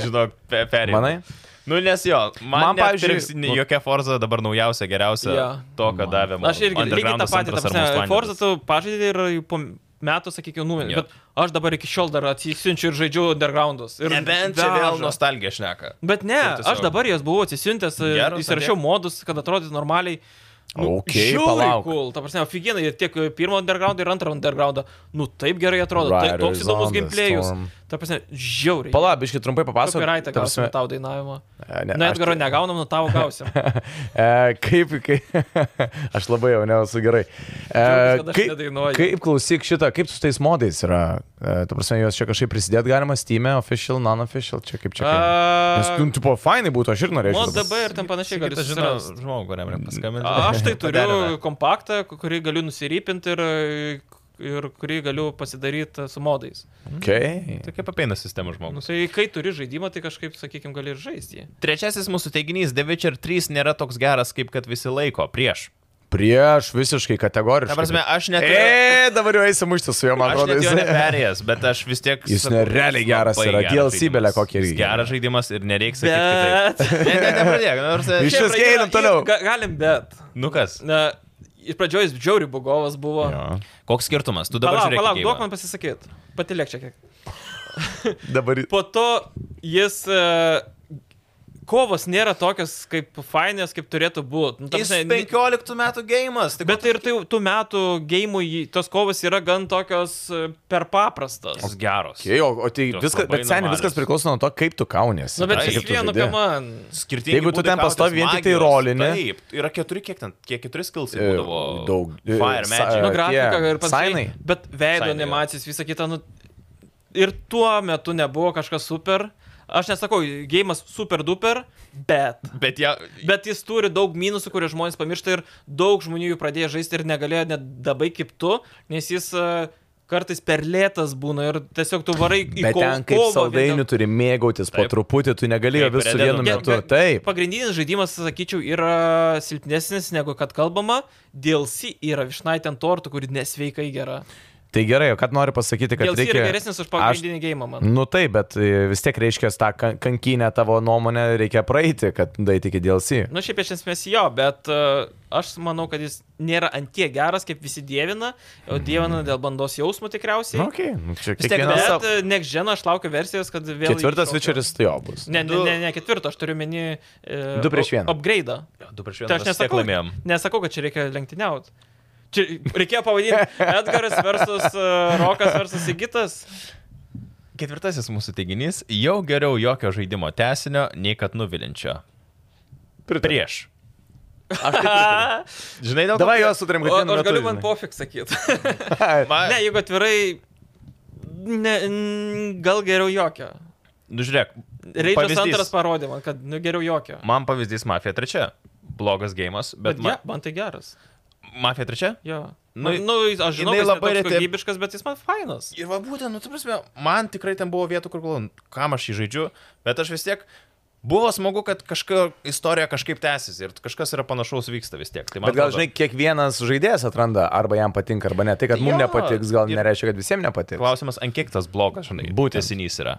A: Žinok, pe- perėjau.
C: Manai?
A: Nu, nes jo, man, man
C: Man, pavyzdžiui,
A: pavyzdžiui, jokia Forza dabar naujausia, geriausia
B: Jo.
A: yeah. to, ką davė man.
B: aš irgi lygiai tą patį, ta prasme, Forza tu pažaidai ir jau po metų, sakykime, numinė,
A: Jo.
B: bet aš dabar iki šiol dar atsisiunčiu ir žaidžiu undergroundus. Ir
A: Nebent čia vėl
B: veža.
A: nostalgija šneka.
B: Bet ne,
A: Tai tiesiog-
B: aš dabar jas buvau atsisiuntęs, e,
A: Geras,
B: įsirašiau
A: ant tiek.
B: modus, kad atrodytų normaliai. Nu,
C: Okei,
B: žiauriai
C: palauk.
B: Cool. Ta prasme, oфигенai, ir tiek e, pirmo undergroundą, ir antro undergroundą. Nu, taip gerai atrodo, tai,
C: Riders
B: toks įdomus
C: on the
B: gameplayus.
C: storm.
B: Ta prasme, žiauriai.
C: Palabiškai trumpai papasakok.
B: Kopiraitą
C: ta
B: gausim
C: prasme-
B: tau dainavimą.
C: E, ne,
B: Na,
C: aš-
B: Edgaro negaunam, nu tavo gausim.
C: E, kaip, kaip, aš labai jau nesu gerai. E,
B: Džiaugiuosi, kad aš
C: kaip,
B: nedainuoju.
C: kaip klausyk šitą, kaip su tais modais yra? E, tu prasme, juos čia kažkaip prisidėti galima, Steam, official, non-official, čia kaip čia. Kaip? Nes,
B: A,
C: nu, tipo, fainai būtų, aš ir norėčiau.
B: Mod
C: dabar.
B: DB ir ten panašiai gali
A: Aš žinau,
B: susirast.
A: žmogų, kuriam
C: Mm.
A: reikia paskambinti.
B: Aš tai
A: Paderina.
B: turiu kompaktą, kurį galiu nusirypinti ir, ir kurį galiu pasidaryti su modais.
C: Okay.
B: Mm,
A: Tai kaip apeina sistemą
B: Nu,
A: žmogus.
B: tai kai turi žaidimą, tai kažkaip, sakykime, gali ir žaisti jį.
A: Trečiasis mūsų teiginys - The Witcher 3 nėra toks geras, kaip kad visi laiko. Prieš.
C: Prieš visiškai kategoriškai.
A: Ta prasme, aš net...
C: E, dabar jau eisi mušti su juo, man
A: Aš
C: atrodo,
A: net jo
C: jis.
A: neperėjęs, bet aš vis tiek...
C: Jis
A: sakau,
C: nerealiai geras
A: labai
C: yra.
A: geras
C: DLC
A: žaidimas.
C: belė kokį irgi.
A: Jis Geras žaidimas ir nereiks sakyti.
B: Bet.
A: kitaip. Ne, ne, nepradėk, nors...
C: Iš
A: Šiaip-
C: vis- viską einam toliau.
B: Ga, galim, bet.
A: Nu kas,
B: Na, iš pradžioj jis džiauri bugovas buvo.
C: Jo.
A: koks skirtumas? Tu Nu, dabar
B: Palauk,
A: žiūrėk. į
B: palauk,
A: geimą.
B: duok man pasisakyti. Patilėk čia kiek.
C: Dabar
B: Po to jis... e, Kovos nėra tokios kaip fainės, kaip turėtų būti. Nu, ta
A: Jis
B: prasme, ni-
A: 15 metų gėjimas. Tai
B: Bet ir tai, tų metų gėjimų tos kovos yra gan tokios e, per paprastas.
A: jis geros.
C: Okay, o, o tai
A: Jos
C: viskas,
A: labai
C: bet seniai
A: normalios.
C: viskas priklauso nuo to, kaip tu kaunies.
B: Na, Nu, bet
A: Ai,
B: iš
A: kaip tu
B: vieno, ką man.
A: Skirtingi
C: Jeigu tu
A: būdai
C: ten
A: kautis,
C: pastoviai vien tik tai
A: magijos.
C: rolini.
A: Taip, yra keturi, kiek ten, kiek keturi skilsai būdavo.
C: Daug. e,
A: Fire
C: sa-
A: Magic.
B: Nu,
C: tie
B: grafika ir
C: Sainai.
B: panašiai. Bet veido
A: Sainai, jo.
B: animacijos, visa kita. Nu, ir tuo metu nebuvo kažkas super. Aš nesakau, gėjimas super duper, bet.
C: e.
A: Bet jie...
B: Bet jis turi daug minusų, kurie žmonės pamiršta ir daug žmonių jų pradėjo žaisti ir negalėjo net dabai kaip tu, nes jis e, kartais per lėtas būna ir tiesiog tu varai į
C: Bet
B: ko-
C: ten kaip
B: kovą vien dėl-
C: saldainių turi mėgautis po
A: Taip.
C: truputį, tu negalėjo
A: Kaip
C: visų
A: Red Dead
C: vienu
B: Ge-
C: metu.
B: ge-
C: Taip.
B: Pagrindinis žaidimas, sakyčiau, yra silpnesnis negu kad kalbama. DLC yra viešnait ant tortų, kuri nesveikai gera.
C: Tai gerai, o kad noriu pasakyti, Tai kad
B: DLC yra
C: reikia...
B: geresnis už pagrindinį gėjimą, man.
C: Nu taip, bet e, vis tiek reiškia, tą kan- kankinę tavo nuomonę reikia praeiti, kad daiti iki DLC.
B: Nu, šiaip iš esmės jo, bet uh, aš manau, kad jis nėra antie geras, kaip visi dievina, o dievina dėl bandos jausmo tikriausiai.
C: Na, okay. nu, čia
A: tiek
C: kiekvienas...
A: dar-
B: Bet
C: savo-
B: uh, next gen aš laukiu versijos, kad vėl...
C: Ketvirtas
B: įšokiu.
C: vičeris tai jo bus.
B: Ne, ne,
A: Du-
B: ne, ne ketvirto, aš turiu meni... Uh,
C: Du prieš vieną.
B: Upgrade.
A: Du prieš
B: Tai aš nesakau, nesakau, kad čia reikia lenktyniauti. Čia reikėjo pavadinti Edgaras versus uh, Rokas versus Sigitas.
A: Ketvirtasis mūsų teiginys - jau geriau jokio žaidimo tesinio, nei kad nuvilinčio. Prieš. Žinai, dėl
C: Davai juos sutarėm,
B: O,
C: kad vienu
B: aš
C: metu,
B: galiu man
C: žinai.
B: pofik sakyti.
A: Ma...
B: ne, jeigu atvirai, ne, n- gal geriau jokio.
A: Nu, žiūrėk.
B: Reidžas
A: pavyzdys.
B: antras parodė man, kad nu, geriau jokio.
A: Man pavyzdys Mafija 3. Blogas gėjimas, bet,
B: Bet
A: bet
B: man,
A: ma...
B: ja, man tai geras.
A: Mafija 3?
B: Jo.
A: Nu,
B: Nu, nu, jis- aš žinau,
A: jinai
B: kad
A: labai
B: labai
A: reti-
B: kokybiškas, bet jis man fainas.
A: Ir va būtent, nu, tu prasme, man tikrai ten buvo vietų, kur galvoju, kam aš jį žaidžiu, bet aš vis tiek buvo smagu, kad kažkokia istorija kažkaip tęsiasi ir kažkas yra panašaus vyksta vis tiek. Tai man
C: Bet gal,
A: atrodo-
C: žinai, kiekvienas žaidėjas atranda, arba jam patinka, arba ne. Tai, kad mums
A: Jo.
C: nepatiks, gal
A: Ir-
C: nereiškia, kad visiems nepatiks.
A: Klausimas, ant kiek tas blogas, žinai,
C: Būtent.
A: tesinys yra.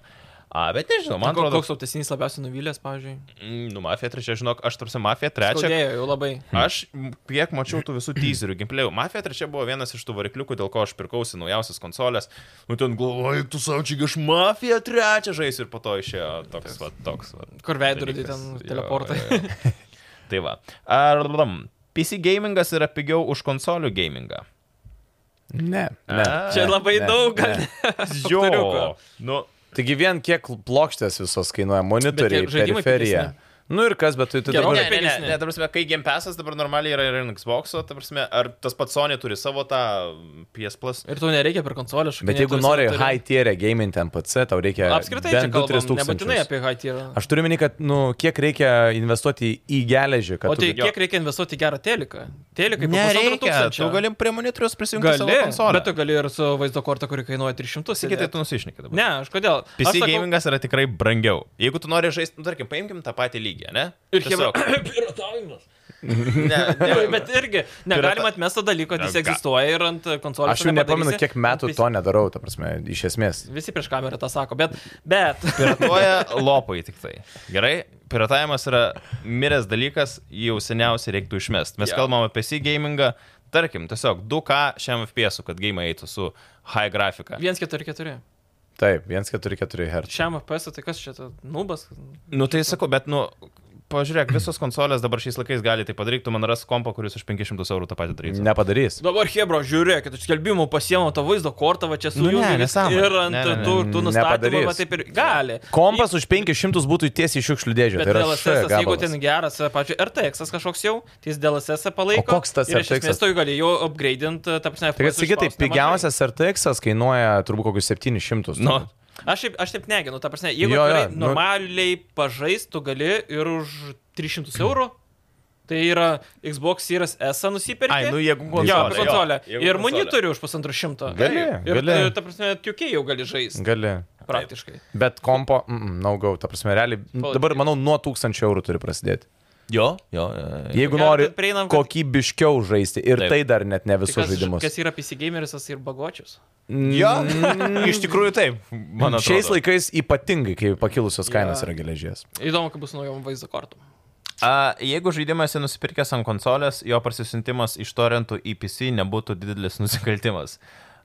A: A, bet nežinau, man
B: Man atrodo,
A: atrodo,
B: koks autesinys labiausiai nuvylęs, pavyzdžiui.
A: Mm, Nu, Mafija 3, žinok, aš tarsi Mafija 3.
B: Skaudėjo jau labai.
A: Aš m, kiek mačiau tų visų teaserių, gimplėjų. Mafija 3 buvo vienas iš tų varikliukų, dėl ko aš pirkausi naujausias konsolės. Nu, ten galvoju, tu savo čia aš Mafija 3 žaisiu ir po to išėjo toks, va, toks, va.
B: Kur veidrodį ten
A: dalykas. Jo,
B: teleportai.
A: jo, jo. Tai va. Ar, blam, PC gamingas yra pigiau už konsolių gamingą.
C: Ne. ne.
A: A.
B: Čia
A: Ne,
B: labai
C: ne,
B: daug.
C: ne.
B: Faktoriuko.
A: Nu,
C: Taigi vien kiek plokštės visos kainuoja, monitoriai,
B: Bet tie žaidimai
C: periferija. Nu ir kas, bet tu tai
B: Gerokai
C: dabar...
A: Ne, ne, ne,
B: pigesni.
A: ne, ta prasme, kai Game Passas dabar normaliai yra ir ant Xbox'o, ta prasme, ar tas pats Sony turi savo tą PS Plus.
B: Ir to nereikia per konsolę šokti.
C: Bet jeigu nori high tier gaming NPC, tau reikia...
B: Apskritai, čia
C: bent 2-3
B: kalbam,
C: tūkstančius.
B: nebūtinai apie high tier.
C: Aš turiu meni, kad, nu, kiek reikia investuoti į geležį, kad...
B: O tai
C: tu...
A: Jo.
B: kiek reikia investuoti į gerą teliką? Telikai po pusantro
A: Nereikia, tu
B: tūkstančio.
A: galim prie monitorius prisijungti gali, savo
B: Gali,
A: konsolę.
B: bet tu gali ir su vaizdo korta, kuri kainuoja 300.
A: Sakyk, tai
B: sėdėt.
A: tu nusišneki dabar.
B: Ne, aš kodėl?
A: PC
B: aš
A: sakau... gamingas yra tikrai brangiau. Jeigu tu nori žaisti, nu, tarkim, paimkim tą patį lygį, ne?
B: Ir
A: Tiesiog-
B: piratavimas.
A: Ne, ne,
B: Bet irgi
A: Pirata-
B: negalima atmesti to dalyko, kad jis
A: Ga-
B: egzistuoja ir ant konsolės.
C: Aš jau nepamenu,
B: tai
C: kiek metų to nedarau, ta prasme, iš esmės.
B: Visi prieš kamerą tą sako, bet... bet.
A: Piratuoja lopai tik tai. Gerai, piratavimas yra miręs dalykas, jį jau seniausiai reiktų išmesti. Mes
B: Jo.
A: yeah. kalbam apie PC gamingą, tarkim, tiesiog 2K šiam FPS, kad game eitų su high grafika.
B: 144.
C: Taip, 1,44 Hz.
B: Šiam FPS, tai kas čia, ta nubas?
A: Nu tai sakau, bet nu, pažiūrėk, visos konsolės dabar šiais laikais gali tai padaryti, tu man ras kompą, kuris už 500 eurų tą patį
B: Mm.
A: darytų.
C: Nepadarys.
B: Dabar Hebro, žiūrėkit, iš skelbimų pasiemo tą vaizdo kortą, va čia
A: Nu, ne,
B: sujungi viską
A: nesąmonė.
B: ir ant
A: Ne, ne, ne.
B: tų, tų nustatymų,
C: Nepadarys.
B: va taip ir gali.
C: Kompas už 500 būtų tiesiai iš šiukšlių dėžės.
B: Bet
C: Tai yra
B: DLSS,
C: šia
B: jeigu
C: gabalas.
B: ten geras, pačiu, RTX kažkoks jau, tai jis DLSS palaiko.
C: O koks tas
B: ir iš
C: RTX?
B: esmės tu jį gali jau upgradeint, ta prasme,
C: Tai kad
B: FPS
C: sakytai,
B: išspaust nemažai.
C: pigiausias RTX kainuoja turbūt kokius 700.
A: Nu,
C: turbūt.
B: Aš taip, aš taip neginu, ta prasme, jeigu
C: Jo,
B: jo,
C: jo,
B: jo,
C: nu-
B: normaliai nu... pažaistų gali ir už 300 eurų, tai yra Xbox Series S nusiperka.
A: Ai, nu jeigu
B: Jo,
A: konsolė.
B: apie konsolę.
A: jo, jeigu
B: Ir
A: konsolė.
B: monitorių už pusantro šimto.
C: Gali,
B: Ir, e,
C: gali.
B: ta prasme, tiukiai jau gali žaisti.
C: Gali.
B: Praktiškai. Tai
C: Bet kompo, mm, naugau, ta prasme, realiai.
B: Palauk,
C: Dabar,
B: tai-
C: manau, nuo 1000 eurų turi prasidėti.
A: Jo, jo. jo, jo.
C: Jeigu
B: Ko gero,
C: nori
B: kad prieinam, kad-
C: kokybiškiau žaisti ir
A: Taip.
C: tai dar net ne
B: Tai
C: visus
B: kas,
C: žaidimus.
B: kas yra PC gameris tas ir bagočius?
A: Jo, Mm. iš tikrųjų taip, man atrodo.
C: Šiais laikais ypatingai, kai pakilusios kainos
B: Jo.
C: yra geležies.
B: Įdomu, kaip bus naujom vaizdo kortom.
A: A, jeigu žaidimas yra nusipirkęs ant konsolės, jo parsisintimas iš torentų į PC nebūtų didelis nusikaltimas.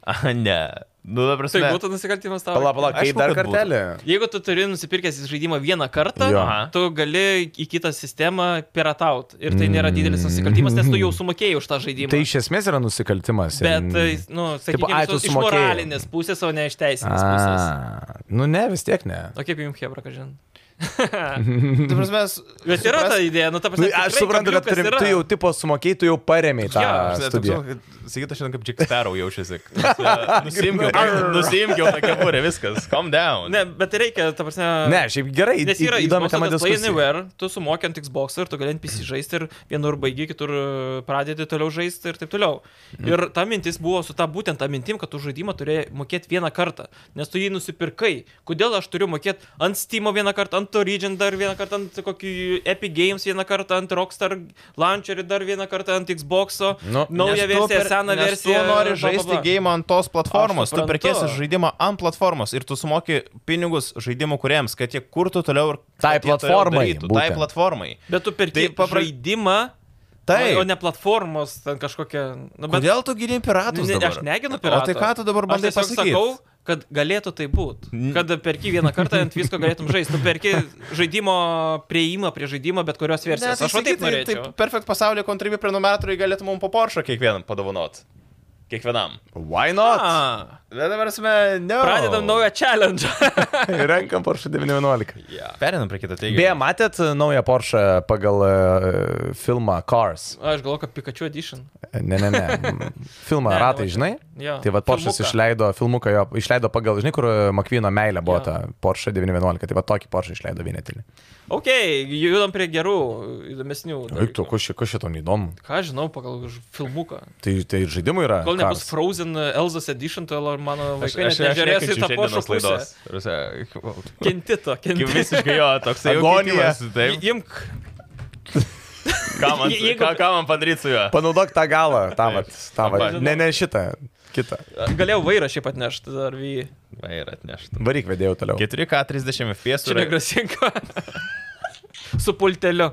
A: A, ne. Nu, dabar
B: Tai
A: prasme.
B: būtų nusikaltimas tau.
C: Pala, pala, kai
A: Aišku,
C: dar
A: kad būtų.
C: kartelį.
B: Jeigu tu turi nusipirkęs žaidimą vieną kartą,
C: Jo.
A: Aha.
B: tu gali į kitą sistemą pirataut. Ir tai nėra didelis nusikaltimas, nes tu jau sumokėjai už tą žaidimą.
C: Mm. Tai iš esmės yra nusikaltimas. ir-
B: Bet, tai, nu, sakykime, iš
C: ai, tu
B: tos- iš
C: sumokėjai.
B: moralinės pusės, o ne iš teisinės pusės.
C: A, nu ne, vis tiek ne.
B: O kaip jums Hebra, ką žinai?
A: Tai prasme,
B: Bet yra
A: suprast-
B: ta idėja, nu ta
C: Nu,
B: prasme.
C: aš
B: tikrai
C: suprantu, kad
B: kabliukas
C: turim,
B: yra.
C: tu jau tipo sumokėjai, tu jau paremiai tą
B: Jo, aš
A: Žinai,
C: studiją.
A: toks, nu, Sakyt, aš šiandien kaip Jack Sparrow jaučiuosi. Nusimkiau, nusimkiau tą kepurę, viskas, calm down.
B: Ne, bet reikia, ta prasme.
C: Ne, šiaip gerai,
B: Nes yra
C: į- įdomi tema
B: Play
C: diskusija.
B: Anywhere, tu sumokiant Xbox ir tu gali NPC žaisti ir vienur baigi, kitur e, pradedi toliau žaisti ir taip toliau.
A: Mhm.
B: Ir ta mintis buvo su ta būtent ta mintim, kad tu žaidimą turėjai mokėti vieną kartą, nes tu jį nusipirkai. Kodėl aš turiu mokėti ant Steam vieną kartą, ant Origin dar vieną kartą, ant kokį Epic Games vieną kartą, ant Rockstar Launcherį dar vieną kartą, ant Xbox'o,
C: Nu,
A: Nes
B: naują
A: tu
B: versiją,
A: per-
B: seną
A: nes
B: versiją.
A: Tu nori
B: bla, bla,
A: žaisti
B: bla.
A: gėjimą ant tos platformos,
B: Aš
A: tu
B: suprantu.
A: perkėsi žaidimą ant platformos ir tu sumoki pinigus žaidimų kuriems, kad jie kurtų toliau ir kad
C: Tai
A: jie toliau
C: platformai,
A: darytų, Tai
C: būtent.
A: platformai.
B: Bet tu perki
A: Tai
B: tai
A: papra-
B: žaidimą.
A: Taip.
B: O o ne platformos, ten kažkokia. Nu, bet-
A: Kodėl tu gini piratus?
B: Ne,
A: dabar?
B: Aš neginu
A: O
B: piratų.
A: tai ką tu dabar bandai
B: Aš tiesiog
A: pasakyti?
B: Sakau, kad galėtų tai būti.
A: N-
B: Kad perki vieną kartą ant visko galėtum žaisti. Tu perki žaidimo prieimą prie žaidimo bet kurios
A: Ne,
B: versijos.
A: tai
B: Aš va
A: sakyk,
B: taip
A: tai-
B: norėčiau.
A: Tai perfekt pasaulio kontribi prenumeratoriai galėtų mums po Porsche kiekvienam padovanot. Kiekvienam.
C: Why not?
B: A,
A: Bet dabar mes ne.
B: Ah. pradedam naują challenge.
C: Renkam Porsche 911.
A: Perinam prie kito
C: Beje,
A: teiginio.
C: matėt e, naują Porsche pagal e, filmą Cars?
B: Aš galvoju, kad Pikachu Edition.
C: Ne, ne, ne. M, Filmą
B: Ne,
C: ratai,
B: nemačiau.
C: žinai?
B: Jo,
C: Tai vad Porsche
B: filmuką.
C: išleido filmuką, jo, išleido pagal, žinai, kur Makvino meilė buvo
B: Jo.
C: ta Porsche 911, tai va tokį Porsche išleido vienetinį.
B: Ok, judam prie gerų, įdomesnių.
C: Taip, tu,
B: dalykų.
C: kuo šito neįdomu.
B: Ką aš žinau pagal ž- filmuką.
C: Tai, tai ir žaidimų yra.
B: Kol nebus
C: karas.
B: Frozen Elzos Edition, tai gal mano vaikai net nežiūrės į tą pošą laidos. Kentito, kentito.
A: Visiškai jo, toks jau
C: Agonija.
A: kitimas, taip.
B: Imk.
A: Ką man,
B: Je- jeigu-
A: ką, ką man padaryti su juo?
C: Panaudok tą galą, tą vat, tą
A: Labai.
C: vat. Ne, ne šitą, kitą.
B: Galėjau vairą šiaip atnešti dar vy.
A: Va ir atneštų.
C: Varyk vedėjau toliau.
A: 4K 30 FPS.
B: Čia
A: yra-
B: negrasinka. Su pulteliu.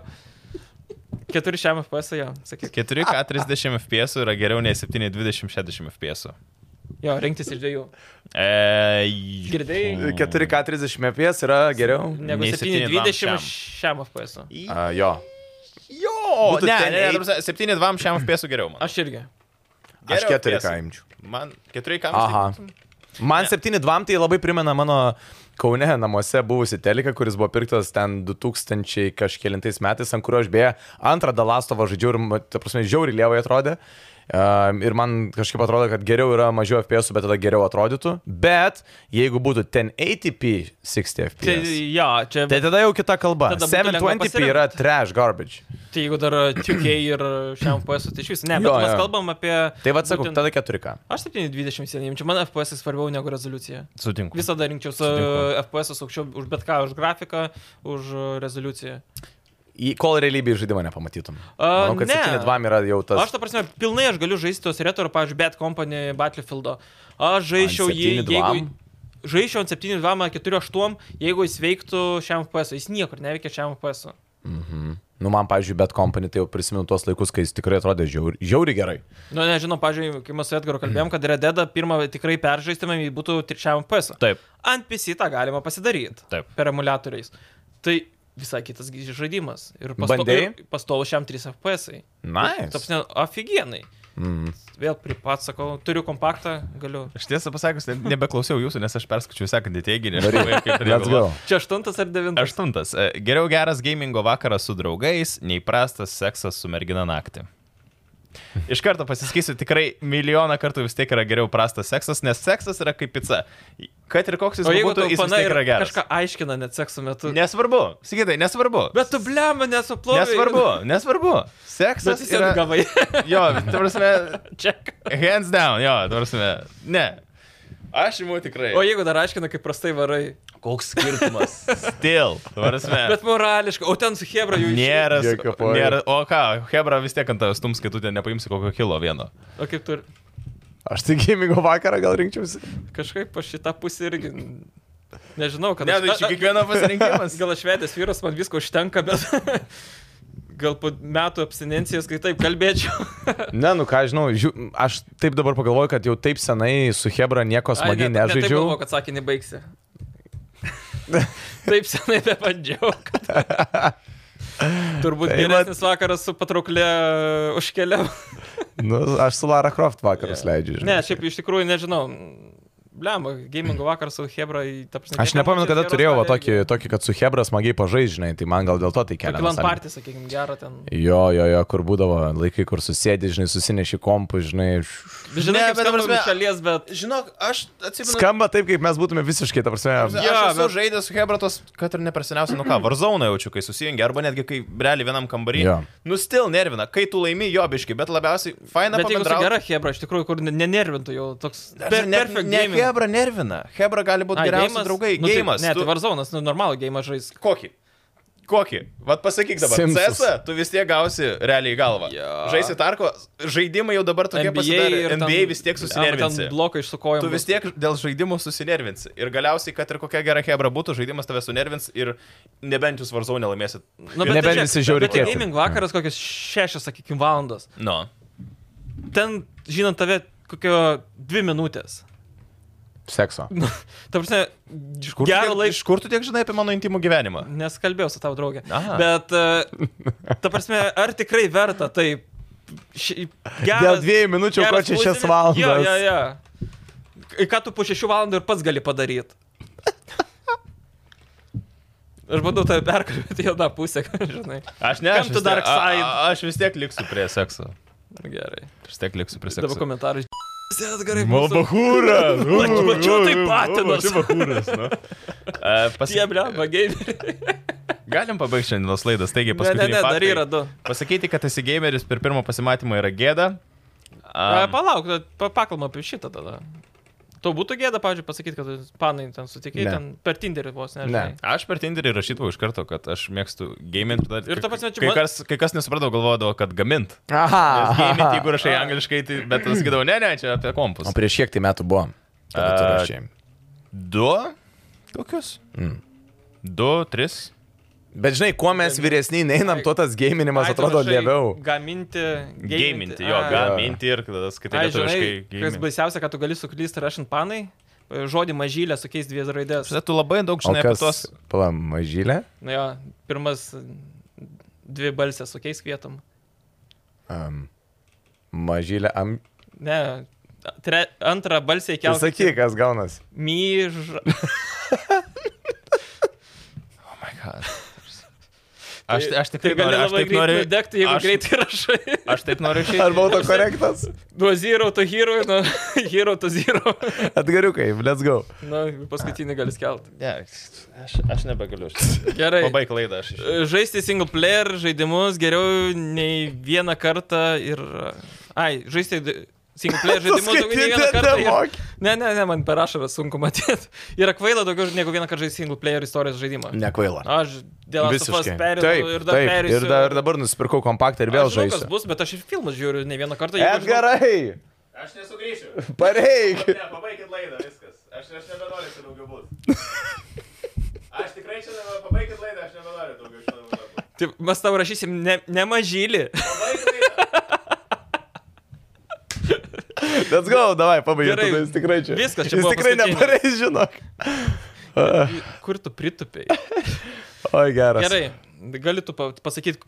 B: 4 šiam FPS, jo, sakyk.
A: 4K 30 FPS yra geriau nei 720-60 FPS.
B: Jo, rinktis iš dviejų.
A: E,
B: Girdėjai?
C: 4K 30 FPS yra geriau.
B: Negu
A: Nei 720
B: 720 šiam FPS.
C: A, jo.
A: Jo,
C: Būtų
A: ne, ne,
C: 10,
A: ne,
C: eight.
A: ta prasme, 7.2 šiam FPS geriau. Man.
B: Aš irgi.
C: Aš
A: Geriau
C: 4K
A: FPS.
C: imčiau.
A: Man 4K.
C: Aha.
A: tai-
C: Man 7.2 tai labai primena mano Kaune namuose buvusi telika, kuris buvo pirktas ten 2000 kažkėlintais metais, ant kurio aš beje antrą Dalastovą žaidžiau ir, ma- ta prasme, žiauriai lievai atrodė. Um, ir man kažkaip atrodo, kad geriau yra mažiau FPS, bet tada geriau atrodytų. Bet jeigu būtų 1080p 60
B: Tai,
C: FPS.
B: jo, čia.
C: Tai tada jau kita kalba.
B: Tada būtų lengva
C: 720p yra
B: pasirinkt.
C: trash garbage.
B: Tai jeigu dar 2K ir šiam FPS, tai iš vis. Ne, bet
C: Jo,
B: jo, mes
C: jo.
B: kalbam apie...
C: Tai vad sakau,
B: būtent-
C: tada 4K.
B: Aš 720 seniai, čia man FPS svarbiau negu rezoliucija.
A: Sutinku.
B: Visada rinkčiau
A: Sutinku.
B: FPS aukščiau už bet ką, už grafiką, už e, rezoliuciją.
C: Į- Kol realybėje žaidimą nepamatytum.
B: A,
C: Manau, kad
B: Ehm, ne.
C: 7.2 yra jau tas.
B: Aš, ta prasme, pilnai aš galiu žaisti tos retro, pavyzdžiui, Bad Company Battlefield'o. Aš žaisčiau
C: Ant
B: jį,
C: 7.2?
B: jeigu... Žaisčiau ant 7.2.4.8, jeigu jis veiktų šiam FPS. -ui. Jis niekur neveikia šiam FPS. -ui.
C: Nu, man, pavyzdžiui, bet kompanija, tai jau prisimenu tuos laikus, kai jis tikrai atrodė žiauri, žiauri gerai.
B: Nu, nežinau, pažiūrėjau, kai mes su Edgaru
C: Mhm.
B: kalbėjom, kad Red Dead pirmą tikrai peržaistumėm, jį būtų tri- šiam FPS. -ui.
A: Taip.
B: Ant PC tą galima pasidaryti.
A: Taip.
B: Per emulatoriais. Tai visai kitas gi žaidimas. Ir
C: Bandei?
B: ir pastovus šiam 3 FPS. -ai.
C: Na,
B: Ta prasme, aфиgenai.
C: mm.
B: Vėl pripat sakau, turiu kompaktą, galiu.
A: Aš tiesą pasakius, ne- nebeklausiau jūsų, nes aš perskačiau sekantį teiginį. Aš galvoju, kaip pradėjau
C: let's go.
A: galvot.
B: Čia 8 ar 9?
A: Aštuntas. E, Geriau geras gamingo vakaras su draugais, nei prastas seksas su mergina naktį. Iš karto pasiskysiu, tikrai milijoną kartų vis tiek yra geriau prastas seksas, nes seksas yra kaip pica. Kad ir koks jis
B: O jeigu
A: būtų,
B: tu
A: jis vis
B: pana
A: tiek
B: ir
A: yra geras.
B: kažką aiškina net sekso metu. Ne.
A: Nesvarbu, sakytai, nesvarbu.
B: Bet tu blemą nesuplovai.
A: Nesvarbu, nesvarbu.
B: Bet
A: Seksas
B: jis yra...
A: yra...
B: gavai.
A: Jo, tu prasme,
B: Čia.
A: hands down, jo, tu prasme, ne. Aš imu tikrai.
B: O jeigu dar aiškina, kaip prastai varai.
A: Koks skirtumas? Still, tu prasme.
B: Bet morališkai. O ten su Hebra jų išėjo.
A: Nėra,
C: Jokio poreikio.
A: nėra. O ką, Hebra vis tiek ant tavęs stums, kai tu ten nepaimsi kokio kilo vieno.
B: O kaip tu ir
C: Aš tai gamingo vakarą gal rinkčiausi.
B: kažkaip aš šitą pusę irgi. Nežinau, kad...
A: Ne, tai
B: aš-
A: čia kiekvieno pasirinkimas.
B: Gal aš vedęs vyras, man visko užtenka, bet... gal po metų abstinencijos, kai taip kalbėčiau.
C: Ne, nu ką, žinau, žiū, aš taip dabar pagalvoju, kad jau taip senai su Hebra nieko smagiai
B: ne, Ne, taip
C: nežaidžiau.
B: galvoju, kad sakinį baigsi. taip senai nebandžiau. Kad... Turbūt
C: Tai vat-
B: geresnis vakaras su patrauklė užkeliau.
C: nu, aš su Lara Croft vakarus leidžiu.
B: Ne,
C: žinai.
B: šiaip iš tikrųjų nežinau. Blemba, gamingo vakaras su Hebra į tą prasme.
C: Aš nepamenu, kada turėjau va tokį, tokį, kad su Hebra smagiai pažaižinai, tai man gal dėl to tai kelia.
B: Klan
C: nostalgiją.
B: partį, sakykime, gerą ten.
C: Jo, jo, jo, kur būdavo laikai, kur susėdi, žinai, susineši kompų, žinai. š-
B: Žinai,
A: Ne,
B: ne,
A: bet
B: kaip
A: ta
B: skamba
A: prasme-
B: iš šalies, bet...
A: Žinok, aš
B: nu-
A: atsimenu.
C: Skamba taip, kaip mes būtume visiškai, ta prasme.
A: Aš
B: Jo,
A: esu
B: bet-
A: žaidęs su Hebratos, kad ir nepraseniausiai, nu ką, Warzone jaučiu, kai susijungia, arba netgi kai realiai vienam kambarį.
C: Jo.
A: Nustil nervina, kai tu laimi jobiški, bet labiausiai faina
B: Bet jeigu su
A: pabendrauti.
B: gera Hebra, iš tikrųjų, kur ne- nenervintų jau toks...
A: Aš
B: Per,
A: ne,
B: perfect
A: ne
B: gaming.
A: Hebra nervina. Hebra gali būti
B: Ai,
A: geriausi
B: geimas?
A: draugai.
B: Nu, tai-
A: Geimas.
B: Ne,
A: tu-
B: tai Varzonas, nu, normalų geimą žais.
A: Kokį? Kokį? Vat pasakyk dabar.
C: Simsus.
A: CS, tu vis tiek gausi realiai į galvą.
B: Jo.
A: Žaisi Tarko, žaidimai jau dabar tokie pasidarė.
B: ir
A: NBA vis tiek susinervinsi.
B: Ten blokai išsukojami.
A: Tu vis tiek dėl žaidimų susinervinsi. Ir galiausiai, kad ir kokia gera hebra būtų, žaidimas tave sunervins ir nebent jūs varzau nelaimėsit.
B: Nu,
C: Nebent visi žiauriai
B: kiek.
C: kieti.
B: Gaming vakaras kokias šešias, sakykime, valandas.
A: Nu.
B: Ten, žinant tave, kokio dvi minutės.
C: Sekso.
B: Ta prasme,
A: Kur tu
B: gerą
A: tiek-
B: laiką.
A: Iš kur tu tiek žinai apie mano intimų gyvenimą?
B: Neskalbėjau su tavo draugė.
A: Aha.
B: Bet, e, ta prasme, ar tikrai verta tai... Ši,
C: Dėl dviejų minučių, ko čia šias valandas.
B: Jo, jo, jo. Į Ką tu po šešių valandų ir pats gali padaryti? Aš bandau tave perkalbėti į tą pusę, kad žinai.
A: Aš ne.
B: Come
A: Aš
B: to
A: vis, tiek,
B: dark side.
A: a, a, aš vis tiek liksiu prie sekso.
B: Gerai.
A: Aš vis tiek liksiu prie
B: Tavo
A: sekso.
B: komentarai. Sėdas gerai. mūsų-
C: Malbahūras!
B: Mačiau tai patinas.
A: Bahūras, nu. A, Pas...
B: Tie blemba, gameriai.
A: Galim pabaigti šiandienos laidą, taigi
B: Ne, ne,
A: paskutinį
B: ne, dar
A: faktą.
B: yra du.
A: Pasakyti, kad esi gameris per pirmą pasimatymą yra gėda. A,
B: A, palauk, pa- pakalbam apie šitą tada. Tau būtų gėda, pavyzdžiui, pasakyti, kad tu panai ten sutikai,
C: Ne.
B: ten per Tinderį vos,
C: Ne.
B: nežinai.
A: Aš per Tinderį rašydavau iš karto, kad aš mėgstu gamint. Dar,
B: Ir ta prasme, čia
A: kai,
B: man-
A: kas, kai kas nesupratau, galvodavo, kad gamint. Nes Gamint,
C: Aha.
A: jeigu rašai angliškai, tai, bet aš sakydavau, ne, ne, čia apie kompus.
C: O prieš kiek tai metų buvo? Kada tu
A: A,
C: rašei?
A: Du? Tokius?
C: Mm.
A: Du, tris.
C: Bet žinai, kuo mes vyresniai neinam, tuo tas
B: Ai,
C: gaminimas
B: tu
C: atrodo
B: rašai
C: labiau.
B: Gaminti.
A: Gaminti, jo,
B: Ai.
A: gaminti ir tada skaitai
B: Ai, žinai, kas
A: lietuviškai.
B: baisiausia, kad tu gali suklysti rašant panai, žodį mažylę sukeis dvi raidės.
A: Tada tu labai daug
C: O
A: žinai apie tos.
C: kas? Pala, mažylė?
B: Na jo, pirmas dvi balsės sukeis vietom.
C: Um, mažylė. Am...
B: Ne, tre, antrą balsę
C: Tu
B: įkelti.
C: Sakyk, kas gaunasi.
B: Myž.
A: Oh my God. Aš, aš tik
B: tai
A: taip noriu,
B: gali
A: aš
B: labai
A: taip
B: greitai
A: noriu,
B: nudegti, jeigu
A: aš-
B: greitai rašai.
A: aš taip noriu
C: Ar
A: išėti.
C: buvo to korektas?
B: Nuo zero to hero, nuo hero to zero.
C: Atgariukai, let's go.
B: Na, paskutinį gali skelti.
A: Ne, aš, aš nebegaliu. aš-
B: Gerai.
A: Pabaik laidą aš. išėjau.
B: Žaisti single player žaidimus geriau nei vieną kartą ir... Ai, žaisti d- single player žaidimus daugiau nei vieną
C: Skaityti
B: kartą. Ir...
C: nemoki.
B: Ne, ne, ne, man per ašarą sunku matyti. Yra kvaila daugiau negu vieną kartą žaisti single player istorijos žaidimą.
C: Nekvaila.
B: Aš dėl atsipos
C: Visiškai.
B: perėjau
C: Taip,
B: ir dar
C: taip.
B: perėjau.
C: Ir, dar, ir dabar nusipirkau kompaktą ir vėl
B: žinau, kas
C: žaisiu.
B: bus, bet aš ir filmus žiūriu ne vieną kartą. jeigu žinau-
C: Edgarai,
A: Aš nesugrįšiu.
C: pareik.
A: Ne, pabaikit laidą, viskas. Aš, aš nebenoriu čia daugiau būti. Aš tikrai čia nebe- pabaikit laidą, aš nebenoriu daugiau čia daugiau būti.
B: Tai mes tau rašysim ne, ne mažylį.
A: Pabaikit laidą.
C: Let's go, davai, pabaigė.
B: Gerai,
C: Tada jis tikrai čia.
B: viskas, čia
C: Jis
B: buvo
C: tikrai
B: paskutinis.
C: nepareis, žinok.
B: Kur tu pritupėjai?
C: Oi, geras.
B: Gerai, gali tu pa- pasakyti.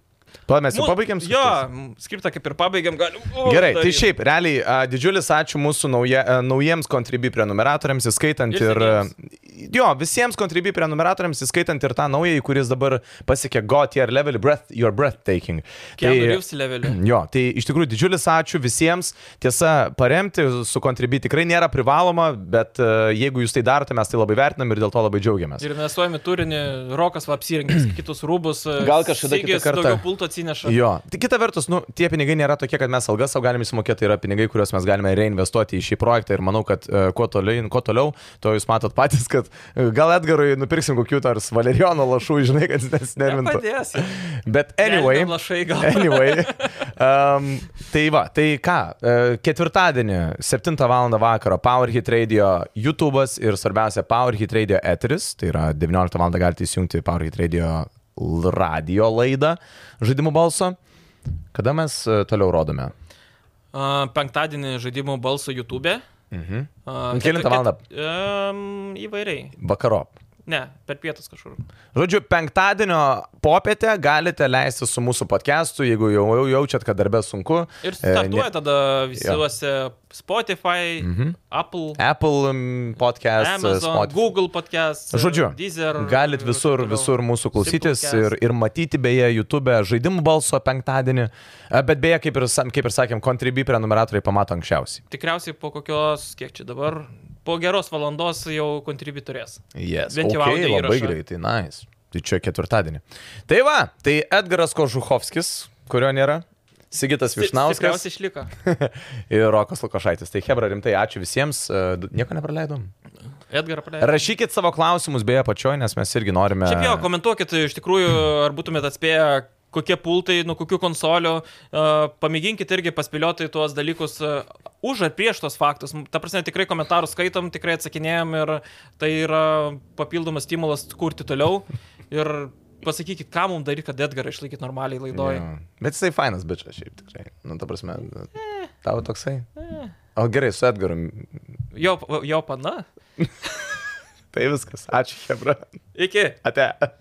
C: Pala, mes jau
B: Mu-
C: pabaigėm su
B: Jo,
C: šitais?
B: m, skriptą kaip ir pabaigėm, galim. o,
C: Gerai, tai
B: daryt.
C: šiaip, realiai, a, didžiulis ačiū mūsų nauja, a, naujiems kontribui prenumeratoriams, įskaitant
B: Ir
C: ir... ir jo, visiems kontribui prenumeratoriams, įskaitant ir tą naują, kuris dabar pasiekė God Tier level, breath, Your Breathtaking.
B: Keanu Reeves leveliu.
C: Jo, tai iš tikrųjų didžiulis ačiū visiems. Tiesa, paremti su kontribui tikrai nėra privaloma, bet e, jeigu jūs tai darote, mes tai labai vertinam ir dėl to labai džiaugiamės.
B: Ir investuojame turinį, Rokas va apsirengęs kitus rūbus. e,
C: Gal kažkada
B: Sigis
C: kitą kartą.
B: Daugiau pulto atsineša.
C: Jo, tai kita vertus, nu, tie pinigai nėra tokie, kad mes algas savo galime įsimokėti, tai yra pinigai, kuriuos mes galime reinvestuoti į šį projektą ir manau, kad e, kuo toliau, kuo toliau, to jūs matot patys, kad e, gal Edgarui nupirksim kokių nors valerijono lašų, žinai, kad jis nesinervintų.
B: E, Padės.
C: Bet anyway.
B: Lašai gal.
C: Anyway. Um, tai va, tai ką, e, ketvirtadienį 7 val. vakaro PowerHit Radio YouTube'as ir svarbiausia PowerHit Radio eteris, tai yra 19 val. galite įsijungti PowerHit Radio l- radio laidą žaidimų balso. Kada mes e, toliau rodome?
B: A, penktadienį žaidimų balso YouTube.
C: Mhm.
B: Uh,
C: Kelintą valandą?
B: Um, įvairiai.
C: Vakarop.
B: Ne, per pietus kažkur.
C: Žodžiu, penktadienio popietę galite leisti su mūsų podcastu, jeigu jau jau jaučiat, kad darbė sunku.
B: Ir
C: E,
B: startuoja
C: ne-
B: tada visuose Spotify, Apple,
C: Apple mm, podcast,
B: Amazon,
C: Mhm. Spotify.
B: Google podcast.
C: Žodžiu,
B: Deezer.
C: Galit
B: ir
C: visur,
B: taip toliau.
C: visur mūsų klausytis
B: Simplecast.
C: ir, ir matyti beje YouTube žaidimų balso penktadienį. E, Bet beje, kaip ir, sa- kaip ir sakėm, Contribui prenumeratoriai pamato anksčiausiai.
B: Tikriausiai po kokios, kiek čia dabar, po geros valandos jau kontribį turės.
C: Yes.
B: Bent jau
C: okay,
B: audio
C: labai
B: įrašą.
C: greitai, nice. Tai čia ketvirtadienį. Tai va, tai Edgaras Kožuhovskis, kurio nėra. Sigitas Višnauskas
B: Tikriausiai išliko.
C: ir Rokas Lukašaitis. Tai Hebra, rimtai, ačiū visiems. E, d- Nieko nepraleidom.
B: Edgar paleidė.
C: Rašykit savo klausimus beje apačioje, nes mes irgi norime.
B: Šiaip jo, komentuokit, iš tikrųjų, ar būtumėt atspėję, kokie pultai, nuo kokių konsolių. Uh, pamėginkit irgi paspėlioti tuos dalykus uh, už ar prieš tos faktus. M, Ta prasme, tikrai komentarus skaitom, tikrai atsakinėjom ir tai yra papildomas stimulas kurti toliau. Ir pasakykit, ką mums daryti, kad Edgarą išlaikyti normaliai laidoje.
C: Jo. Bet jisai fainas bičias šiaip tikrai. Nu, ta prasme, tau toksai. O gerai, su Edgaru.
B: Jo, jo pana.
C: Tai viskas. Ačiū, Hebra.
B: Iki.
C: Ate.